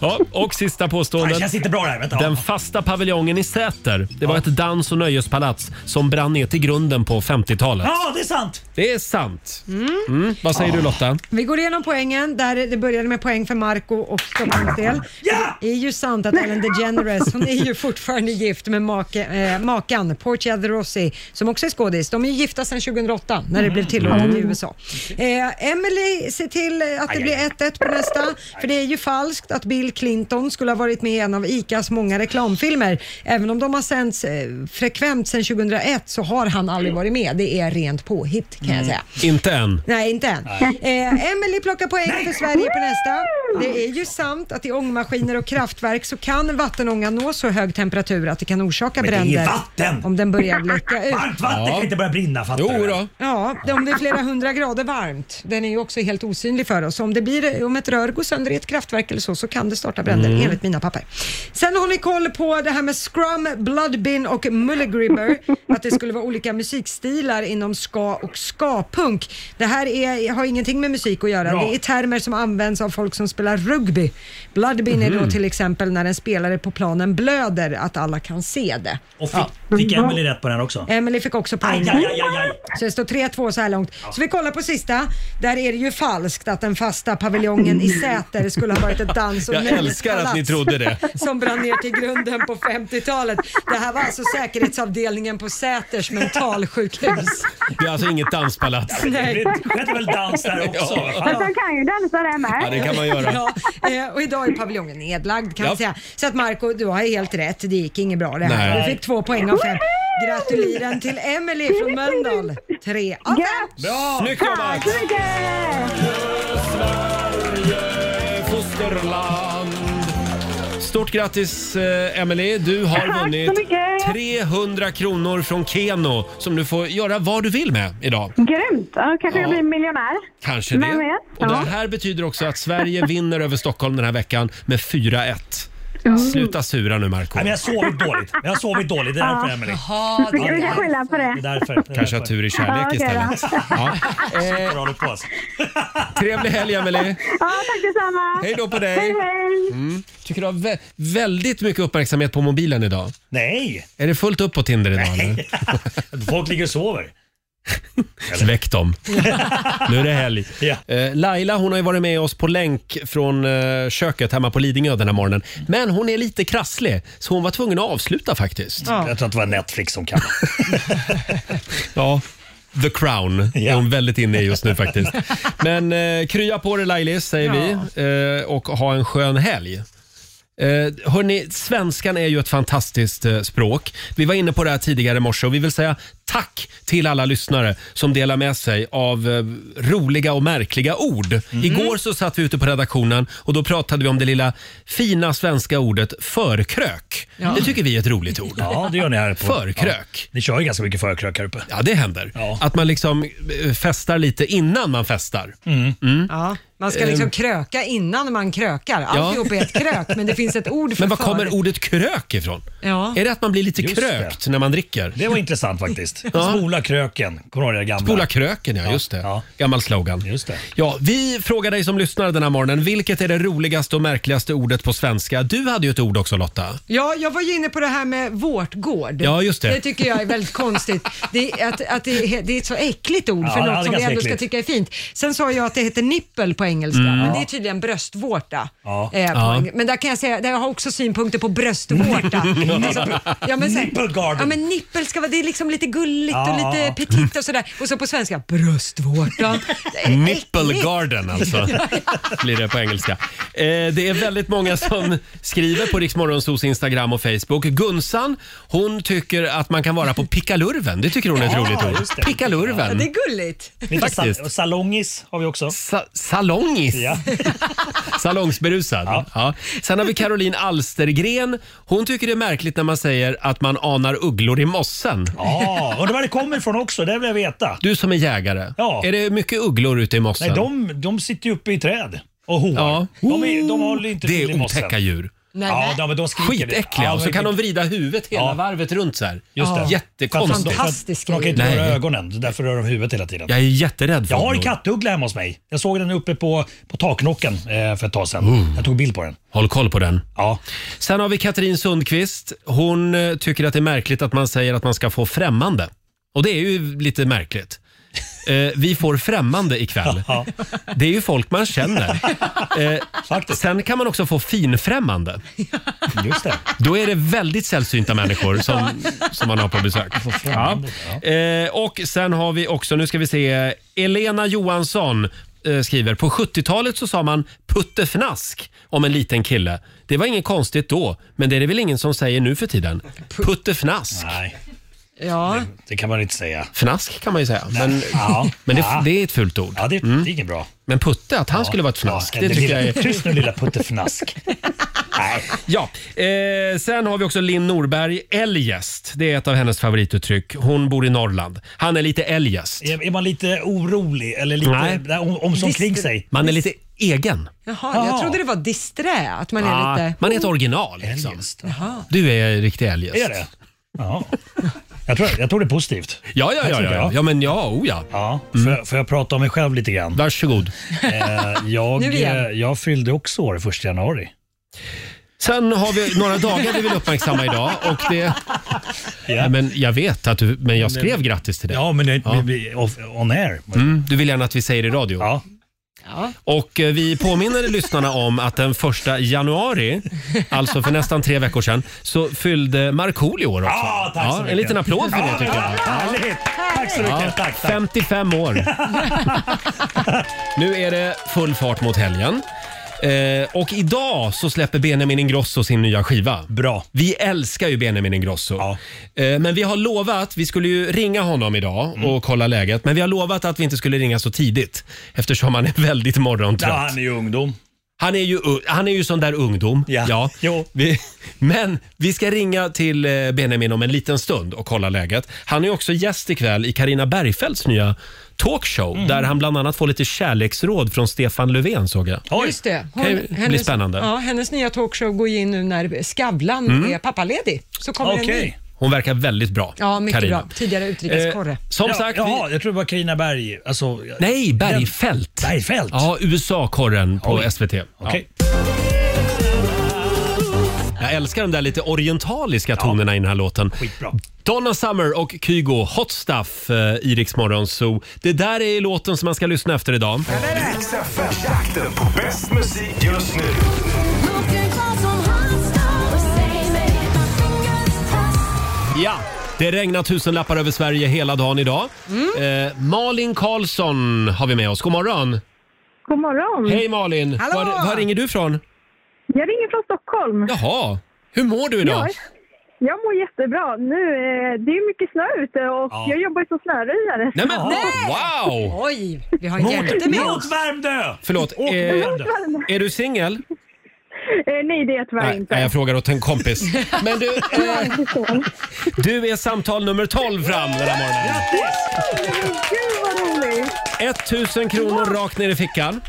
[SPEAKER 1] Ja, och sista påståendet.
[SPEAKER 9] Det känns inte bra det här. Vänta.
[SPEAKER 1] Den fasta paviljongen i Säter. Det var ett dans och nöjespalats som brann ner till grunden på 50-talet.
[SPEAKER 9] Ja, det är sant!
[SPEAKER 1] Det är sant. Mm. Vad säger du Lotta?
[SPEAKER 2] Vi går igenom poängen. Där det började med poäng för Marco och Stockholms del. Det är ju sant att Ellen DeGeneres, hon är ju fortfarande gift med make, eh, makan Portia de Rossi, som också är skådis. De är ju gifta sedan 2008 när det blev tillåtet i USA. Eh, Emily, se till att det blir 1-1 på nästa, för det är ju falskt att Bill Clinton skulle ha varit med i en av ICAs många reklamfilmer. Även om de har sänts eh, frekvent sedan 2001 så har han aldrig varit med. Det är rent påhitt kan jag säga.
[SPEAKER 1] Inte än.
[SPEAKER 2] Nej, inte än. Eh, Emily plockar poäng för Sverige på nästa. Det är ju sant att i ångmaskiner och kraftverk så kan vattenånga nå så hög temperatur att det kan orsaka
[SPEAKER 9] Men det är
[SPEAKER 2] bränder
[SPEAKER 9] vatten!
[SPEAKER 2] om den börjar läcka ut.
[SPEAKER 9] Varmt vatten kan inte börja brinna, fattar du?
[SPEAKER 1] då.
[SPEAKER 2] Ja, om det är flera hundra grader varmt. Den är ju också helt osynlig för oss. Om, det blir, om ett rör går sönder i ett kraftverk eller så, så kan det starta bränder
[SPEAKER 14] Mm.
[SPEAKER 2] enligt mina papper. Sen har ni koll på det här med Scrum, Bloodbin och Mulligribber, att det skulle vara olika musikstilar inom ska och ska-punk. Det här är, har ingenting med musik att göra,
[SPEAKER 14] Bra.
[SPEAKER 2] det är termer som används av folk som spelar rugby. Bloodbin är då
[SPEAKER 14] Mhm.
[SPEAKER 2] till exempel när en spelare på planen blöder, att alla kan se det.
[SPEAKER 9] Och fick, fick Emelie rätt på den här också?
[SPEAKER 2] Emily fick också poäng.
[SPEAKER 9] Aj, aj, aj, aj,
[SPEAKER 2] Så det står 3-2 så här långt. Så vi kollar på sista. Där är det ju falskt att den fasta paviljongen i Säter skulle ha varit ett dans och
[SPEAKER 1] Jag älskar att ni
[SPEAKER 2] nöjespalats
[SPEAKER 1] trodde det.
[SPEAKER 2] Som brann ner till grunden på 50-talet. Det här var alltså säkerhetsavdelningen på Säters mentalsjukhus.
[SPEAKER 1] Det är alltså inget danspalats.
[SPEAKER 2] Nej.
[SPEAKER 9] Det heter väl dans där också?
[SPEAKER 1] Ja.
[SPEAKER 12] Fast de kan ju dansa där med.
[SPEAKER 1] Ja, det kan man göra.
[SPEAKER 2] Ja, eh, och idag är paviljongen nedlagd kan
[SPEAKER 1] Ja.
[SPEAKER 2] man säga. Så att Marco, du har helt rätt. Det gick inget bra det här.
[SPEAKER 1] Nej.
[SPEAKER 2] Du fick två poäng av fem. Gratuliren till Emily från Mölndal. Tre av fem.
[SPEAKER 1] Bra! Snyggt jobbat! Fosterland. Stort grattis eh, Emily. Du
[SPEAKER 4] Tack
[SPEAKER 1] har
[SPEAKER 4] så
[SPEAKER 1] vunnit
[SPEAKER 12] mycket.
[SPEAKER 1] 300 kronor från Keno som du får göra vad du vill med idag.
[SPEAKER 12] Grymt! Ja, kanske
[SPEAKER 1] Ja.
[SPEAKER 12] jag blir miljonär.
[SPEAKER 1] Kanske
[SPEAKER 12] Vem
[SPEAKER 1] det.
[SPEAKER 12] vet?
[SPEAKER 1] Och det
[SPEAKER 12] Ja.
[SPEAKER 1] här betyder också att Sverige vinner över Stockholm den här veckan med 4-1.
[SPEAKER 12] Mm.
[SPEAKER 1] Sluta sura nu Marco.
[SPEAKER 9] Nej, men jag har sovit dåligt. Jag har sovit dåligt. Det är
[SPEAKER 2] Ah.
[SPEAKER 9] därför,
[SPEAKER 12] Ja.
[SPEAKER 9] Emelie.
[SPEAKER 12] Du ska du ska skylla på det.
[SPEAKER 9] Det är därför. Det är
[SPEAKER 1] Kanske
[SPEAKER 9] därför.
[SPEAKER 1] ha tur i kärlek
[SPEAKER 12] Ja, okej då.
[SPEAKER 1] istället. Ja. Eh,
[SPEAKER 9] Sitter och håller på oss.
[SPEAKER 1] Trevlig helg Emelie.
[SPEAKER 12] Ja, tack detsamma.
[SPEAKER 1] Hej då på dig.
[SPEAKER 12] Hej, hej.
[SPEAKER 1] Mm. Tycker du har vä- väldigt mycket uppmärksamhet på mobilen idag?
[SPEAKER 9] Nej!
[SPEAKER 1] Är det fullt upp på Tinder idag eller?
[SPEAKER 9] Folk ligger och sover.
[SPEAKER 1] Väck dem. Nu är det helg. Eh, Laila hon har ju varit med oss på länk från eh, köket hemma på Lidingö den här morgonen. Men hon är lite krasslig så hon var tvungen att avsluta faktiskt.
[SPEAKER 9] Jag tror att det var Netflix som kallade.
[SPEAKER 1] Ja. The Crown är hon väldigt inne i just nu faktiskt. Men eh, krya på dig Lailis säger vi eh, och ha en skön helg. Eh, hörni, svenskan är ju ett fantastiskt eh, språk. Vi var inne på det här tidigare i morse och vi vill säga tack till alla lyssnare som delar med sig av eh, roliga och märkliga ord. Igår så satt vi ute på redaktionen och då pratade vi om det lilla fina svenska ordet förkrök.
[SPEAKER 9] Ja.
[SPEAKER 1] Det tycker vi är ett roligt ord.
[SPEAKER 9] Ja, det gör ni här. På.
[SPEAKER 1] Förkrök.
[SPEAKER 9] Ja. Ni kör ju ganska mycket förkrök här uppe.
[SPEAKER 1] Ja, det händer. Att man liksom eh, festar lite innan man festar. Mm.
[SPEAKER 2] Ja, man ska liksom
[SPEAKER 1] Ehm.
[SPEAKER 2] kröka innan man krökar. Alltihop är ett krök, men det finns ett ord för
[SPEAKER 1] Men var kommer
[SPEAKER 2] för.
[SPEAKER 1] ordet krök ifrån?
[SPEAKER 2] Ja.
[SPEAKER 1] Är det att man blir lite
[SPEAKER 9] Just
[SPEAKER 1] krökt när man dricker?
[SPEAKER 9] Det var intressant faktiskt.
[SPEAKER 1] Ja.
[SPEAKER 9] Spola kröken. Kommer du ihåg det gamla?
[SPEAKER 1] Spola kröken, ja. Just det. Gammal slogan.
[SPEAKER 9] Just det.
[SPEAKER 1] Ja, vi frågar dig som lyssnar den här morgonen, vilket är det roligaste och märkligaste ordet på svenska? Du hade ju ett ord också Lotta.
[SPEAKER 2] Ja, jag var ju inne på det här med vårtgård.
[SPEAKER 1] Ja, just det.
[SPEAKER 2] Det tycker jag är väldigt konstigt. Det är, att, att det, är, det är ett så äckligt ord för
[SPEAKER 1] Ja, det är
[SPEAKER 2] något som vi
[SPEAKER 1] ganska
[SPEAKER 2] ändå ska
[SPEAKER 1] äckligt.
[SPEAKER 2] tycka är fint. Sen sa jag att det heter nippel på engelska,
[SPEAKER 1] Mm.
[SPEAKER 2] men det är
[SPEAKER 1] Ja.
[SPEAKER 2] tydligen bröstvårta.
[SPEAKER 1] Ja.
[SPEAKER 2] Eh, på
[SPEAKER 1] Ja.
[SPEAKER 2] eng- Men där kan jag säga, där jag har också synpunkter på bröstvårta. Det är så bra. ja, men så här-
[SPEAKER 9] Nipple garden.
[SPEAKER 2] Ja, men nippel ska vara, det är liksom lite gulligt
[SPEAKER 1] Ja.
[SPEAKER 2] och lite petit och sådär. Och så på svenska, bröstvårta. Det är
[SPEAKER 1] Nipple
[SPEAKER 2] äckligt.
[SPEAKER 1] garden alltså, blir det på engelska. Eh, det är väldigt många som skriver på Riksmorgonsos Instagram och Facebook. Gunsan, hon tycker att man kan vara på pickalurven. Det tycker hon är ett roligt
[SPEAKER 9] just
[SPEAKER 1] ord.
[SPEAKER 9] det.
[SPEAKER 1] Pickalurven.
[SPEAKER 2] Ja, det är gulligt.
[SPEAKER 9] Lite
[SPEAKER 1] Faktiskt.
[SPEAKER 9] sal- salongis har vi också.
[SPEAKER 1] salongis?
[SPEAKER 9] Ja.
[SPEAKER 1] Salongsberusad. Ja. Sen har vi Caroline Alstergren. Hon tycker det är märkligt när man säger att man anar ugglor i mossen.
[SPEAKER 9] Ja, undrar var det kommer ifrån också. Det vill jag veta.
[SPEAKER 1] Du som är jägare,
[SPEAKER 9] Ja.
[SPEAKER 1] är det mycket ugglor ute i mossen?
[SPEAKER 9] Nej, de, de sitter ju uppe i träd och hoar.
[SPEAKER 1] Ja.
[SPEAKER 9] De, är, de håller inte
[SPEAKER 1] Det
[SPEAKER 9] till i
[SPEAKER 1] är
[SPEAKER 9] mossen.
[SPEAKER 1] otäcka djur.
[SPEAKER 9] Nej, ja, de, men de skriker.
[SPEAKER 1] Skitäckliga
[SPEAKER 9] Ja,
[SPEAKER 1] och så
[SPEAKER 9] men-
[SPEAKER 1] kan de vrida huvudet hela varvet runt så här.
[SPEAKER 9] Just det.
[SPEAKER 1] Jättekonstigt.
[SPEAKER 9] För att de- för att De kan inte
[SPEAKER 1] Nej.
[SPEAKER 9] röra ögonen, så därför rör de huvudet hela tiden.
[SPEAKER 1] Jag är jätterädd för
[SPEAKER 9] Jag har en
[SPEAKER 1] ugglor.
[SPEAKER 9] kattuggla hemma hos mig. Jag såg den uppe på, på taknocken eh, för ett tag sedan.
[SPEAKER 1] Uh.
[SPEAKER 9] Jag tog bild på den.
[SPEAKER 1] Håll koll på den.
[SPEAKER 9] Ja.
[SPEAKER 1] Sen har vi Katrin Sundqvist. Hon eh, tycker att det är märkligt att man säger att man ska få främmande. Och det är ju lite märkligt. Eh, vi får främmande ikväll. Det är ju folk man känner. Eh, sen kan man också få finfrämmande.
[SPEAKER 9] Just det.
[SPEAKER 1] Då är det väldigt sällsynta människor som, som man har på besök. Ja. Eh, och sen har vi också, nu ska vi se, Elena Johansson eh, skriver, på 70-talet så sa man puttefnask om en liten kille. Det var inget konstigt då, men det är det väl ingen som säger nu för tiden. Puttefnask.
[SPEAKER 9] Nej,
[SPEAKER 2] Ja.
[SPEAKER 9] det kan man inte säga.
[SPEAKER 1] Fnask kan man ju säga,
[SPEAKER 9] Nej.
[SPEAKER 1] men,
[SPEAKER 9] Ja.
[SPEAKER 1] men det,
[SPEAKER 9] Ja.
[SPEAKER 1] det är ett fult ord.
[SPEAKER 9] Ja, det, det är inget bra.
[SPEAKER 1] Men Putte, att han skulle vara ett Mm. fnask, det tycker jag är...
[SPEAKER 9] Tyst nu lilla puttefnask.
[SPEAKER 1] Ja, eh, sen har vi också Linn Norberg, eljest. Det är ett av hennes favorituttryck. Hon bor i Norrland. Han är lite eljest.
[SPEAKER 9] Är, är man lite orolig eller lite
[SPEAKER 1] Nej.
[SPEAKER 9] där, om, om som kring sig?
[SPEAKER 1] Man är lite egen.
[SPEAKER 2] Jaha, jag trodde det var disträ, att man är
[SPEAKER 1] Ah,
[SPEAKER 2] lite...
[SPEAKER 1] man är ett original. Liksom.
[SPEAKER 2] Jaha.
[SPEAKER 1] Du är riktig eljest.
[SPEAKER 9] Är det? Ja. Jag tror, jag tror det är positivt.
[SPEAKER 1] Ja, ja,
[SPEAKER 9] Jag
[SPEAKER 1] ja,
[SPEAKER 9] tror
[SPEAKER 1] ja,
[SPEAKER 9] det,
[SPEAKER 1] ja. ja, men ja, oh ja.
[SPEAKER 9] Ja, Får, jag, får jag prata om mig själv lite grann?
[SPEAKER 1] Varsågod.
[SPEAKER 9] Eh, jag,
[SPEAKER 1] Nu igen.
[SPEAKER 9] eh, jag fyllde också år första januari.
[SPEAKER 1] Sen har vi några dagar vi vill uppmärksamma idag och det... Nej, Men jag vet att du, men jag skrev
[SPEAKER 9] Men-
[SPEAKER 1] grattis till dig.
[SPEAKER 9] Ja, men det blir off, on air.
[SPEAKER 1] Mm, du vill gärna att vi säger det i radio. Och eh, vi påminner lyssnarna om att den första januari, alltså för nästan tre veckor sedan, så fyllde Markoolio år också.
[SPEAKER 9] Ja, tack så mycket.
[SPEAKER 1] en liten applåd för det
[SPEAKER 9] Ja,
[SPEAKER 1] tycker jag.
[SPEAKER 9] ja, Härligt! Tack så mycket.
[SPEAKER 1] Ja,
[SPEAKER 9] Tack, tack.
[SPEAKER 1] 55 år. nu är det full fart mot helgen. Eh, och idag så släpper Benjamin Ingrosso sin nya skiva.
[SPEAKER 9] Bra.
[SPEAKER 1] Vi älskar ju Benjamin Ingrosso. Eh, men vi har lovat, vi skulle ju ringa honom idag
[SPEAKER 9] Mm.
[SPEAKER 1] och kolla läget. Men vi har lovat att vi inte skulle ringa så tidigt eftersom han är väldigt morgontrött.
[SPEAKER 9] Ja, han är ju ungdom.
[SPEAKER 1] Han är ju, u- han är ju sån där ungdom. Ja. Vi, men vi ska ringa till eh, Benjamin om en liten stund och kolla läget. Han är också gäst ikväll i Karina Bergfeldts nya talkshow
[SPEAKER 9] Mm.
[SPEAKER 1] där han bland annat får lite kärleksråd från Stefan Löfven såg jag.
[SPEAKER 2] Just det.
[SPEAKER 1] Kan ju bli spännande.
[SPEAKER 2] Ja, hennes nya talkshow går ju in nu när Skavlan
[SPEAKER 1] Mm.
[SPEAKER 2] är pappaledig. Så kommer en ny.
[SPEAKER 1] Hon verkar väldigt bra.
[SPEAKER 2] Ja, mycket
[SPEAKER 1] Carina.
[SPEAKER 2] bra. Tidigare utrikeskorre.
[SPEAKER 1] Eh, som
[SPEAKER 9] ja,
[SPEAKER 1] sagt,
[SPEAKER 9] Jaha, jag tror det var Carina Berg. Alltså,
[SPEAKER 1] Nej, Bergfeldt.
[SPEAKER 9] Bergfeldt?
[SPEAKER 1] Ja, USA-korren på
[SPEAKER 9] Oj.
[SPEAKER 1] SVT. Ja.
[SPEAKER 9] Okej.
[SPEAKER 1] Jag älskar de där lite orientaliska tonerna i den här låten.
[SPEAKER 9] Skitbra.
[SPEAKER 1] Donna Summer och Kygo, Hot Stuff, eh, i Rix Morgon Zoo. Det där är låten som man ska lyssna efter idag.
[SPEAKER 3] Riks FM, jakten på bäst musik just nu.
[SPEAKER 1] Ja, det regnar tusenlappar över Sverige hela dagen idag. Eh, Malin Karlsson har vi med oss. God morgon!
[SPEAKER 12] God morgon.
[SPEAKER 1] Hej Malin!
[SPEAKER 12] Hallå.
[SPEAKER 1] Var, var ringer du ifrån?
[SPEAKER 12] Jag ringer från Stockholm.
[SPEAKER 1] Jaha, hur mår du idag?
[SPEAKER 12] Jag, jag mår jättebra. Nu, eh, det är mycket snö ute och
[SPEAKER 1] Ja.
[SPEAKER 12] jag jobbar ju som snöröjare.
[SPEAKER 1] Nej, men, wow!
[SPEAKER 2] Oj, vi har
[SPEAKER 1] Mot-
[SPEAKER 12] hjälte med
[SPEAKER 1] mot
[SPEAKER 12] oss.
[SPEAKER 9] Värmdö!
[SPEAKER 1] Förlåt, eh,
[SPEAKER 12] Värmdö.
[SPEAKER 1] är du singel?
[SPEAKER 12] Eh, nej, det är jag tyvärr
[SPEAKER 1] Nej,
[SPEAKER 12] inte.
[SPEAKER 1] nej, jag frågar åt en kompis. Men du, eh,
[SPEAKER 12] Nej, jag förstår.
[SPEAKER 1] du är samtal nummer 12 fram den här morgonen.
[SPEAKER 12] Men Gud vad roligt!
[SPEAKER 1] 1000 kronor rakt ner i fickan.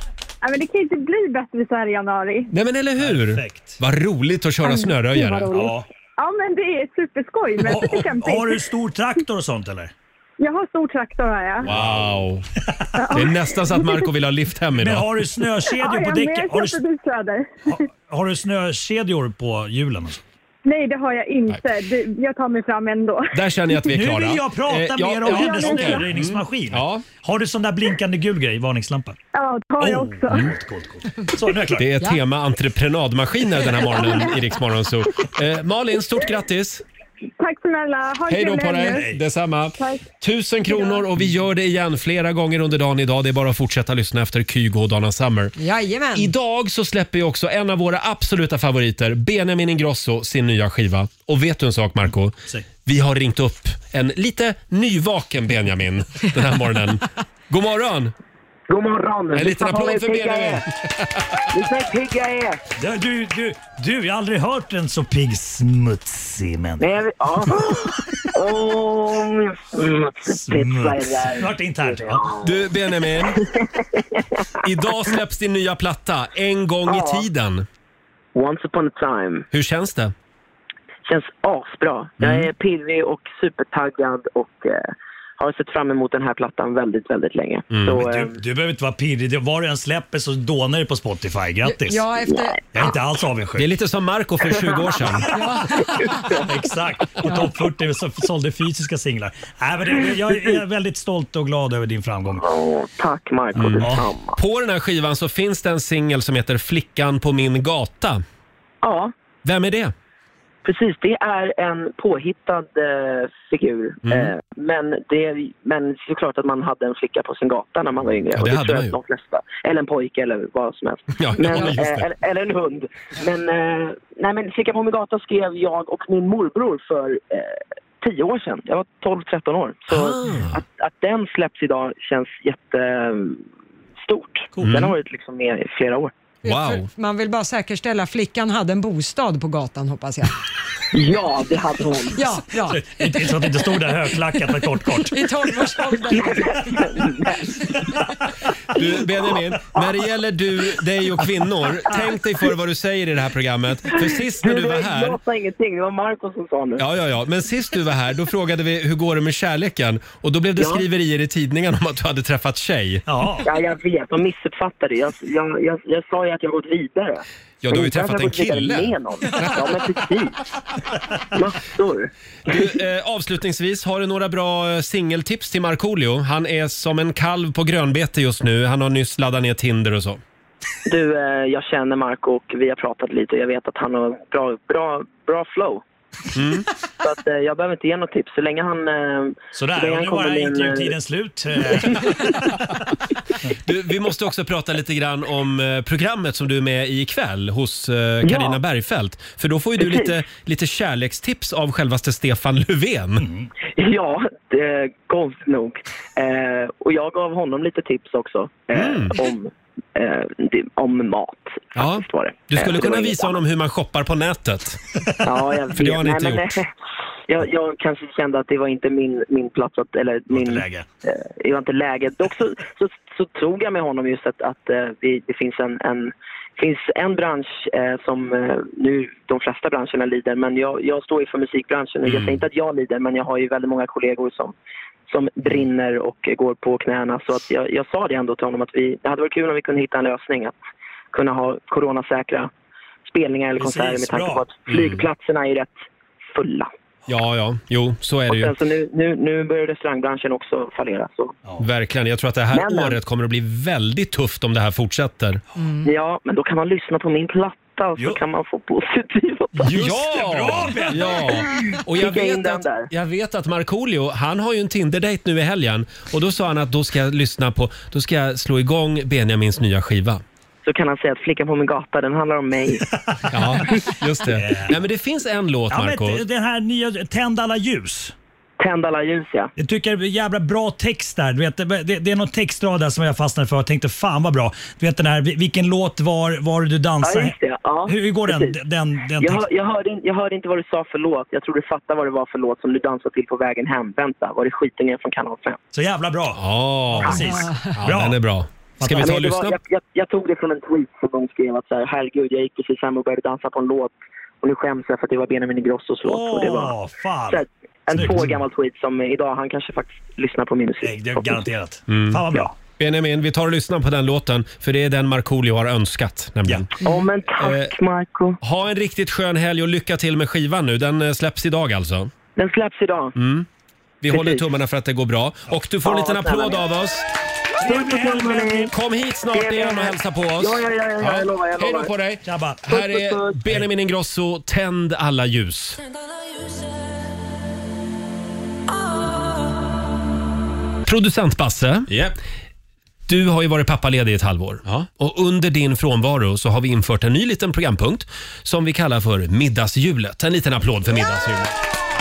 [SPEAKER 12] Nej, men det kan ju inte bli bättre så här i januari.
[SPEAKER 1] Nej men eller hur? Vad roligt att köra snöröjare.
[SPEAKER 12] Gud, vad roligt. Ja, men det är superskoj med cykelcamping.
[SPEAKER 9] Har du stor traktor och sånt eller?
[SPEAKER 12] Jag har stor traktor har jag.
[SPEAKER 1] Wow! Det är nästan så att Marco vill ha lift hem idag.
[SPEAKER 9] Men har du snökedjor på
[SPEAKER 12] Ja, men
[SPEAKER 9] däcken? Har
[SPEAKER 12] jag
[SPEAKER 9] du,
[SPEAKER 12] köpte bilkläder.
[SPEAKER 9] har du snökedjor på hjulen? alltså? och så?
[SPEAKER 12] Nej, det har jag inte. Det, jag tar mig fram ändå.
[SPEAKER 1] Där känner jag att vi är
[SPEAKER 9] nu
[SPEAKER 1] klara.
[SPEAKER 9] vill jag prata
[SPEAKER 1] Eh, ja,
[SPEAKER 9] mer om
[SPEAKER 1] ja,
[SPEAKER 9] hennes
[SPEAKER 1] okej. Mm.
[SPEAKER 9] snöröjningsmaskin. Har du sån där blinkande gul grej, varningslampa?
[SPEAKER 12] Ja, det har jag
[SPEAKER 9] Oh,
[SPEAKER 12] också.
[SPEAKER 1] Mm.
[SPEAKER 9] Coolt, coolt, coolt. Så, nu är jag klar.
[SPEAKER 1] Det är tema entreprenadmaskiner den här morgonen i Rix Morgon Zoo. Eh, Malin, stort grattis!
[SPEAKER 12] Tack snälla. Ha en
[SPEAKER 1] Hej då
[SPEAKER 12] trevlig
[SPEAKER 1] på
[SPEAKER 12] helg
[SPEAKER 1] dig!
[SPEAKER 12] nu.
[SPEAKER 1] Detsamma!
[SPEAKER 12] Tack.
[SPEAKER 1] Tusen kronor och vi gör det igen flera gånger under dagen idag. Det är bara att fortsätta lyssna efter Kygo och Donna Summer.
[SPEAKER 2] Jajamän.
[SPEAKER 1] Idag så släpper ju också en av våra absoluta favoriter, Benjamin Ingrosso, sin nya skiva. Och vet du en sak Marco?
[SPEAKER 9] Säg.
[SPEAKER 1] Vi har ringt upp en lite nyvaken Benjamin den här morgonen. God morgon!
[SPEAKER 14] God morgon!
[SPEAKER 1] En liten applåd för Benjamin.
[SPEAKER 14] Lyssna hur pigg jag är!
[SPEAKER 9] Du, du, du, du, jag har aldrig hört en så pigg smutsig människa.
[SPEAKER 14] Nej, jag vet- ja. Åh, min smutspizza är där.
[SPEAKER 9] Snart internt. Ja.
[SPEAKER 1] Du Benjamin, idag släpps din nya platta, En gång
[SPEAKER 14] Ja.
[SPEAKER 1] i tiden.
[SPEAKER 14] Once upon a time.
[SPEAKER 1] Hur känns det?
[SPEAKER 14] Känns asbra.
[SPEAKER 1] Mm.
[SPEAKER 14] Jag är pirrig och supertaggad och eh, har sett fram emot den här plattan väldigt, väldigt länge.
[SPEAKER 1] Mm.
[SPEAKER 14] Så,
[SPEAKER 9] Men
[SPEAKER 14] eh,
[SPEAKER 9] Du, du behöver inte vara pirrig. Det- Var du än släpper så dånar det på Spotify. Grattis!
[SPEAKER 2] Ja, efter-
[SPEAKER 9] Jag är inte alls avundsjuk.
[SPEAKER 1] Det är lite som Marco för 20 år sedan.
[SPEAKER 9] Exakt! Och topp 40 så sålde fysiska singlar. Äh, men det, jag är väldigt stolt och glad över din framgång.
[SPEAKER 14] tack Marco,
[SPEAKER 1] Mm.
[SPEAKER 14] detsamma.
[SPEAKER 1] På den här skivan så finns det en singel som heter Flickan på min gata.
[SPEAKER 14] Ja,
[SPEAKER 1] Vem är det?
[SPEAKER 14] Precis, det är en påhittad eh, figur.
[SPEAKER 1] Mm.
[SPEAKER 14] Eh, men, det, men såklart att man hade en flicka på sin gata när man var yngre.
[SPEAKER 1] Ja, det
[SPEAKER 14] Och
[SPEAKER 1] hade
[SPEAKER 14] tror
[SPEAKER 1] man
[SPEAKER 14] jag
[SPEAKER 1] ju.
[SPEAKER 14] att De flesta, eller en pojke eller vad som helst.
[SPEAKER 1] Ja,
[SPEAKER 14] men,
[SPEAKER 1] ja, just det.
[SPEAKER 14] eh, eller, eller en hund. Men, eh, nej, men Flicka på min gata skrev jag och min morbror för eh, tio år sedan. Jag var 12-13 år. Så
[SPEAKER 1] Ah.
[SPEAKER 14] att, att den
[SPEAKER 1] Mm.
[SPEAKER 14] släpps idag känns jättestort. Den har varit liksom med i flera år.
[SPEAKER 1] Wow.
[SPEAKER 2] För Man vill bara säkerställa flickan hade en bostad på gatan hoppas jag.
[SPEAKER 14] Ja, det hade hon.
[SPEAKER 2] Ja, ja.
[SPEAKER 9] Inte så att det inte stod där högklackat med kort kort.
[SPEAKER 2] I tonårsåldern.
[SPEAKER 1] Du, Benjamin, när det gäller du, dig och kvinnor, tänk dig för vad du säger i det här programmet. För sist när du var här,
[SPEAKER 14] Jag sa ingenting, det var Marco som sa nu.
[SPEAKER 1] ja, ja, ja, men sist du var här, då frågade vi hur går det med kärleken? Och då blev det
[SPEAKER 14] Ja.
[SPEAKER 1] skriverier i tidningen om att du hade träffat tjej.
[SPEAKER 14] Ja, jag vet. De missuppfattade. Jag, jag, jag, jag sa ju att jag har gått vidare.
[SPEAKER 1] Ja, du har ju
[SPEAKER 14] Men inte att
[SPEAKER 1] träffat
[SPEAKER 14] jag
[SPEAKER 1] en
[SPEAKER 14] gått vidare
[SPEAKER 1] kille.
[SPEAKER 14] Med någon. Ja, men precis. Massor.
[SPEAKER 1] Du, eh, avslutningsvis, har du några bra eh, singeltips till Markoolio? Han är som en kalv på grönbete just nu. Han har nyss laddat ner Tinder och så.
[SPEAKER 14] Du, eh, jag känner Marco och vi har pratat lite och jag vet att han har bra, bra, bra flow.
[SPEAKER 1] Mm.
[SPEAKER 14] Så att, eh, jag behöver inte ge något tips. Så länge han... Eh, så
[SPEAKER 9] Sådär,
[SPEAKER 14] länge
[SPEAKER 9] och
[SPEAKER 14] han
[SPEAKER 9] nu bara
[SPEAKER 14] kommer
[SPEAKER 9] gick
[SPEAKER 14] med en,
[SPEAKER 9] ju
[SPEAKER 14] eh,
[SPEAKER 9] tiden slut.
[SPEAKER 1] Du, vi måste också prata lite grann om eh, programmet som du är med i ikväll hos eh, Carina
[SPEAKER 14] Ja.
[SPEAKER 1] Bergfeldt. För då får ju du
[SPEAKER 14] Precis.
[SPEAKER 1] lite, lite kärlekstips av självaste Stefan Löfven.
[SPEAKER 14] Ja, det, konstigt nog. Eh, och jag gav honom lite tips också. Eh, om, eh, det, om mat.
[SPEAKER 1] Mm. Ja. Du
[SPEAKER 14] Eh,
[SPEAKER 1] skulle
[SPEAKER 14] det var
[SPEAKER 1] kunna
[SPEAKER 14] inget
[SPEAKER 1] visa honom hur man shoppar på nätet.
[SPEAKER 14] Ja,
[SPEAKER 1] För
[SPEAKER 14] jag
[SPEAKER 1] det
[SPEAKER 14] vet.
[SPEAKER 1] har han inte
[SPEAKER 14] Nej, men,
[SPEAKER 1] gjort.
[SPEAKER 14] eh, Jag, jag kanske kände att det var inte min, min plats, att, eller min...
[SPEAKER 1] inte läge.
[SPEAKER 14] eh, Det var inte läge. Dock så, så, så tog jag med honom just att, att eh, vi, det finns en, en, finns en bransch eh, som eh, nu de flesta branscherna lider, men jag, jag står ju för musikbranschen. och Jag
[SPEAKER 1] Mm.
[SPEAKER 14] säger inte att jag lider, men jag har ju väldigt många kollegor som som brinner och eh, går på knäna. Så att jag, jag sa det ändå till honom att vi, det hade varit kul om vi kunde hitta en lösning att kunna ha coronasäkra spelningar eller
[SPEAKER 1] Precis,
[SPEAKER 14] konserter med tanke
[SPEAKER 1] bra.
[SPEAKER 14] på att flygplatserna är rätt fulla.
[SPEAKER 1] Ja, ja, jo, så är det ju.
[SPEAKER 14] Sen så nu, nu, nu börjar restaurangbranschen också fallera. Så.
[SPEAKER 1] Verkligen. Jag tror att det här
[SPEAKER 14] Men, men.
[SPEAKER 1] året kommer att bli väldigt tufft om det här fortsätter.
[SPEAKER 9] Mm.
[SPEAKER 14] Ja, men då kan man lyssna på min platta och så kan man få positiva
[SPEAKER 1] ja! ja! Och jag
[SPEAKER 14] Skicka in
[SPEAKER 1] vet,
[SPEAKER 14] den
[SPEAKER 1] att, jag vet att Markoolio, han har ju en Tinder-date nu i helgen. Och då sa han att då ska jag lyssna på, då ska jag slå igång Benjamins nya skiva.
[SPEAKER 14] Så kan han säga att Flickan på min gata, den handlar om mig.
[SPEAKER 1] Ja, just det. Nej, men det finns en låt,
[SPEAKER 9] Ja,
[SPEAKER 1] Marco.
[SPEAKER 9] men den här nya Tänd alla ljus.
[SPEAKER 14] Tänd alla ljus, ja.
[SPEAKER 9] Jag tycker det är jävla bra text där. Du vet, det, det- det är någon textrad där som jag fastnade för och tänkte fan vad bra. Du vet den här, vi- vilken låt var, var du dansar?
[SPEAKER 14] Ja, just det. Ja,
[SPEAKER 9] hur, hur går den,
[SPEAKER 14] precis.
[SPEAKER 9] den, den
[SPEAKER 14] Jag, hör-
[SPEAKER 9] texten?
[SPEAKER 14] jag, hörde, in- jag hörde inte vad du sa för låt. Jag tror du fattar vad det var för låt som du dansade till på vägen hem. Vänta, var det Skitungen från Kanal 5?
[SPEAKER 9] Så jävla bra.
[SPEAKER 1] Ja,
[SPEAKER 9] precis.
[SPEAKER 1] Ja,
[SPEAKER 9] Bra.
[SPEAKER 1] den är bra. Ska vi
[SPEAKER 14] Nej,
[SPEAKER 1] ta och
[SPEAKER 14] men det var,
[SPEAKER 1] lyssna?
[SPEAKER 14] jag, jag, jag tog det från en tweet som någon skrev att så här, herregud, jag gick precis hem och började dansa på en låt och nu skäms jag för att det var Benjamin Ingrossos låt. och det var
[SPEAKER 9] Åh, fan.
[SPEAKER 14] så här, en
[SPEAKER 9] Snyggt.
[SPEAKER 14] tvågammal tweet som idag, han kanske faktiskt lyssnar på min musik.
[SPEAKER 9] Det är garanterat.
[SPEAKER 1] Mm.
[SPEAKER 9] Fan vad bra.
[SPEAKER 1] Benjamin, vi tar och lyssnar på den låten, för det är den Markoolio har önskat. Nämligen.
[SPEAKER 14] Ja, men tack Marco.
[SPEAKER 1] Ha en riktigt skön helg och lycka till med skivan nu. Den eh, släpps idag alltså.
[SPEAKER 14] Den släpps idag.
[SPEAKER 1] Mm. Vi
[SPEAKER 14] Precis.
[SPEAKER 1] håller tummarna för att det går bra. Och du får en
[SPEAKER 14] Ja,
[SPEAKER 1] liten
[SPEAKER 14] vad snälla
[SPEAKER 1] applåd
[SPEAKER 14] ni är.
[SPEAKER 1] av oss.
[SPEAKER 14] Stort på tummen
[SPEAKER 1] Kom hit snart igen och hälsa på oss.
[SPEAKER 14] Ja, ja, ja, ja, jag lovar, jag
[SPEAKER 1] Hej då
[SPEAKER 14] lovar.
[SPEAKER 1] på dig.
[SPEAKER 9] Tjabba.
[SPEAKER 1] Här är Benjamin Ingrosso, Tänd alla ljus. Producent Basse, du har ju varit pappaledig i ett halvår. Och under din frånvaro så har vi infört en ny liten programpunkt som vi kallar för middagshjulet. En liten applåd för middagshjulet.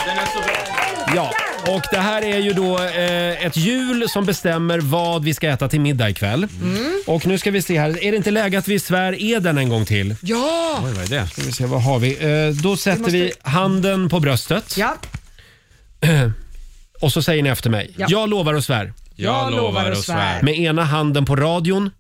[SPEAKER 5] Den är så bra.
[SPEAKER 1] Ja, och det här är ju då eh, ett hjul som bestämmer vad vi ska äta till middag ikväll.
[SPEAKER 2] Mm.
[SPEAKER 1] Och nu ska vi se här, är det inte läge att vi svär eden en gång till?
[SPEAKER 2] Ja!
[SPEAKER 1] Oj, vad är det? Ska vi se, vad har vi? Eh, då sätter
[SPEAKER 2] måste-
[SPEAKER 1] vi handen på bröstet.
[SPEAKER 2] Ja.
[SPEAKER 1] Och så säger ni efter mig.
[SPEAKER 2] Ja.
[SPEAKER 1] Jag lovar och svär.
[SPEAKER 5] Jag lovar och svär.
[SPEAKER 1] Med ena handen på radion.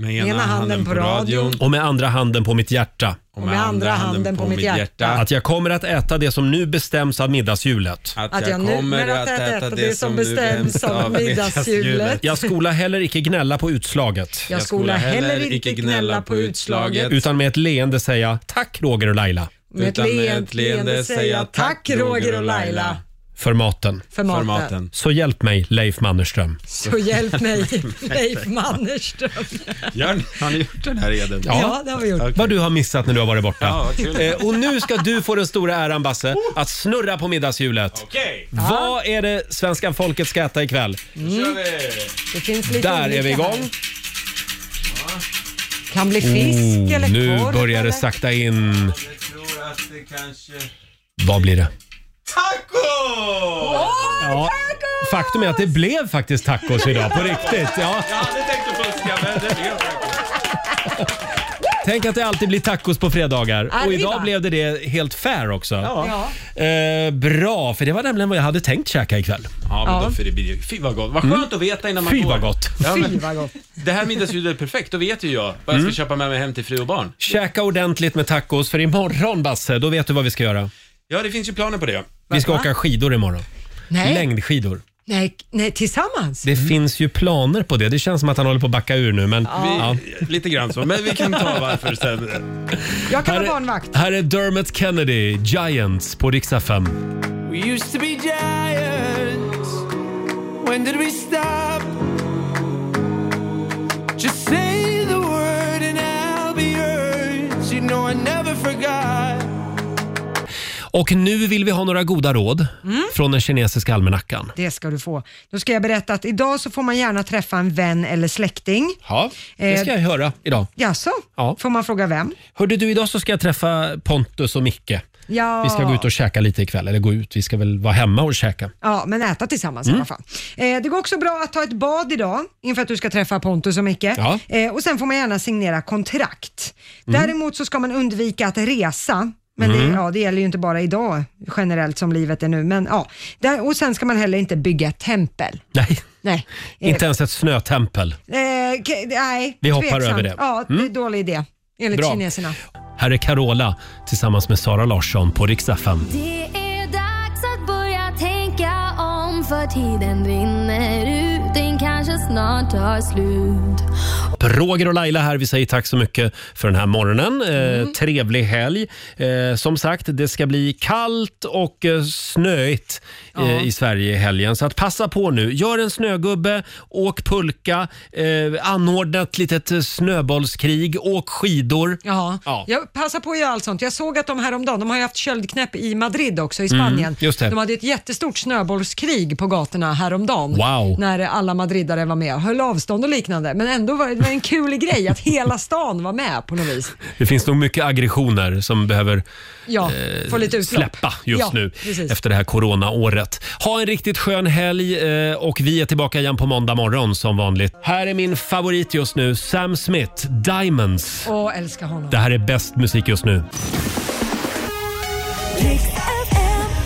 [SPEAKER 5] Med ena Ena handen handen på på radion. radion.
[SPEAKER 1] Och med andra handen på mitt hjärta.
[SPEAKER 5] Och med med andra andra handen handen på på mitt mitt hjärta. hjärta.
[SPEAKER 1] Att jag kommer att äta det som nu bestäms av middagshjulet.
[SPEAKER 5] Att jag jag nu kommer kommer att att äta äta det det som som nu bestäms bestäms av av middagshjulet. middagshjulet.
[SPEAKER 1] Jag skola heller icke gnälla på utslaget.
[SPEAKER 5] Jag skola skola heller heller icke icke gnälla gnälla på på utslaget. utslaget.
[SPEAKER 1] Utan med ett leende säga tack Roger och Laila.
[SPEAKER 5] Med ett Utan med leende ett leende säga tack, tack, Roger och Laila. Laila.
[SPEAKER 1] För maten.
[SPEAKER 2] För maten. För maten.
[SPEAKER 1] Så hjälp mig Leif Mannerström.
[SPEAKER 2] Så hjälp mig, Leif Mannerström.
[SPEAKER 5] Har ni gjort den här eden?
[SPEAKER 2] Ja, det har vi gjort.
[SPEAKER 1] Vad du har missat när du har varit borta.
[SPEAKER 5] Ja, vad kul.
[SPEAKER 1] Eh, och nu ska du få den stora äran Basse, att snurra på middagshjulet.
[SPEAKER 5] Okej.
[SPEAKER 1] Vad är det svenska folket ska äta ikväll?
[SPEAKER 5] kör vi.
[SPEAKER 2] Det finns lite
[SPEAKER 1] Där
[SPEAKER 2] olika
[SPEAKER 1] är vi igång.
[SPEAKER 2] här. Kan bli fisk
[SPEAKER 1] Oh,
[SPEAKER 2] eller
[SPEAKER 1] nu
[SPEAKER 2] korv.
[SPEAKER 1] börjar det
[SPEAKER 2] eller?
[SPEAKER 1] sakta in.
[SPEAKER 5] Jag tror att det kanske...
[SPEAKER 1] Vad blir det?
[SPEAKER 5] Taco!
[SPEAKER 1] Ja, faktum är att det blev faktiskt tacos idag, på riktigt. Ja.
[SPEAKER 5] Jag hade tänkt att fuska, men det blev taco.
[SPEAKER 1] Tänk att det alltid blir tacos på fredagar.
[SPEAKER 4] Ja, det
[SPEAKER 1] Och
[SPEAKER 4] är
[SPEAKER 1] idag
[SPEAKER 4] bra.
[SPEAKER 1] blev det det helt fair också.
[SPEAKER 4] Ja.
[SPEAKER 1] Eh, bra, för det var nämligen vad jag hade tänkt käka ikväll.
[SPEAKER 5] Ja, men
[SPEAKER 1] Ja.
[SPEAKER 5] Då, för det blir, ju- fy vad gott. Vad
[SPEAKER 1] Mm.
[SPEAKER 5] skönt att veta innan man
[SPEAKER 1] Fy
[SPEAKER 5] går.
[SPEAKER 1] vad gott.
[SPEAKER 5] Ja, men,
[SPEAKER 2] vad gott.
[SPEAKER 5] det här middagsljudet är perfekt. Då vet ju jag vad
[SPEAKER 1] Mm.
[SPEAKER 5] jag ska köpa med mig hem till fru och barn.
[SPEAKER 1] Käka ordentligt med tacos för imorgon Basse, då vet du vad vi ska göra.
[SPEAKER 5] Ja, det finns ju planer på det.
[SPEAKER 1] Vi ska
[SPEAKER 2] Va?
[SPEAKER 1] åka skidor imorgon.
[SPEAKER 2] Nej.
[SPEAKER 1] Längdskidor.
[SPEAKER 2] Nej, nej, tillsammans?
[SPEAKER 1] Det finns ju planer på det. Det känns som att han håller på att backa ur nu. Men,
[SPEAKER 2] Mm. Ja.
[SPEAKER 5] Lite grann så, men vi kan ta varför sen.
[SPEAKER 2] Jag kan
[SPEAKER 1] Här
[SPEAKER 2] vara
[SPEAKER 1] är-
[SPEAKER 2] barnvakt.
[SPEAKER 1] Här är Dermot Kennedy, Giants på riksdag 5.
[SPEAKER 4] We used to be giants. When did we stop? Just say the word and I'll be yours. You know I never forgot.
[SPEAKER 1] Och nu vill vi ha några goda råd
[SPEAKER 4] Mm.
[SPEAKER 1] från den kinesiska almanackan.
[SPEAKER 2] Det ska du få. Då ska jag berätta att idag så får man gärna träffa en vän eller släkting.
[SPEAKER 1] Ja, det ska
[SPEAKER 2] Eh,
[SPEAKER 1] jag höra idag.
[SPEAKER 2] Jaså?
[SPEAKER 1] Ja.
[SPEAKER 2] Får man fråga vem?
[SPEAKER 1] Hörde du, idag så ska jag träffa Pontus och Micke.
[SPEAKER 2] Ja.
[SPEAKER 1] Vi ska gå ut och käka lite ikväll. Eller gå ut, vi ska väl vara hemma och käka.
[SPEAKER 2] Ja, men äta tillsammans i
[SPEAKER 1] Mm.
[SPEAKER 2] alla fall. Eh, det går också bra att ta ett bad idag inför att du ska träffa Pontus och Micke.
[SPEAKER 1] Ja.
[SPEAKER 2] Eh, och sen får man gärna signera kontrakt.
[SPEAKER 1] Mm.
[SPEAKER 2] Däremot så ska man undvika att resa. Men
[SPEAKER 1] Mm.
[SPEAKER 2] det, ja, det gäller ju inte bara idag generellt som livet är nu. Men, ja. Där, och sen ska man heller inte bygga ett tempel.
[SPEAKER 1] Nej,
[SPEAKER 2] Nej. Eh,
[SPEAKER 1] inte ens ett snötempel.
[SPEAKER 2] Eh, k- nej,
[SPEAKER 1] Vi hoppar
[SPEAKER 2] tveksamt.
[SPEAKER 1] över det.
[SPEAKER 2] Ja, det är
[SPEAKER 1] Mm.
[SPEAKER 2] dålig idé enligt
[SPEAKER 1] Bra.
[SPEAKER 2] kineserna.
[SPEAKER 1] Här är Carola tillsammans med Sara Larsson på riksdag 5.
[SPEAKER 15] Det är dags att börja tänka om för tiden rinner ut, den kanske snart tar slut.
[SPEAKER 1] Roger och Laila här. Vi säger tack så mycket för den här morgonen. Eh, trevlig helg. Eh, som sagt, det ska bli kallt och eh, snöigt eh,
[SPEAKER 4] Ja.
[SPEAKER 1] i Sverige i helgen. Så att passa på nu. Gör en snögubbe, åk pulka, eh, anordna ett litet eh, snöbollskrig, åk skidor.
[SPEAKER 2] Ja. Jag passar på att göra allt sånt. Jag såg att de häromdagen, de har ju haft köldknäpp i Madrid också i Spanien.
[SPEAKER 1] Mm, just det.
[SPEAKER 2] De hade ett jättestort snöbollskrig på gatorna häromdagen.
[SPEAKER 1] Wow.
[SPEAKER 2] När alla madridare var med och höll avstånd och liknande. Men ändå var det det var en kul grej att hela stan var med på något vis.
[SPEAKER 1] Det finns nog mycket aggressioner som behöver
[SPEAKER 2] Ja,
[SPEAKER 1] eh,
[SPEAKER 2] få lite utlopp.
[SPEAKER 1] släppa just
[SPEAKER 2] ja,
[SPEAKER 1] nu
[SPEAKER 2] Precis.
[SPEAKER 1] efter det här coronaåret. Ha en riktigt skön helg eh, och vi är tillbaka igen på måndag morgon som vanligt. Här är min favorit just nu, Sam Smith, Diamonds.
[SPEAKER 2] Åh, älskar honom.
[SPEAKER 1] Det här är bäst musik just nu.